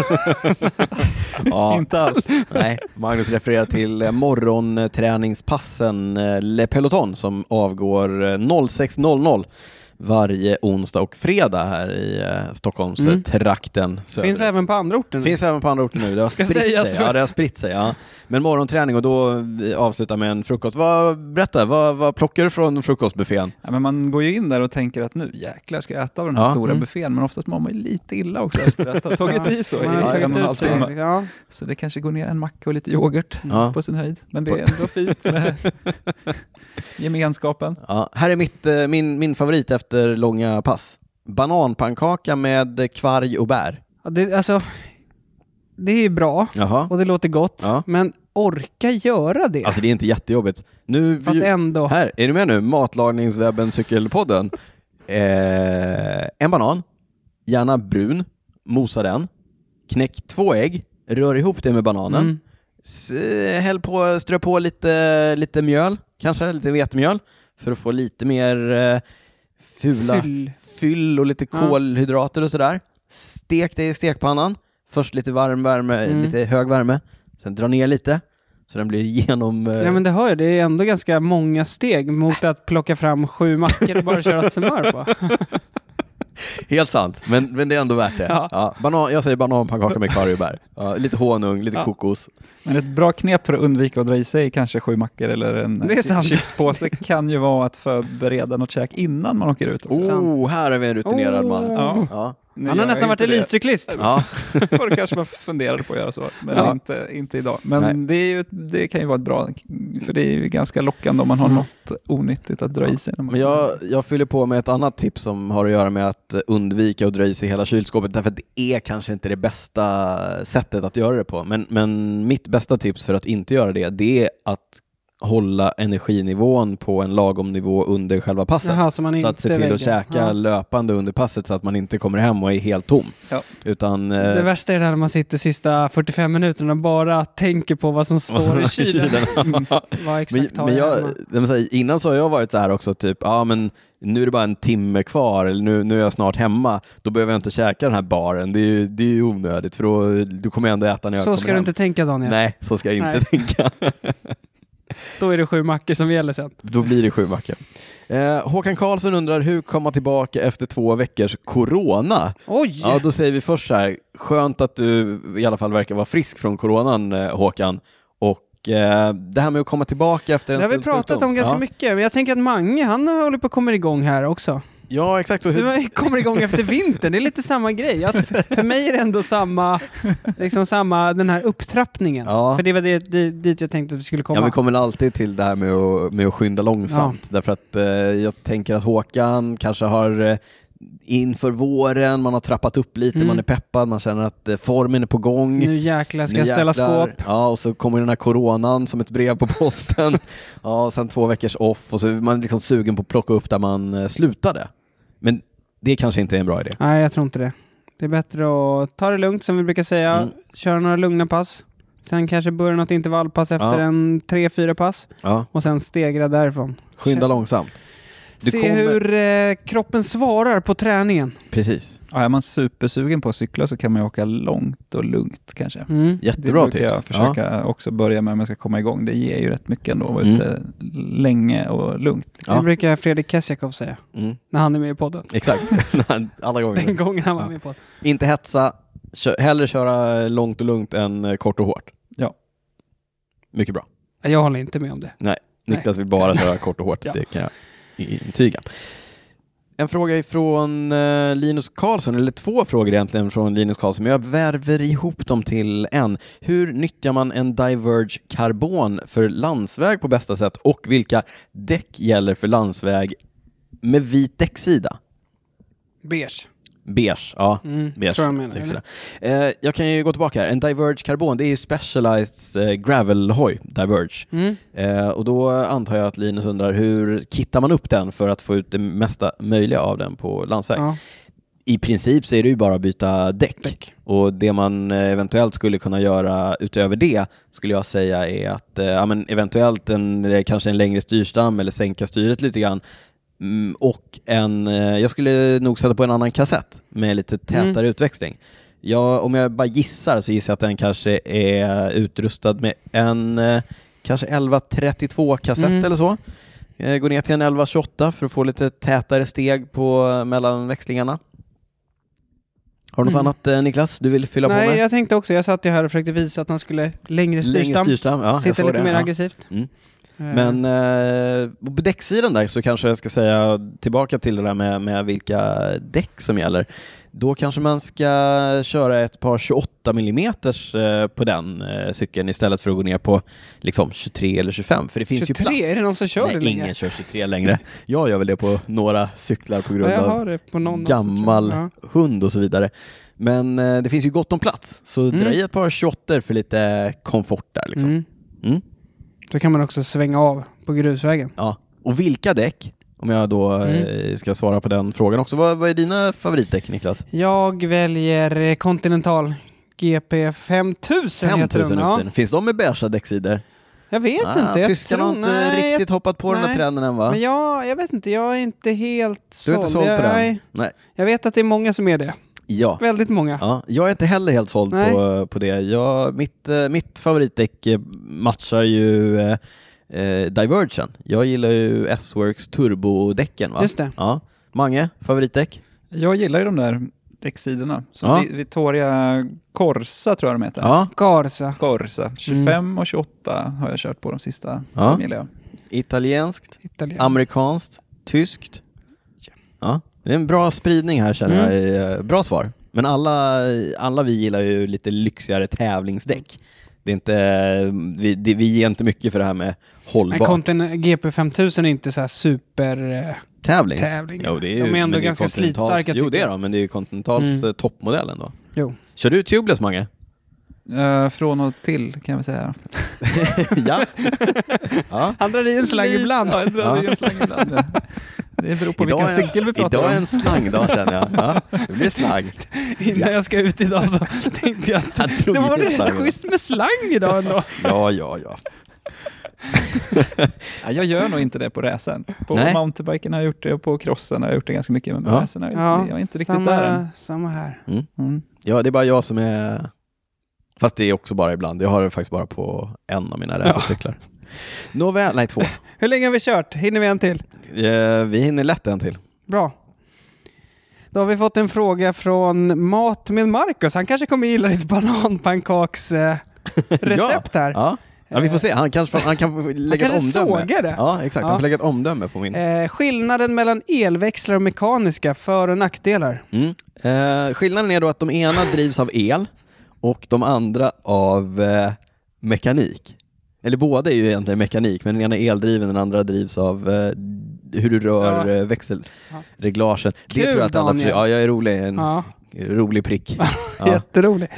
[SPEAKER 3] Ja.
[SPEAKER 5] inte alls.
[SPEAKER 3] Nej, Magnus refererar till eh, morgonträningspassen eh, Le Peloton som avgår eh, 06.00 varje onsdag och fredag här i eh, Stockholms
[SPEAKER 4] Mm.
[SPEAKER 3] eh, trakten söderut.
[SPEAKER 4] Finns även på andra orter nu.
[SPEAKER 3] Finns även på andra orter nu, det har
[SPEAKER 4] Ska
[SPEAKER 3] spritt sig.
[SPEAKER 4] sägas.
[SPEAKER 3] Ja, det har spritt sig ja. Men morgonträning och då eh, avslutar med en frukost. Vad, berätta, vad, vad plockar du från frukostbuffén?
[SPEAKER 5] Ja, men man går ju in där och tänker att nu jäklar ska jag äta av den här
[SPEAKER 3] Ja.
[SPEAKER 5] stora
[SPEAKER 3] Mm.
[SPEAKER 5] buffén, men oftast mår man ju lite illa också efter att ha tagit i så i
[SPEAKER 4] Man har
[SPEAKER 5] en och
[SPEAKER 4] tagit
[SPEAKER 5] en halv
[SPEAKER 3] alltså,
[SPEAKER 4] ut sig,
[SPEAKER 5] timme.
[SPEAKER 4] liksom. ja.
[SPEAKER 5] Så det kanske går ner en macka och lite yoghurt
[SPEAKER 3] Ja.
[SPEAKER 5] på sin höjd. Men det är ändå fint med gemenskapen.
[SPEAKER 3] Ja, här är mitt, eh, min, min favorit efter långa pass. Bananpannkaka med eh, kvarg och bär.
[SPEAKER 4] Ja, det, alltså, det är ju bra
[SPEAKER 3] Jaha.
[SPEAKER 4] och det låter gott,
[SPEAKER 3] Ja.
[SPEAKER 4] men orka göra det.
[SPEAKER 3] Alltså det är inte jättejobbigt. Nu,
[SPEAKER 4] Fast
[SPEAKER 3] vi-
[SPEAKER 4] ändå.
[SPEAKER 3] Här, är du med nu? Matlagningswebben Cykelpodden. Eh, en banan, gärna brun, mosa den, knäck två ägg, rör ihop det med bananen,
[SPEAKER 4] Mm.
[SPEAKER 3] S- eh, häll på, strö på lite, lite mjöl, kanske lite vetemjöl, för att få lite mer eh, fula
[SPEAKER 4] Fyll.
[SPEAKER 3] fyll och lite
[SPEAKER 4] Ja.
[SPEAKER 3] kolhydrater och sådär. Stek det i stekpannan. Först lite varm värme,
[SPEAKER 4] Mm.
[SPEAKER 3] lite hög värme. Sen dra ner lite så den blir genom... eh,
[SPEAKER 4] Ja men det hör jag, det är ändå ganska många steg mot att plocka fram sju mackor och bara köra smör på.
[SPEAKER 3] Helt sant, men, men det är ändå värt det. Ja.
[SPEAKER 4] Ja.
[SPEAKER 3] banan, jag säger bananpannkaka med kariebär. Ja, lite honung, lite
[SPEAKER 5] Ja.
[SPEAKER 3] kokos.
[SPEAKER 5] Men ett bra knep för att undvika att dra i sig kanske sju mackor eller en
[SPEAKER 4] Det är sant.
[SPEAKER 5] chipspåse kan ju vara att förbereda något käk innan man åker ut. också.
[SPEAKER 3] Oh, här är vi en rutinerad
[SPEAKER 4] Oh.
[SPEAKER 3] man.
[SPEAKER 5] Ja.
[SPEAKER 3] Ja.
[SPEAKER 5] Nu
[SPEAKER 4] Han
[SPEAKER 5] gör
[SPEAKER 4] har
[SPEAKER 5] jag
[SPEAKER 4] nästan varit
[SPEAKER 5] inte det.
[SPEAKER 4] elitcyklist.
[SPEAKER 3] Ja.
[SPEAKER 5] Förr kanske man funderade på att göra så, men
[SPEAKER 3] Ja.
[SPEAKER 5] inte, inte idag.
[SPEAKER 3] Nej.
[SPEAKER 5] Men det, är ju, det kan ju vara ett bra, för det är ju ganska lockande om man har
[SPEAKER 4] Mm.
[SPEAKER 5] något onyttigt att dra i sig. när man-
[SPEAKER 3] Men jag, jag fyller på med ett annat tips som har att göra med att undvika att dra i sig hela kylskåpet därför att det är kanske inte det bästa sättet att göra det på. Men, men mitt bästa tips för att inte göra det, det är att hålla energinivån på en lagom nivå under själva passet.
[SPEAKER 4] Jaha, så man
[SPEAKER 3] Så
[SPEAKER 4] inte
[SPEAKER 3] att se till
[SPEAKER 4] väger.
[SPEAKER 3] att käka
[SPEAKER 4] Ja.
[SPEAKER 3] löpande under passet så att man inte kommer hem och är helt tom.
[SPEAKER 5] Ja.
[SPEAKER 3] Utan, eh,
[SPEAKER 4] Det värsta är det här när man sitter sista 45 minuterna och bara tänker på vad som
[SPEAKER 3] vad som
[SPEAKER 4] står i
[SPEAKER 3] är
[SPEAKER 4] kylen. Mm.
[SPEAKER 3] kylen.
[SPEAKER 4] Vad
[SPEAKER 3] men,
[SPEAKER 4] exakt har
[SPEAKER 3] men jag,
[SPEAKER 4] jag hemma?
[SPEAKER 3] nej, men så här, innan så har jag varit så här också, typ, ja men nu är det bara en timme kvar, eller nu, nu är jag snart hemma, då behöver jag inte käka den här baren, det är ju, det är ju onödigt för då, du kommer jag ändå äta när jag
[SPEAKER 4] Så
[SPEAKER 3] kommer
[SPEAKER 4] ska du
[SPEAKER 3] hem.
[SPEAKER 4] inte tänka Daniel.
[SPEAKER 3] Nej, så ska jag inte
[SPEAKER 4] Nej.
[SPEAKER 3] tänka.
[SPEAKER 4] Då är det sju mackor som gäller sen.
[SPEAKER 3] Då blir det sju mackor. Eh, Håkan Karlsson undrar, hur komma tillbaka efter två veckors corona?
[SPEAKER 4] Oj!
[SPEAKER 3] Ja, då säger vi först så här, skönt att du i alla fall verkar vara frisk från coronan eh, Håkan. Och eh, det här med att komma tillbaka efter en
[SPEAKER 4] det har vi
[SPEAKER 3] stunds
[SPEAKER 4] pratat
[SPEAKER 3] sjukdom.
[SPEAKER 4] om ganska
[SPEAKER 3] Ja.
[SPEAKER 4] mycket, men jag tänker att Mange, han håller på att komma igång här också.
[SPEAKER 3] Ja, exakt. Så hur,
[SPEAKER 4] Du kommer igång efter vintern, det är lite samma grej. Att för mig är det ändå samma, liksom samma den här upptrappningen.
[SPEAKER 3] Ja.
[SPEAKER 4] För det var det, det, dit jag tänkte att vi skulle komma.
[SPEAKER 3] Ja, vi kommer alltid till det här med att, med att skynda långsamt. Därför att eh, jag tänker att Håkan kanske har eh, inför våren, man har trappat upp lite,
[SPEAKER 4] Mm.
[SPEAKER 3] man är peppad, man känner att eh, formen är på gång.
[SPEAKER 4] Nu jäklar ska
[SPEAKER 3] Nu
[SPEAKER 4] jag ställa
[SPEAKER 3] jäklar.
[SPEAKER 4] skåp.
[SPEAKER 3] Ja, och så kommer den här coronan som ett brev på posten. ja, och sen två veckors off och så är man liksom sugen på att plocka upp där man eh, slutade. Men det kanske inte är en bra idé.
[SPEAKER 4] Nej, jag tror inte det. Det är bättre att ta det lugnt som vi brukar säga.
[SPEAKER 3] Mm.
[SPEAKER 4] Köra några lugna pass. Sen kanske börja något intervallpass efter
[SPEAKER 3] Ja.
[SPEAKER 4] en tre, fyra pass.
[SPEAKER 3] Ja,
[SPEAKER 4] Och sen stegra därifrån.
[SPEAKER 3] skynda långsamt. Du
[SPEAKER 4] Se
[SPEAKER 3] kommer-
[SPEAKER 4] hur eh, kroppen svarar på träningen.
[SPEAKER 3] Precis.
[SPEAKER 5] Ja, är man supersugen på att cykla så kan man ju åka långt och lugnt kanske.
[SPEAKER 4] Mm.
[SPEAKER 3] Jättebra
[SPEAKER 5] det brukar
[SPEAKER 3] tips.
[SPEAKER 5] jag försöka också börja med om jag ska komma igång. Det ger ju rätt mycket ändå att vara
[SPEAKER 3] Mm.
[SPEAKER 5] ute länge och lugnt.
[SPEAKER 3] Ja.
[SPEAKER 4] Det brukar Fredrik Kessiakov säga
[SPEAKER 3] Ja, mm,
[SPEAKER 4] när han är med i podden.
[SPEAKER 3] exakt. Alla gånger.
[SPEAKER 4] Den gången han var
[SPEAKER 3] Ja.
[SPEAKER 4] med i podden.
[SPEAKER 3] Inte hetsa, kö- hellre köra långt och lugnt än eh, kort och hårt.
[SPEAKER 5] Ja.
[SPEAKER 3] Mycket bra.
[SPEAKER 4] Jag håller inte med om det.
[SPEAKER 3] Niklas vill bara köra kort och hårt,
[SPEAKER 4] Ja.
[SPEAKER 3] det kan jag intyga. En fråga ifrån eh, Linus Karlsson, eller två frågor egentligen från Linus Karlsson, men jag värver ihop dem till en. Hur nyttjar man en Diverge Carbon för landsväg på bästa sätt och vilka däck gäller för landsväg med vit däcksida?
[SPEAKER 4] Beige.
[SPEAKER 3] Beige, ja.
[SPEAKER 4] Mm,
[SPEAKER 3] Beige.
[SPEAKER 4] tror jag menar.
[SPEAKER 3] Liksom
[SPEAKER 4] eller?
[SPEAKER 3] det. Eh, jag kan ju gå tillbaka här. En Diverge Carbon, det är ju Specializeds eh, gravelhoj, Diverge.
[SPEAKER 4] Mm.
[SPEAKER 3] Eh, och då antar jag att Linus undrar hur kittar man upp den för att få ut det mesta möjliga av den på landsväg?
[SPEAKER 4] Ja.
[SPEAKER 3] I princip så är det ju bara att byta däck.
[SPEAKER 4] Däck.
[SPEAKER 3] Och det man eh, eventuellt skulle kunna göra utöver det skulle jag säga är att eh, ja, men eventuellt en, eh, kanske en längre styrstam eller sänka styret lite grann. Mm, och en, eh, jag skulle nog sätta på en annan kassett med lite tätare
[SPEAKER 4] Mm.
[SPEAKER 3] utväxling. Jag, om jag bara gissar så gissar jag att den kanske är utrustad med en eh, kanske 1132 kassett
[SPEAKER 4] Mm.
[SPEAKER 3] eller så. Eh, Gå ner till en 1128 för att få lite tätare steg på eh, mellan växlingarna. Har du något
[SPEAKER 4] Mm.
[SPEAKER 3] annat eh, Niklas du vill fylla på
[SPEAKER 4] Nej,
[SPEAKER 3] med?
[SPEAKER 4] jag tänkte också. Jag satt ju här och försökte visa att han skulle längre
[SPEAKER 3] Längre
[SPEAKER 4] styrstam.
[SPEAKER 3] styrstam, ja. jag
[SPEAKER 4] Sitta
[SPEAKER 3] såg
[SPEAKER 4] lite
[SPEAKER 3] det.
[SPEAKER 4] mer
[SPEAKER 3] ja.
[SPEAKER 4] aggressivt.
[SPEAKER 3] Mm.
[SPEAKER 4] Eh,
[SPEAKER 3] Men eh, på däcksidan där så kanske jag ska säga tillbaka till det där med, med vilka däck som gäller. Då kanske man ska köra ett par 28 mm på den eh, cykeln istället för att gå ner på liksom 23 eller 25 för det finns
[SPEAKER 4] 23,
[SPEAKER 3] ju plats.
[SPEAKER 4] är det någon som kör det
[SPEAKER 3] Nej,
[SPEAKER 4] längre?
[SPEAKER 3] ingen kör 23 längre. Jag gör väl det på några cyklar på
[SPEAKER 4] Ja,
[SPEAKER 3] grund
[SPEAKER 4] jag
[SPEAKER 3] av
[SPEAKER 4] har det på någon
[SPEAKER 3] gammal
[SPEAKER 4] också, tror jag.
[SPEAKER 3] hund och så vidare. Men eh, det finns ju gott om plats, så
[SPEAKER 4] Mm.
[SPEAKER 3] dra i ett par 28 för lite komfort där.
[SPEAKER 4] Ja.
[SPEAKER 3] Liksom.
[SPEAKER 4] Mm.
[SPEAKER 3] Mm.
[SPEAKER 4] Då kan man också svänga av på grusvägen.
[SPEAKER 3] Ja. Och vilka däck? Om jag då eh,
[SPEAKER 4] Mm.
[SPEAKER 3] ska svara på den frågan också. Vad, vad är dina favoritdäck Niklas?
[SPEAKER 4] Jag väljer eh, Continental GP 5000 heter
[SPEAKER 3] 5000
[SPEAKER 4] den.
[SPEAKER 3] nu för Ah,
[SPEAKER 4] Ja.
[SPEAKER 3] tiden. Finns de med beiga däcksidor?
[SPEAKER 4] Jag vet inte. Jag
[SPEAKER 3] Tyskarna har
[SPEAKER 4] tror,
[SPEAKER 3] inte
[SPEAKER 4] nej, jag-
[SPEAKER 3] riktigt hoppat på den här
[SPEAKER 4] nej.
[SPEAKER 3] trenden än va?
[SPEAKER 4] Men jag, jag vet inte, jag är inte helt
[SPEAKER 3] du är inte såld
[SPEAKER 4] jag,
[SPEAKER 3] på den?
[SPEAKER 4] Nej,
[SPEAKER 3] Nej.
[SPEAKER 4] jag vet att det är många som är det.
[SPEAKER 3] Ja.
[SPEAKER 4] Väldigt många.
[SPEAKER 3] Ja, jag är inte heller helt såld
[SPEAKER 4] Nej.
[SPEAKER 3] på, på det. Jag, mitt, eh, mitt favoritdäck eh, matchar ju eh, eh, Divergen. Jag gillar ju S-Works turbodäcken. Va?
[SPEAKER 4] Just det.
[SPEAKER 3] Ja. Mange, favoritdäck?
[SPEAKER 5] Jag gillar ju de där däcksidorna. Så
[SPEAKER 3] Ja.
[SPEAKER 5] Vi- Vittoria Corsa tror jag de heter.
[SPEAKER 3] Ja. Mm.
[SPEAKER 4] Garza.
[SPEAKER 5] Corsa. 25 och 28 har jag kört på de sista.
[SPEAKER 3] Ja.
[SPEAKER 5] De gillar jag.
[SPEAKER 3] Italienskt,
[SPEAKER 4] Italien.
[SPEAKER 3] amerikanskt, tyskt. Ja. Det är en bra spridning här känner
[SPEAKER 4] Mm.
[SPEAKER 3] jag. i, eh, Bra svar. Men alla, alla vi gillar ju lite lyxigare tävlingsdäck. Det är inte, eh, vi, det, vi ger inte mycket för det här med
[SPEAKER 4] Men
[SPEAKER 3] hållbar
[SPEAKER 4] Continental GP 5000 är inte så här super... eh,
[SPEAKER 3] tävling.
[SPEAKER 4] tävling.
[SPEAKER 3] Jo, det är ju,
[SPEAKER 4] De är ändå
[SPEAKER 3] men det ju
[SPEAKER 4] ganska
[SPEAKER 3] Continentals-
[SPEAKER 4] slitstarka,
[SPEAKER 3] Jo,
[SPEAKER 4] tycker
[SPEAKER 3] det är
[SPEAKER 4] jag.
[SPEAKER 3] de, men det är ju Continentals
[SPEAKER 4] Mm.
[SPEAKER 3] mm. toppmodell ändå.
[SPEAKER 4] Jo.
[SPEAKER 3] Kör du tubeless, Mange?
[SPEAKER 5] Eh, från och till kan vi säga.
[SPEAKER 3] ja. ja.
[SPEAKER 4] Han drar i en slang ibland.
[SPEAKER 5] Ja, jag drar
[SPEAKER 3] Ja.
[SPEAKER 5] det i en slang ibland. Det beror på
[SPEAKER 3] Idag
[SPEAKER 5] vilken
[SPEAKER 3] är-
[SPEAKER 5] cykel vi pratar
[SPEAKER 3] Idag är
[SPEAKER 5] om.
[SPEAKER 3] en slangdag känner jag. Ja. Det blir slang.
[SPEAKER 4] Innan jag ska ut idag så tänkte jag att
[SPEAKER 3] Han drog
[SPEAKER 4] det var
[SPEAKER 3] in
[SPEAKER 4] rätt
[SPEAKER 3] slangen.
[SPEAKER 4] schysst med slang idag ändå.
[SPEAKER 3] Ja, ja, ja.
[SPEAKER 5] Ja, jag gör nog inte det på racen. På
[SPEAKER 3] Nej.
[SPEAKER 5] mountainbiken har jag gjort det och på crossen har jag gjort det ganska mycket. Men på
[SPEAKER 3] Ja.
[SPEAKER 5] racen har jag, inte- jag är inte riktigt
[SPEAKER 4] samma,
[SPEAKER 5] där än.
[SPEAKER 4] samma här.
[SPEAKER 5] Mm.
[SPEAKER 3] Ja, det är bara jag som är... Fast det är också bara ibland. Jag har det faktiskt bara på en av mina racercyklar. Nåväl, nej två.
[SPEAKER 4] Hur länge har vi kört? Hinner vi en till?
[SPEAKER 3] Eh, Vi hinner lätt en till.
[SPEAKER 4] Bra. Då har vi fått en fråga från Mat med Marcus. Han kanske kommer gilla ditt bananpannkaks eh, recept här.
[SPEAKER 3] Ja, Ja, vi får se, han kanske han kan få lägga
[SPEAKER 4] kanske
[SPEAKER 3] ett omdöme.
[SPEAKER 4] sågar det.
[SPEAKER 3] Ja, exakt. Han
[SPEAKER 4] Ja.
[SPEAKER 3] får lägga ett omdöme på min.
[SPEAKER 4] Eh, skillnaden mellan elväxlare och mekaniska, för och nackdelar.
[SPEAKER 3] Mm. Eh, skillnaden är då att de ena drivs av el och de andra av eh, mekanik. Eller båda är ju egentligen mekanik, men den ena är eldriven, den andra drivs av eh, hur du rör
[SPEAKER 4] Ja.
[SPEAKER 3] eh, växelreglagen.
[SPEAKER 4] Kul,
[SPEAKER 3] det tror jag att alla
[SPEAKER 4] Daniel.
[SPEAKER 3] förstår. Ja, jag är rolig. En
[SPEAKER 4] Ja,
[SPEAKER 3] rolig prick. Ja.
[SPEAKER 4] jätterolig.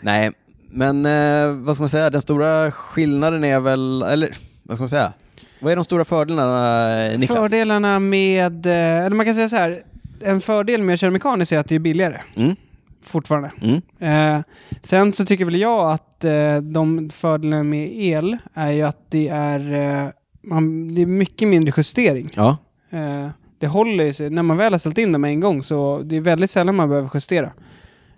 [SPEAKER 3] Nej, men eh, vad ska man säga, den stora skillnaden är väl, eller vad ska man säga? Vad är de stora fördelarna, eh, Niklas?
[SPEAKER 4] Fördelarna med, eh, eller man kan säga så här, en fördel med att köra mekaniskt är att det är billigare
[SPEAKER 3] Mm.
[SPEAKER 4] fortfarande.
[SPEAKER 3] Mm.
[SPEAKER 4] Eh, sen så tycker väl jag att eh, de fördelarna med el är ju att det är, eh, man, det är mycket mindre justering.
[SPEAKER 3] Ja.
[SPEAKER 4] Eh, det håller ju sig, när man väl har ställt in dem en gång så det är väldigt sällan man behöver justera.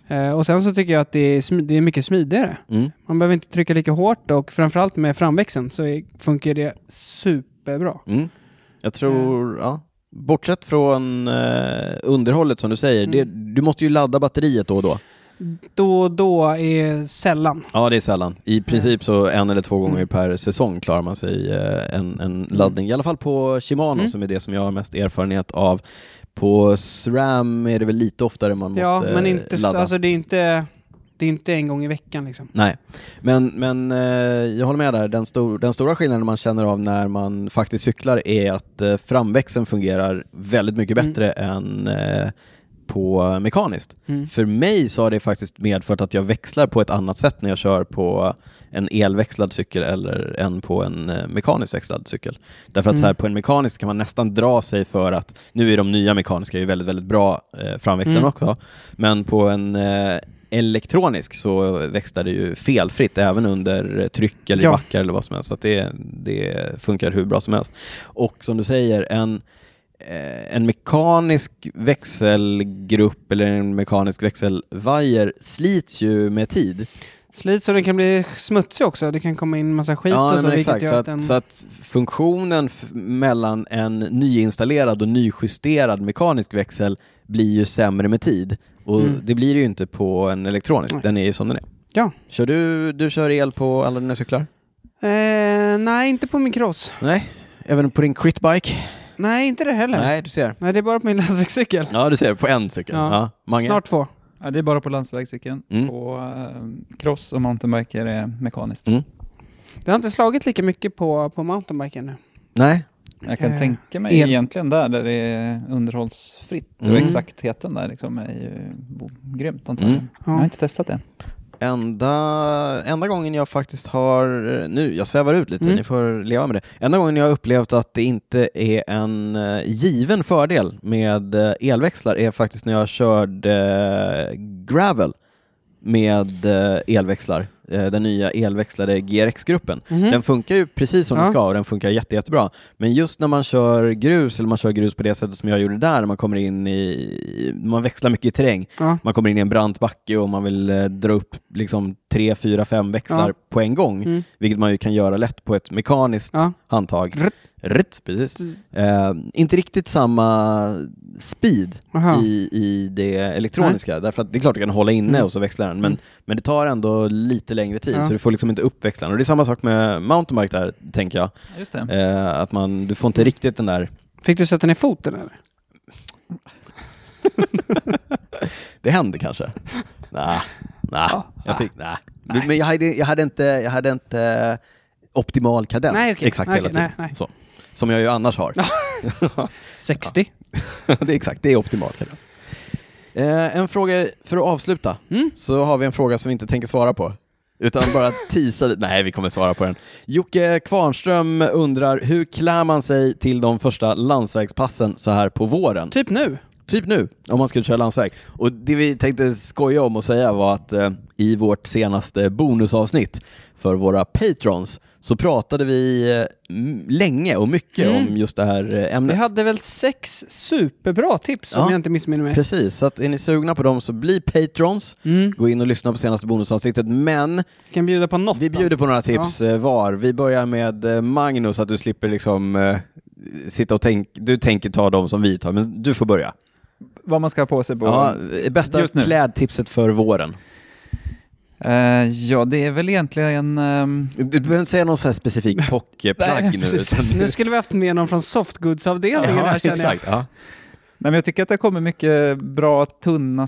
[SPEAKER 4] Eh, och sen så tycker jag att det är, smi- det är mycket smidigare.
[SPEAKER 3] Mm.
[SPEAKER 4] Man behöver inte trycka lika hårt och framförallt med framväxeln så är, funkar det superbra.
[SPEAKER 3] Mm. Jag tror,
[SPEAKER 4] Eh.
[SPEAKER 3] ja. Bortsett från eh, underhållet som du säger,
[SPEAKER 4] Mm.
[SPEAKER 3] det, du måste ju ladda batteriet då och då.
[SPEAKER 4] Då och då är sällan.
[SPEAKER 3] Ja, det är sällan. I princip så en eller två gånger per säsong klarar man sig eh, en, en laddning. I alla fall på Shimano
[SPEAKER 4] Mm.
[SPEAKER 3] som är det som jag har mest erfarenhet av. På SRAM är det väl lite oftare man måste
[SPEAKER 4] Ja, men
[SPEAKER 3] eh,
[SPEAKER 4] inte, så-
[SPEAKER 3] ladda.
[SPEAKER 4] alltså det är inte, det är inte en gång i veckan liksom.
[SPEAKER 3] Nej, men, men eh, jag håller med där. Den, stor, den stora skillnaden man känner av när man faktiskt cyklar är att eh, framväxeln fungerar väldigt mycket bättre än eh, på mekaniskt.
[SPEAKER 4] Mm.
[SPEAKER 3] För mig så har det faktiskt medfört att jag växlar på ett annat sätt när jag kör på en elväxlad cykel eller än på en eh, mekaniskt växlad cykel. Därför att
[SPEAKER 4] Mm.
[SPEAKER 3] så här, på en mekanisk kan man nästan dra sig för att, nu är de nya mekaniska ju väldigt, väldigt bra eh, framväxlarna
[SPEAKER 4] Mm.
[SPEAKER 3] också, men på en eh, elektronisk så växlar det ju felfritt även under tryck eller i
[SPEAKER 4] Ja.
[SPEAKER 3] backar eller vad som helst. Så att det, det funkar hur bra som helst. Och som du säger, en, eh, en mekanisk växelgrupp eller en mekanisk växelvajer slits ju med tid.
[SPEAKER 4] Slits och den kan bli smutsig också. Det kan komma in massa skit
[SPEAKER 3] nej,
[SPEAKER 4] och så,
[SPEAKER 3] men exakt.
[SPEAKER 4] vilket gör
[SPEAKER 3] Så
[SPEAKER 4] att den...
[SPEAKER 3] att, så att funktionen f- mellan en nyinstallerad och nyjusterad mekanisk växel blir ju sämre med tid. Och
[SPEAKER 4] Mm.
[SPEAKER 3] det blir det ju inte på en elektronisk,
[SPEAKER 4] Nej.
[SPEAKER 3] den är ju som den är.
[SPEAKER 4] Ja.
[SPEAKER 3] Kör du, du kör el på alla dina cyklar?
[SPEAKER 4] eh, nej, inte på min cross.
[SPEAKER 3] Nej. Även på din critbike?
[SPEAKER 4] Nej, inte det heller. Nej,
[SPEAKER 3] Nej, du ser.
[SPEAKER 4] det är bara på min landsvägscykel.
[SPEAKER 3] Ja, du ser. På en cykel.
[SPEAKER 4] Ja.
[SPEAKER 3] Ja. Mange?
[SPEAKER 4] Snart två.
[SPEAKER 5] Ja, det är bara på landsvägscykeln.
[SPEAKER 3] Mm.
[SPEAKER 5] På eh, cross och mountainbiker är mekaniskt.
[SPEAKER 3] Mm.
[SPEAKER 4] Det har inte slagit lika mycket på, på mountainbiken nu.
[SPEAKER 3] Nej.
[SPEAKER 5] Jag kan
[SPEAKER 4] Eh,
[SPEAKER 5] tänka mig
[SPEAKER 4] el.
[SPEAKER 5] egentligen där, där det är underhållsfritt och
[SPEAKER 3] Mm.
[SPEAKER 5] exaktheten där liksom är ju bo- grymt antagligen.
[SPEAKER 3] Mm.
[SPEAKER 5] Jag har inte testat det.
[SPEAKER 3] Enda, enda gången jag faktiskt har, nu jag svävar ut lite,
[SPEAKER 4] Mm.
[SPEAKER 3] ni får leva med det. Enda gången jag har upplevt att det inte är en eh, given fördel med eh, elväxlar är faktiskt när jag körde eh, gravel med eh, elväxlar, eh, den nya elväxlade GRX-gruppen.
[SPEAKER 4] Mhm.
[SPEAKER 3] Den funkar ju precis som
[SPEAKER 4] Ja.
[SPEAKER 3] den ska och den funkar jätte, jättebra. Men just när man kör grus, eller man kör grus på det sättet som jag gjorde där, när man kommer in i, man växlar mycket i terräng,
[SPEAKER 4] Ja.
[SPEAKER 3] man kommer in i en brant backe och man vill eh, dra upp liksom tre, fyra, fem växlar
[SPEAKER 4] Ja.
[SPEAKER 3] på en gång,
[SPEAKER 4] Mm.
[SPEAKER 3] vilket man ju kan göra lätt på ett mekaniskt
[SPEAKER 4] Ja.
[SPEAKER 3] handtag.
[SPEAKER 4] Rrrt. Mm.
[SPEAKER 3] Rrrt, precis. Eh, inte riktigt samma speed
[SPEAKER 4] Aha.
[SPEAKER 3] i, i det elektroniska. Därför att det är klart du kan hålla inne
[SPEAKER 4] Mm.
[SPEAKER 3] och så växlar den, men,
[SPEAKER 4] Mm.
[SPEAKER 3] men det tar ändå lite längre tid
[SPEAKER 4] Ja.
[SPEAKER 3] så du får liksom inte upp växlarna. Och det är samma sak med mountainbike där, tänker jag.
[SPEAKER 5] Just det.
[SPEAKER 3] Eh, att man, du får inte riktigt den där...
[SPEAKER 4] Fick du sätta ner foten eller?
[SPEAKER 3] Det händer kanske? Nej, nej, jag fick... Nej. Men jag hade, jag hade inte, jag hade inte eh, optimal kadens
[SPEAKER 4] Nej, okej.
[SPEAKER 3] exakt hela
[SPEAKER 4] Okej,
[SPEAKER 3] tiden.
[SPEAKER 4] nej, nej.
[SPEAKER 3] Så. Som jag ju annars har.
[SPEAKER 4] 60.
[SPEAKER 3] det är exakt, det är optimal kadens. Eh, en fråga för att avsluta,
[SPEAKER 4] Mm.
[SPEAKER 3] så har vi en fråga som vi inte tänker svara på. Utan bara teasa, nej vi kommer svara på den. Jocke Kvarnström undrar, hur klär man sig till de första landsvägspassen så här på våren?
[SPEAKER 4] Typ nu.
[SPEAKER 3] Typ nu, om man skulle köra landsväg. Och det vi tänkte skoja om och säga var att eh, i vårt senaste bonusavsnitt för våra patrons så pratade vi eh, m- länge och mycket
[SPEAKER 4] Mm.
[SPEAKER 3] om just det här eh,
[SPEAKER 4] Vi
[SPEAKER 3] ämnet.
[SPEAKER 4] hade väl sex superbra tips om
[SPEAKER 3] Ja.
[SPEAKER 4] jag inte missminner mig.
[SPEAKER 3] Precis, så att är ni sugna på dem så bli patrons.
[SPEAKER 4] Mm.
[SPEAKER 3] Gå in och lyssna på senaste bonusavsnittet, men
[SPEAKER 4] Vi kan bjuda på något.
[SPEAKER 3] vi
[SPEAKER 4] då.
[SPEAKER 3] bjuder på några tips eh, var. Vi börjar med eh, Magnus, att du slipper liksom eh, sitta och tänka, du tänker ta dem som vi tar, men du får börja.
[SPEAKER 5] Vad man ska ha på sig på...
[SPEAKER 3] Ja, eh, bästa
[SPEAKER 5] Just nu.
[SPEAKER 3] klädtipset för våren.
[SPEAKER 5] Eh, ja, det är väl egentligen... ehm,
[SPEAKER 3] Du du behöver inte säga någon så här specifik
[SPEAKER 5] Nej,
[SPEAKER 3] pockplagg nu.
[SPEAKER 5] precis.
[SPEAKER 3] utan-
[SPEAKER 4] Nu skulle vi haft med någon från softgoods-avdelningen
[SPEAKER 3] Ja,
[SPEAKER 4] här känner jag.
[SPEAKER 3] exakt. Ja.
[SPEAKER 5] Nej, men jag tycker att det kommer mycket bra tunna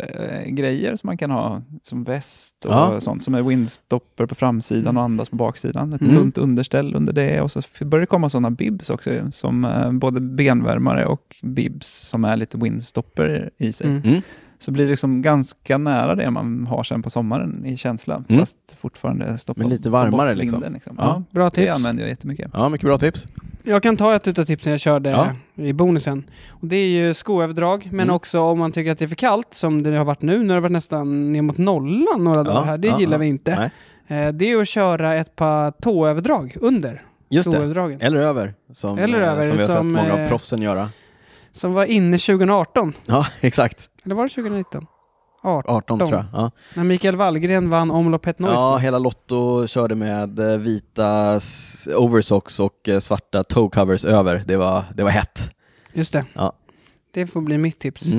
[SPEAKER 5] skalgrejer som man kan ha, som väst och
[SPEAKER 3] Ja.
[SPEAKER 5] sånt, som är windstopper på framsidan och andas på baksidan. Ett
[SPEAKER 3] Mm.
[SPEAKER 5] tunt underställ under det och så f- börjar det komma sådana bibs också, ju, som eh, både benvärmare och bibs som är lite windstopper i sig.
[SPEAKER 4] Mm.
[SPEAKER 3] Mm.
[SPEAKER 5] Så blir det liksom ganska nära det man har sen på sommaren i känsla,
[SPEAKER 3] Mm.
[SPEAKER 5] fast fortfarande stoppa
[SPEAKER 3] Men lite
[SPEAKER 5] ta
[SPEAKER 3] varmare
[SPEAKER 5] bort
[SPEAKER 3] liksom.
[SPEAKER 5] vinden, liksom.
[SPEAKER 3] Ja.
[SPEAKER 5] Ja.
[SPEAKER 4] Bra
[SPEAKER 5] Det
[SPEAKER 4] tips.
[SPEAKER 5] använder jag jättemycket.
[SPEAKER 3] ja, mycket bra tips.
[SPEAKER 4] Jag kan ta ett utav tipsen jag körde
[SPEAKER 3] Ja.
[SPEAKER 4] i bonusen. Och det är ju skoöverdrag, men
[SPEAKER 3] Mm.
[SPEAKER 4] också om man tycker att det är för kallt, som det har varit nu, när det har varit nästan ner mot nollan några dagar här. Det
[SPEAKER 3] ja,
[SPEAKER 4] gillar
[SPEAKER 3] ja.
[SPEAKER 4] vi inte.
[SPEAKER 3] Nej.
[SPEAKER 4] Eh, Det är att köra ett par tåöverdrag under
[SPEAKER 3] Just det.
[SPEAKER 4] skoöverdragen.
[SPEAKER 3] Eller över, som,
[SPEAKER 4] Eller
[SPEAKER 3] eh,
[SPEAKER 4] över,
[SPEAKER 3] som vi har
[SPEAKER 4] som,
[SPEAKER 3] sett många av
[SPEAKER 4] eh,
[SPEAKER 3] proffsen göra.
[SPEAKER 4] Som var inne 2018.
[SPEAKER 3] Ja, exakt.
[SPEAKER 4] Eller var det 2019? 18.
[SPEAKER 3] 18 tror jag. Ja.
[SPEAKER 4] När Mikael Wallgren vann omloppet Noise.
[SPEAKER 3] Ja, hela Lotto körde med eh, vita s- oversocks och eh, svarta toe covers över. Det var, det var hett.
[SPEAKER 4] Just det.
[SPEAKER 3] Ja.
[SPEAKER 4] Det får bli mitt tips.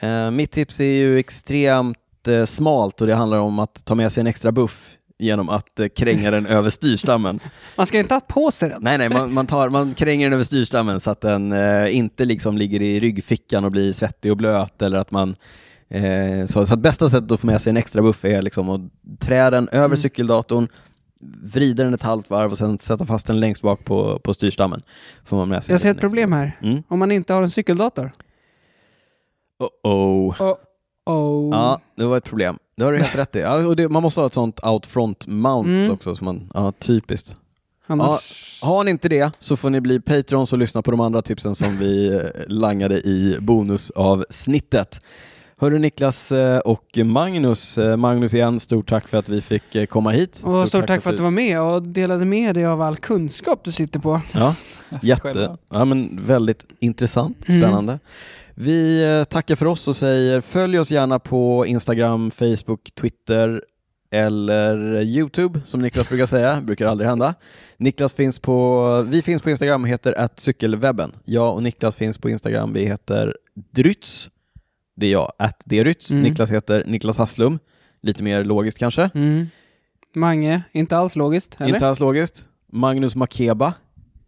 [SPEAKER 3] Eh, mitt tips är ju extremt eh, smalt och det handlar om att ta med sig en extra buff genom att eh, kränga den över styrstammen.
[SPEAKER 4] Man ska ju inte ha på sig den.
[SPEAKER 3] Nej, nej, man, man, tar, man kränger den över styrstammen så att den eh, inte liksom ligger i ryggfickan och blir svettig och blöt eller att man eh, så, så att bästa sättet att få med sig en extra buff är liksom att trä den över
[SPEAKER 4] Mm.
[SPEAKER 3] cykeldatorn, vrida den ett halvt varv och sen sätta fast den längst bak på, på styrstammen. Får man med sig
[SPEAKER 4] Jag ser
[SPEAKER 3] en
[SPEAKER 4] ett
[SPEAKER 3] extra
[SPEAKER 4] problem
[SPEAKER 3] buff.
[SPEAKER 4] här.
[SPEAKER 3] Mm.
[SPEAKER 4] Om man inte har en cykeldator.
[SPEAKER 3] Oh-oh.
[SPEAKER 4] Oh. Oh.
[SPEAKER 3] Ja, det var ett problem. Det har du helt rätt i. Ja, och det, man måste ha ett sånt outfront mount
[SPEAKER 4] Mm.
[SPEAKER 3] också. Som man, ja, typiskt.
[SPEAKER 4] Annars...
[SPEAKER 3] Har ni inte det så får ni bli patrons och lyssna på de andra tipsen som vi eh, langade i bonusavsnittet. Hörru Niklas eh, och Magnus, eh, Magnus igen, stort tack för att vi fick eh, komma hit.
[SPEAKER 4] Och stort, tack, för att du var med och delade med dig av all kunskap du sitter på.
[SPEAKER 3] Ja, jätte,
[SPEAKER 5] Själva.
[SPEAKER 3] ja, men väldigt intressant,
[SPEAKER 4] Mm.
[SPEAKER 3] spännande. Vi eh, tackar för oss och säger följ oss gärna på Instagram, Facebook, Twitter eller Youtube som Niklas brukar säga, brukar aldrig hända. Niklas finns på, vi finns på Instagram och heter att cykelwebben. Jag och Niklas finns på Instagram, vi heter Drytz. Det är jag, att Drytz.
[SPEAKER 4] Mm.
[SPEAKER 3] Niklas heter Niklas Hasslum. Lite mer logiskt kanske.
[SPEAKER 4] Mm. Mange, inte alls logiskt. Eller?
[SPEAKER 3] Inte alls logiskt. Magnus Makeba.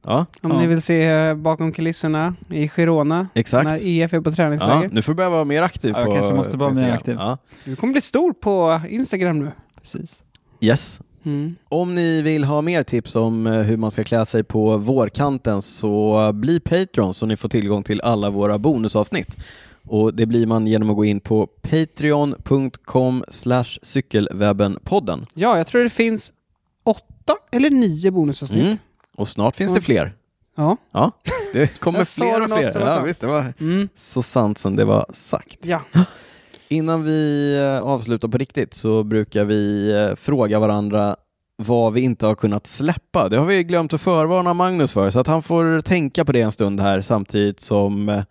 [SPEAKER 3] Ja,
[SPEAKER 4] Om
[SPEAKER 5] Ja.
[SPEAKER 4] ni vill se eh, bakom kulisserna i Girona
[SPEAKER 3] exakt.
[SPEAKER 4] när IF är på
[SPEAKER 3] Ja,
[SPEAKER 4] träningsläger.
[SPEAKER 3] nu får du börja vara mer aktiv
[SPEAKER 5] Ja, jag
[SPEAKER 3] på
[SPEAKER 5] kanske måste
[SPEAKER 3] på
[SPEAKER 5] vara mer
[SPEAKER 3] Instagram.
[SPEAKER 5] aktiv.
[SPEAKER 3] Ja.
[SPEAKER 4] Du kommer bli stor på Instagram nu.
[SPEAKER 5] Precis.
[SPEAKER 3] Yes.
[SPEAKER 4] Mm.
[SPEAKER 3] Om ni vill ha mer tips om eh, hur man ska klä sig på vårkanten så bli Patreon så ni får tillgång till alla våra bonusavsnitt. Och det blir man genom att gå in på patreon.com slash cykelwebbenpodden.
[SPEAKER 4] Ja, jag tror det finns åtta eller nio bonusavsnitt.
[SPEAKER 3] Mm. Och snart finns det
[SPEAKER 4] Mm.
[SPEAKER 3] fler.
[SPEAKER 4] Ja.
[SPEAKER 3] Ja, det kommer
[SPEAKER 4] Jag sa
[SPEAKER 3] fler och
[SPEAKER 4] något
[SPEAKER 3] fler.
[SPEAKER 4] som var
[SPEAKER 3] Ja,
[SPEAKER 4] sant.
[SPEAKER 3] visst, det var
[SPEAKER 4] Mm.
[SPEAKER 3] så sant som det var sagt.
[SPEAKER 4] Ja.
[SPEAKER 3] Innan vi eh, avslutar på riktigt så brukar vi eh, fråga varandra vad vi inte har kunnat släppa. Det har vi glömt att förvarna Magnus för, så att han får tänka på det en stund här samtidigt som eh,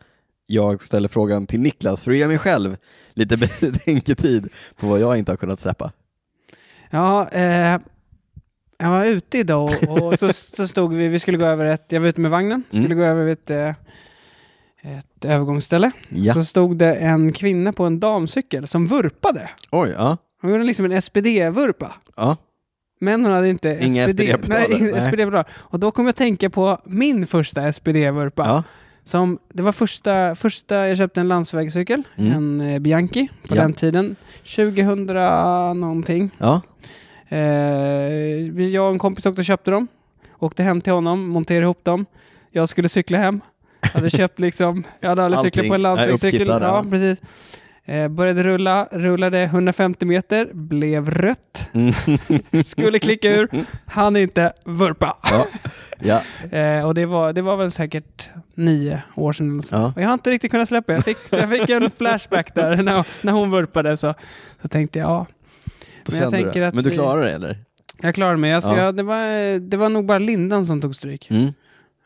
[SPEAKER 3] jag ställer frågan till Niklas för att ge mig själv lite betänketid på vad jag inte har kunnat släppa.
[SPEAKER 4] Ja, eh, jag var ute idag och, och så, så stod vi, vi skulle gå över ett, jag var ute med vagnen, skulle
[SPEAKER 3] Mm.
[SPEAKER 4] gå över ett, eh, ett övergångsställe.
[SPEAKER 3] Ja.
[SPEAKER 4] Så stod det en kvinna på en damcykel som vurpade.
[SPEAKER 3] Oj, ja.
[SPEAKER 4] Hon gjorde liksom en SPD-vurpa.
[SPEAKER 3] ja.
[SPEAKER 4] Men hon hade inte
[SPEAKER 3] Inga SPD-pedaler,
[SPEAKER 4] Nej,
[SPEAKER 3] nej.
[SPEAKER 4] inga SPD-pedaler. Och då kom jag att tänka på min första SPD-vurpa.
[SPEAKER 3] ja.
[SPEAKER 4] Som, det var första, första jag köpte en landsvägscykel,
[SPEAKER 3] Mm.
[SPEAKER 4] en eh, Bianchi, på
[SPEAKER 3] Ja.
[SPEAKER 4] den tiden. 2000 någonting.
[SPEAKER 3] ja.
[SPEAKER 4] Eh, vi- jag och en kompis åkte och köpte dem. Åkte hem till honom, monterade ihop dem. Jag skulle cykla hem. Hade köpt liksom, jag hade aldrig
[SPEAKER 3] Allting
[SPEAKER 4] cyklat på en
[SPEAKER 3] är
[SPEAKER 4] landsvägscykel.
[SPEAKER 3] uppkittat,
[SPEAKER 4] Ja,
[SPEAKER 3] ja.
[SPEAKER 4] precis. Eh, började rulla, rullade 150 meter, blev rött.
[SPEAKER 3] Mm.
[SPEAKER 4] Skulle klicka ur, han inte vurpa.
[SPEAKER 3] ja. ja.
[SPEAKER 4] Eh, och det var, det var väl säkert nio år sedan. eller så.
[SPEAKER 3] Ja.
[SPEAKER 4] Och jag har inte riktigt kunnat släppa det. jag fick, jag fick en flashback där när, när hon vurpade. Så, så tänkte jag, ja,
[SPEAKER 3] Då
[SPEAKER 4] Men jag
[SPEAKER 3] kände du
[SPEAKER 4] tänker
[SPEAKER 3] det.
[SPEAKER 4] att
[SPEAKER 3] Men du
[SPEAKER 4] vi-
[SPEAKER 3] klarar det eller?
[SPEAKER 4] jag klarar mig. Alltså,
[SPEAKER 3] Ja.
[SPEAKER 4] jag, det, var, det var nog bara lindan som tog stryk.
[SPEAKER 3] Mm.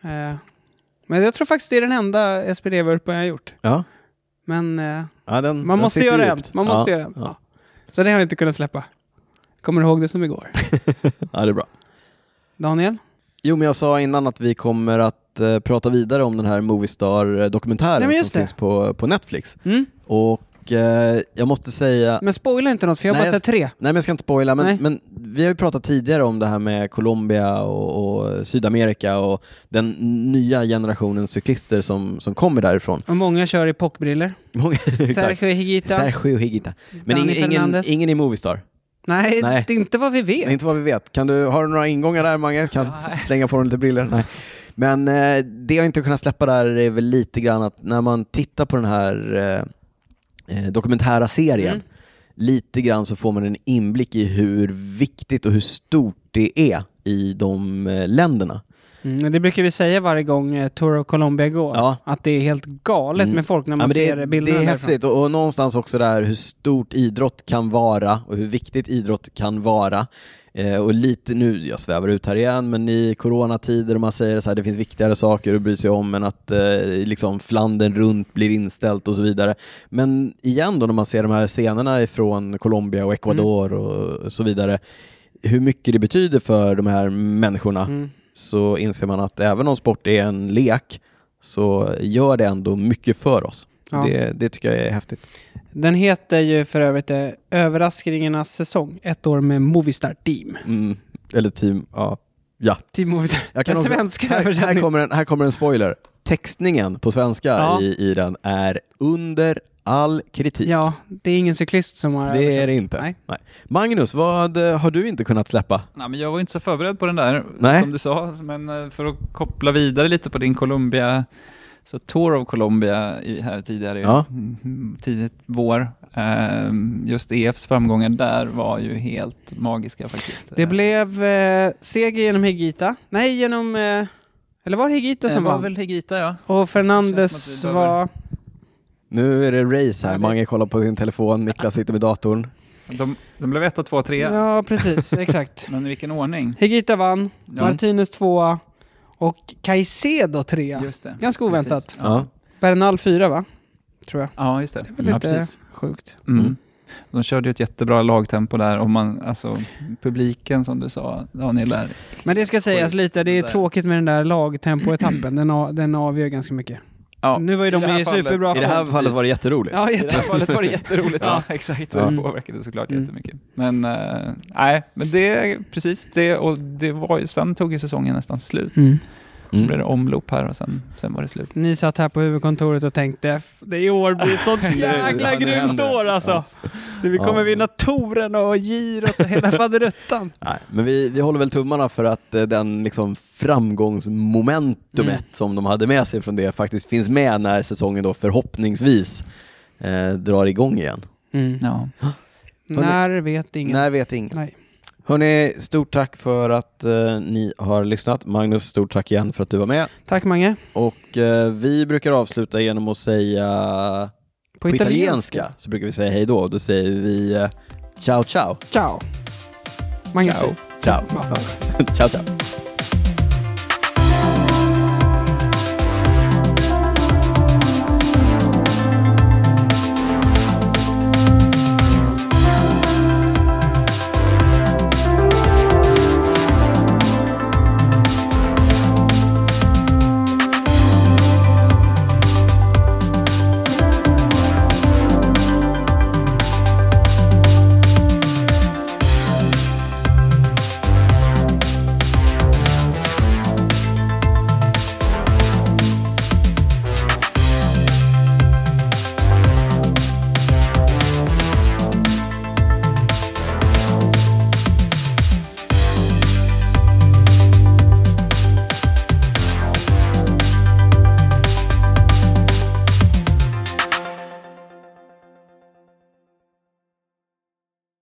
[SPEAKER 4] Eh, men jag tror faktiskt det är den enda SPD-vurpan jag har gjort.
[SPEAKER 3] Ja.
[SPEAKER 4] Men eh,
[SPEAKER 3] ja den,
[SPEAKER 4] man
[SPEAKER 3] Mm. den
[SPEAKER 4] måste
[SPEAKER 3] sitter
[SPEAKER 4] göra en.
[SPEAKER 3] djupt.
[SPEAKER 4] Man
[SPEAKER 3] ja.
[SPEAKER 4] måste göra en. Ja. Så det har jag inte kunnat släppa. Kommer ihåg det som igår.
[SPEAKER 3] Ja, det är bra.
[SPEAKER 4] Daniel?
[SPEAKER 3] Jo, men jag sa innan att vi kommer att eh, prata vidare om den här Moviestar-dokumentären
[SPEAKER 4] Ja, men just
[SPEAKER 3] som
[SPEAKER 4] det.
[SPEAKER 3] finns på, på Netflix.
[SPEAKER 4] Mm?
[SPEAKER 3] Och och eh, jag måste säga...
[SPEAKER 4] Men spoila inte något för jag har
[SPEAKER 3] Nej,
[SPEAKER 4] bara
[SPEAKER 3] jag-
[SPEAKER 4] sett tre.
[SPEAKER 3] Nej men jag ska inte spoila, men,
[SPEAKER 4] Nej.
[SPEAKER 3] men vi har ju pratat tidigare om det här med Colombia och, och Sydamerika och den nya generationen cyklister som, som kommer därifrån.
[SPEAKER 4] Och många kör i pockbriller.
[SPEAKER 3] Många- exakt.
[SPEAKER 4] Sergio Higuita.
[SPEAKER 3] Sergio Higuita. Men
[SPEAKER 4] Dani
[SPEAKER 3] ingen, ingen,
[SPEAKER 4] Fernandez.
[SPEAKER 3] ingen i Movistar?
[SPEAKER 4] Nej,
[SPEAKER 3] Nej.
[SPEAKER 4] det är inte vad vi
[SPEAKER 3] Nej,
[SPEAKER 4] vet.
[SPEAKER 3] inte vad vi vet. Kan du, har du några ingångar där Mange? Kan slänga på dem lite briller? Nej. Men eh, det jag inte kunnat släppa där är väl lite grann att när man tittar på den här eh, eh, dokumentära serien
[SPEAKER 4] Mm.
[SPEAKER 3] lite grann så får man en inblick i hur viktigt och hur stort det är i de eh, länderna.
[SPEAKER 4] Mm, och det brukar vi säga varje gång eh, Tour of Colombia går.
[SPEAKER 3] Ja.
[SPEAKER 4] Att det är helt galet
[SPEAKER 3] Mm.
[SPEAKER 4] med folk när
[SPEAKER 3] Ja,
[SPEAKER 4] man
[SPEAKER 3] men det, är-
[SPEAKER 4] ser
[SPEAKER 3] det
[SPEAKER 4] bilderna
[SPEAKER 3] är
[SPEAKER 4] därifrån.
[SPEAKER 3] häftigt och, och någonstans också där hur stort idrott kan vara och hur viktigt idrott kan vara. Eh, och lite nu, jag svävar ut här igen, men i coronatider och man säger så här, det finns viktigare saker att bry sig om än att eh, liksom Flandern runt blir inställt och så vidare. Men igen då när man ser de här scenerna från Colombia och Ecuador
[SPEAKER 4] Mm.
[SPEAKER 3] och så vidare, hur mycket det betyder för de här människorna
[SPEAKER 4] Mm.
[SPEAKER 3] så inser man att även om sport är en lek så gör det ändå mycket för oss.
[SPEAKER 4] Ja.
[SPEAKER 3] Det, det tycker jag är häftigt.
[SPEAKER 4] Den heter ju för övrigt eh, Överraskningarnas säsong. Ett år med Movistar Team.
[SPEAKER 3] Mm. Eller team, ja. ja.
[SPEAKER 4] Team Movistar.
[SPEAKER 3] Jag
[SPEAKER 4] Den
[SPEAKER 3] också-
[SPEAKER 4] svenska
[SPEAKER 3] här, här,
[SPEAKER 4] översättningen.
[SPEAKER 3] kommer en, här kommer en spoiler. Textningen på svenska
[SPEAKER 4] Ja.
[SPEAKER 3] i, i den är under all kritik.
[SPEAKER 4] Ja, det är ingen cyklist som har
[SPEAKER 3] Det är
[SPEAKER 4] översatt.
[SPEAKER 3] det inte.
[SPEAKER 4] Nej.
[SPEAKER 3] Magnus, vad eh, har du inte kunnat släppa?
[SPEAKER 5] Nej, men jag var ju inte så förberedd på den där,
[SPEAKER 3] Nej.
[SPEAKER 5] som du sa. Men eh, för att koppla vidare lite på din Colombia, så Tour of Colombia i, här tidigare,
[SPEAKER 3] Ja.
[SPEAKER 5] mm, tidigt vår. Ehm, Just EFs framgångar där var ju helt magiska faktiskt.
[SPEAKER 4] Det blev eh, seger genom Higita. Nej, genom... Eh, eller var det Higita
[SPEAKER 5] Eh, det
[SPEAKER 4] som
[SPEAKER 5] var
[SPEAKER 4] vann?
[SPEAKER 5] väl Higita ja.
[SPEAKER 4] Och
[SPEAKER 5] Känns
[SPEAKER 4] Fernandes
[SPEAKER 5] som att vi behöver-
[SPEAKER 4] var...
[SPEAKER 3] Nu är det race
[SPEAKER 4] Ja,
[SPEAKER 3] här.
[SPEAKER 4] det-
[SPEAKER 3] Mange kollar på sin telefon, Niklas sitter med datorn.
[SPEAKER 5] De, de blev etta, tvåa, trea.
[SPEAKER 4] Ja, precis. Exakt.
[SPEAKER 5] Men i vilken ordning?
[SPEAKER 4] Higita vann,
[SPEAKER 5] Ja.
[SPEAKER 4] Martinez tvåa och Caicedo trea.
[SPEAKER 5] Just det.
[SPEAKER 4] Ganska oväntat.
[SPEAKER 5] Precis. Ja.
[SPEAKER 4] Bernal fyra, va? Tror jag.
[SPEAKER 5] ja, just det.
[SPEAKER 4] Det är väl
[SPEAKER 5] ja,
[SPEAKER 4] lite
[SPEAKER 5] precis.
[SPEAKER 4] sjukt.
[SPEAKER 5] Mm.
[SPEAKER 3] Mm.
[SPEAKER 5] De körde ju ett jättebra lagtempo där och man, alltså publiken som du sa Daniel där.
[SPEAKER 4] Men det ska sägas
[SPEAKER 5] Sjukt.
[SPEAKER 4] lite, det är
[SPEAKER 5] Där.
[SPEAKER 4] tråkigt med den där lagtempoetappen. Den, a- den avgör ganska mycket.
[SPEAKER 5] Ja,
[SPEAKER 4] Nu var ju de
[SPEAKER 5] det här
[SPEAKER 4] i
[SPEAKER 5] fallet-
[SPEAKER 4] superbra
[SPEAKER 3] I det här
[SPEAKER 5] precis.
[SPEAKER 3] fallet var det jätteroligt.
[SPEAKER 4] Ja,
[SPEAKER 5] I det här
[SPEAKER 4] jätte...
[SPEAKER 5] fallet var det jätteroligt. ja. exakt. Så
[SPEAKER 4] Ja.
[SPEAKER 5] det påverkade såklart
[SPEAKER 4] Mm.
[SPEAKER 5] jättemycket. Men eh, nej, men det, precis det och det var ju, sen tog ju säsongen nästan slut.
[SPEAKER 4] mm.
[SPEAKER 5] Då blev det omlopp här och sen, sen var det slut.
[SPEAKER 4] Ni satt här på huvudkontoret och tänkte "F- det i år blir ett sånt jäkla
[SPEAKER 3] Ja, nu
[SPEAKER 4] grymt
[SPEAKER 3] händer det.
[SPEAKER 4] år alltså. Vi kommer
[SPEAKER 3] Ja.
[SPEAKER 4] vinna touren och girot och hela faderuttan.
[SPEAKER 3] Nej, men vi, vi håller väl tummarna för att eh, den liksom framgångsmomentumet
[SPEAKER 4] Mm.
[SPEAKER 3] som de hade med sig från det faktiskt finns med när säsongen då förhoppningsvis eh, drar igång igen.
[SPEAKER 5] Ja.
[SPEAKER 3] Hörni-
[SPEAKER 4] När vet ingen.
[SPEAKER 3] Mm. Nej, vet ingen.
[SPEAKER 4] Nej.
[SPEAKER 3] Hörni, stort tack för att eh, ni har lyssnat. Magnus, stort tack igen för att du var med.
[SPEAKER 4] Tack Mange.
[SPEAKER 3] Och eh, vi brukar avsluta genom att säga
[SPEAKER 4] På, italienska.
[SPEAKER 3] så brukar vi säga hej då. Då säger vi eh, ciao ciao.
[SPEAKER 4] Ciao. Mange
[SPEAKER 5] Ciao.
[SPEAKER 4] säger-
[SPEAKER 3] Ciao. ciao ciao.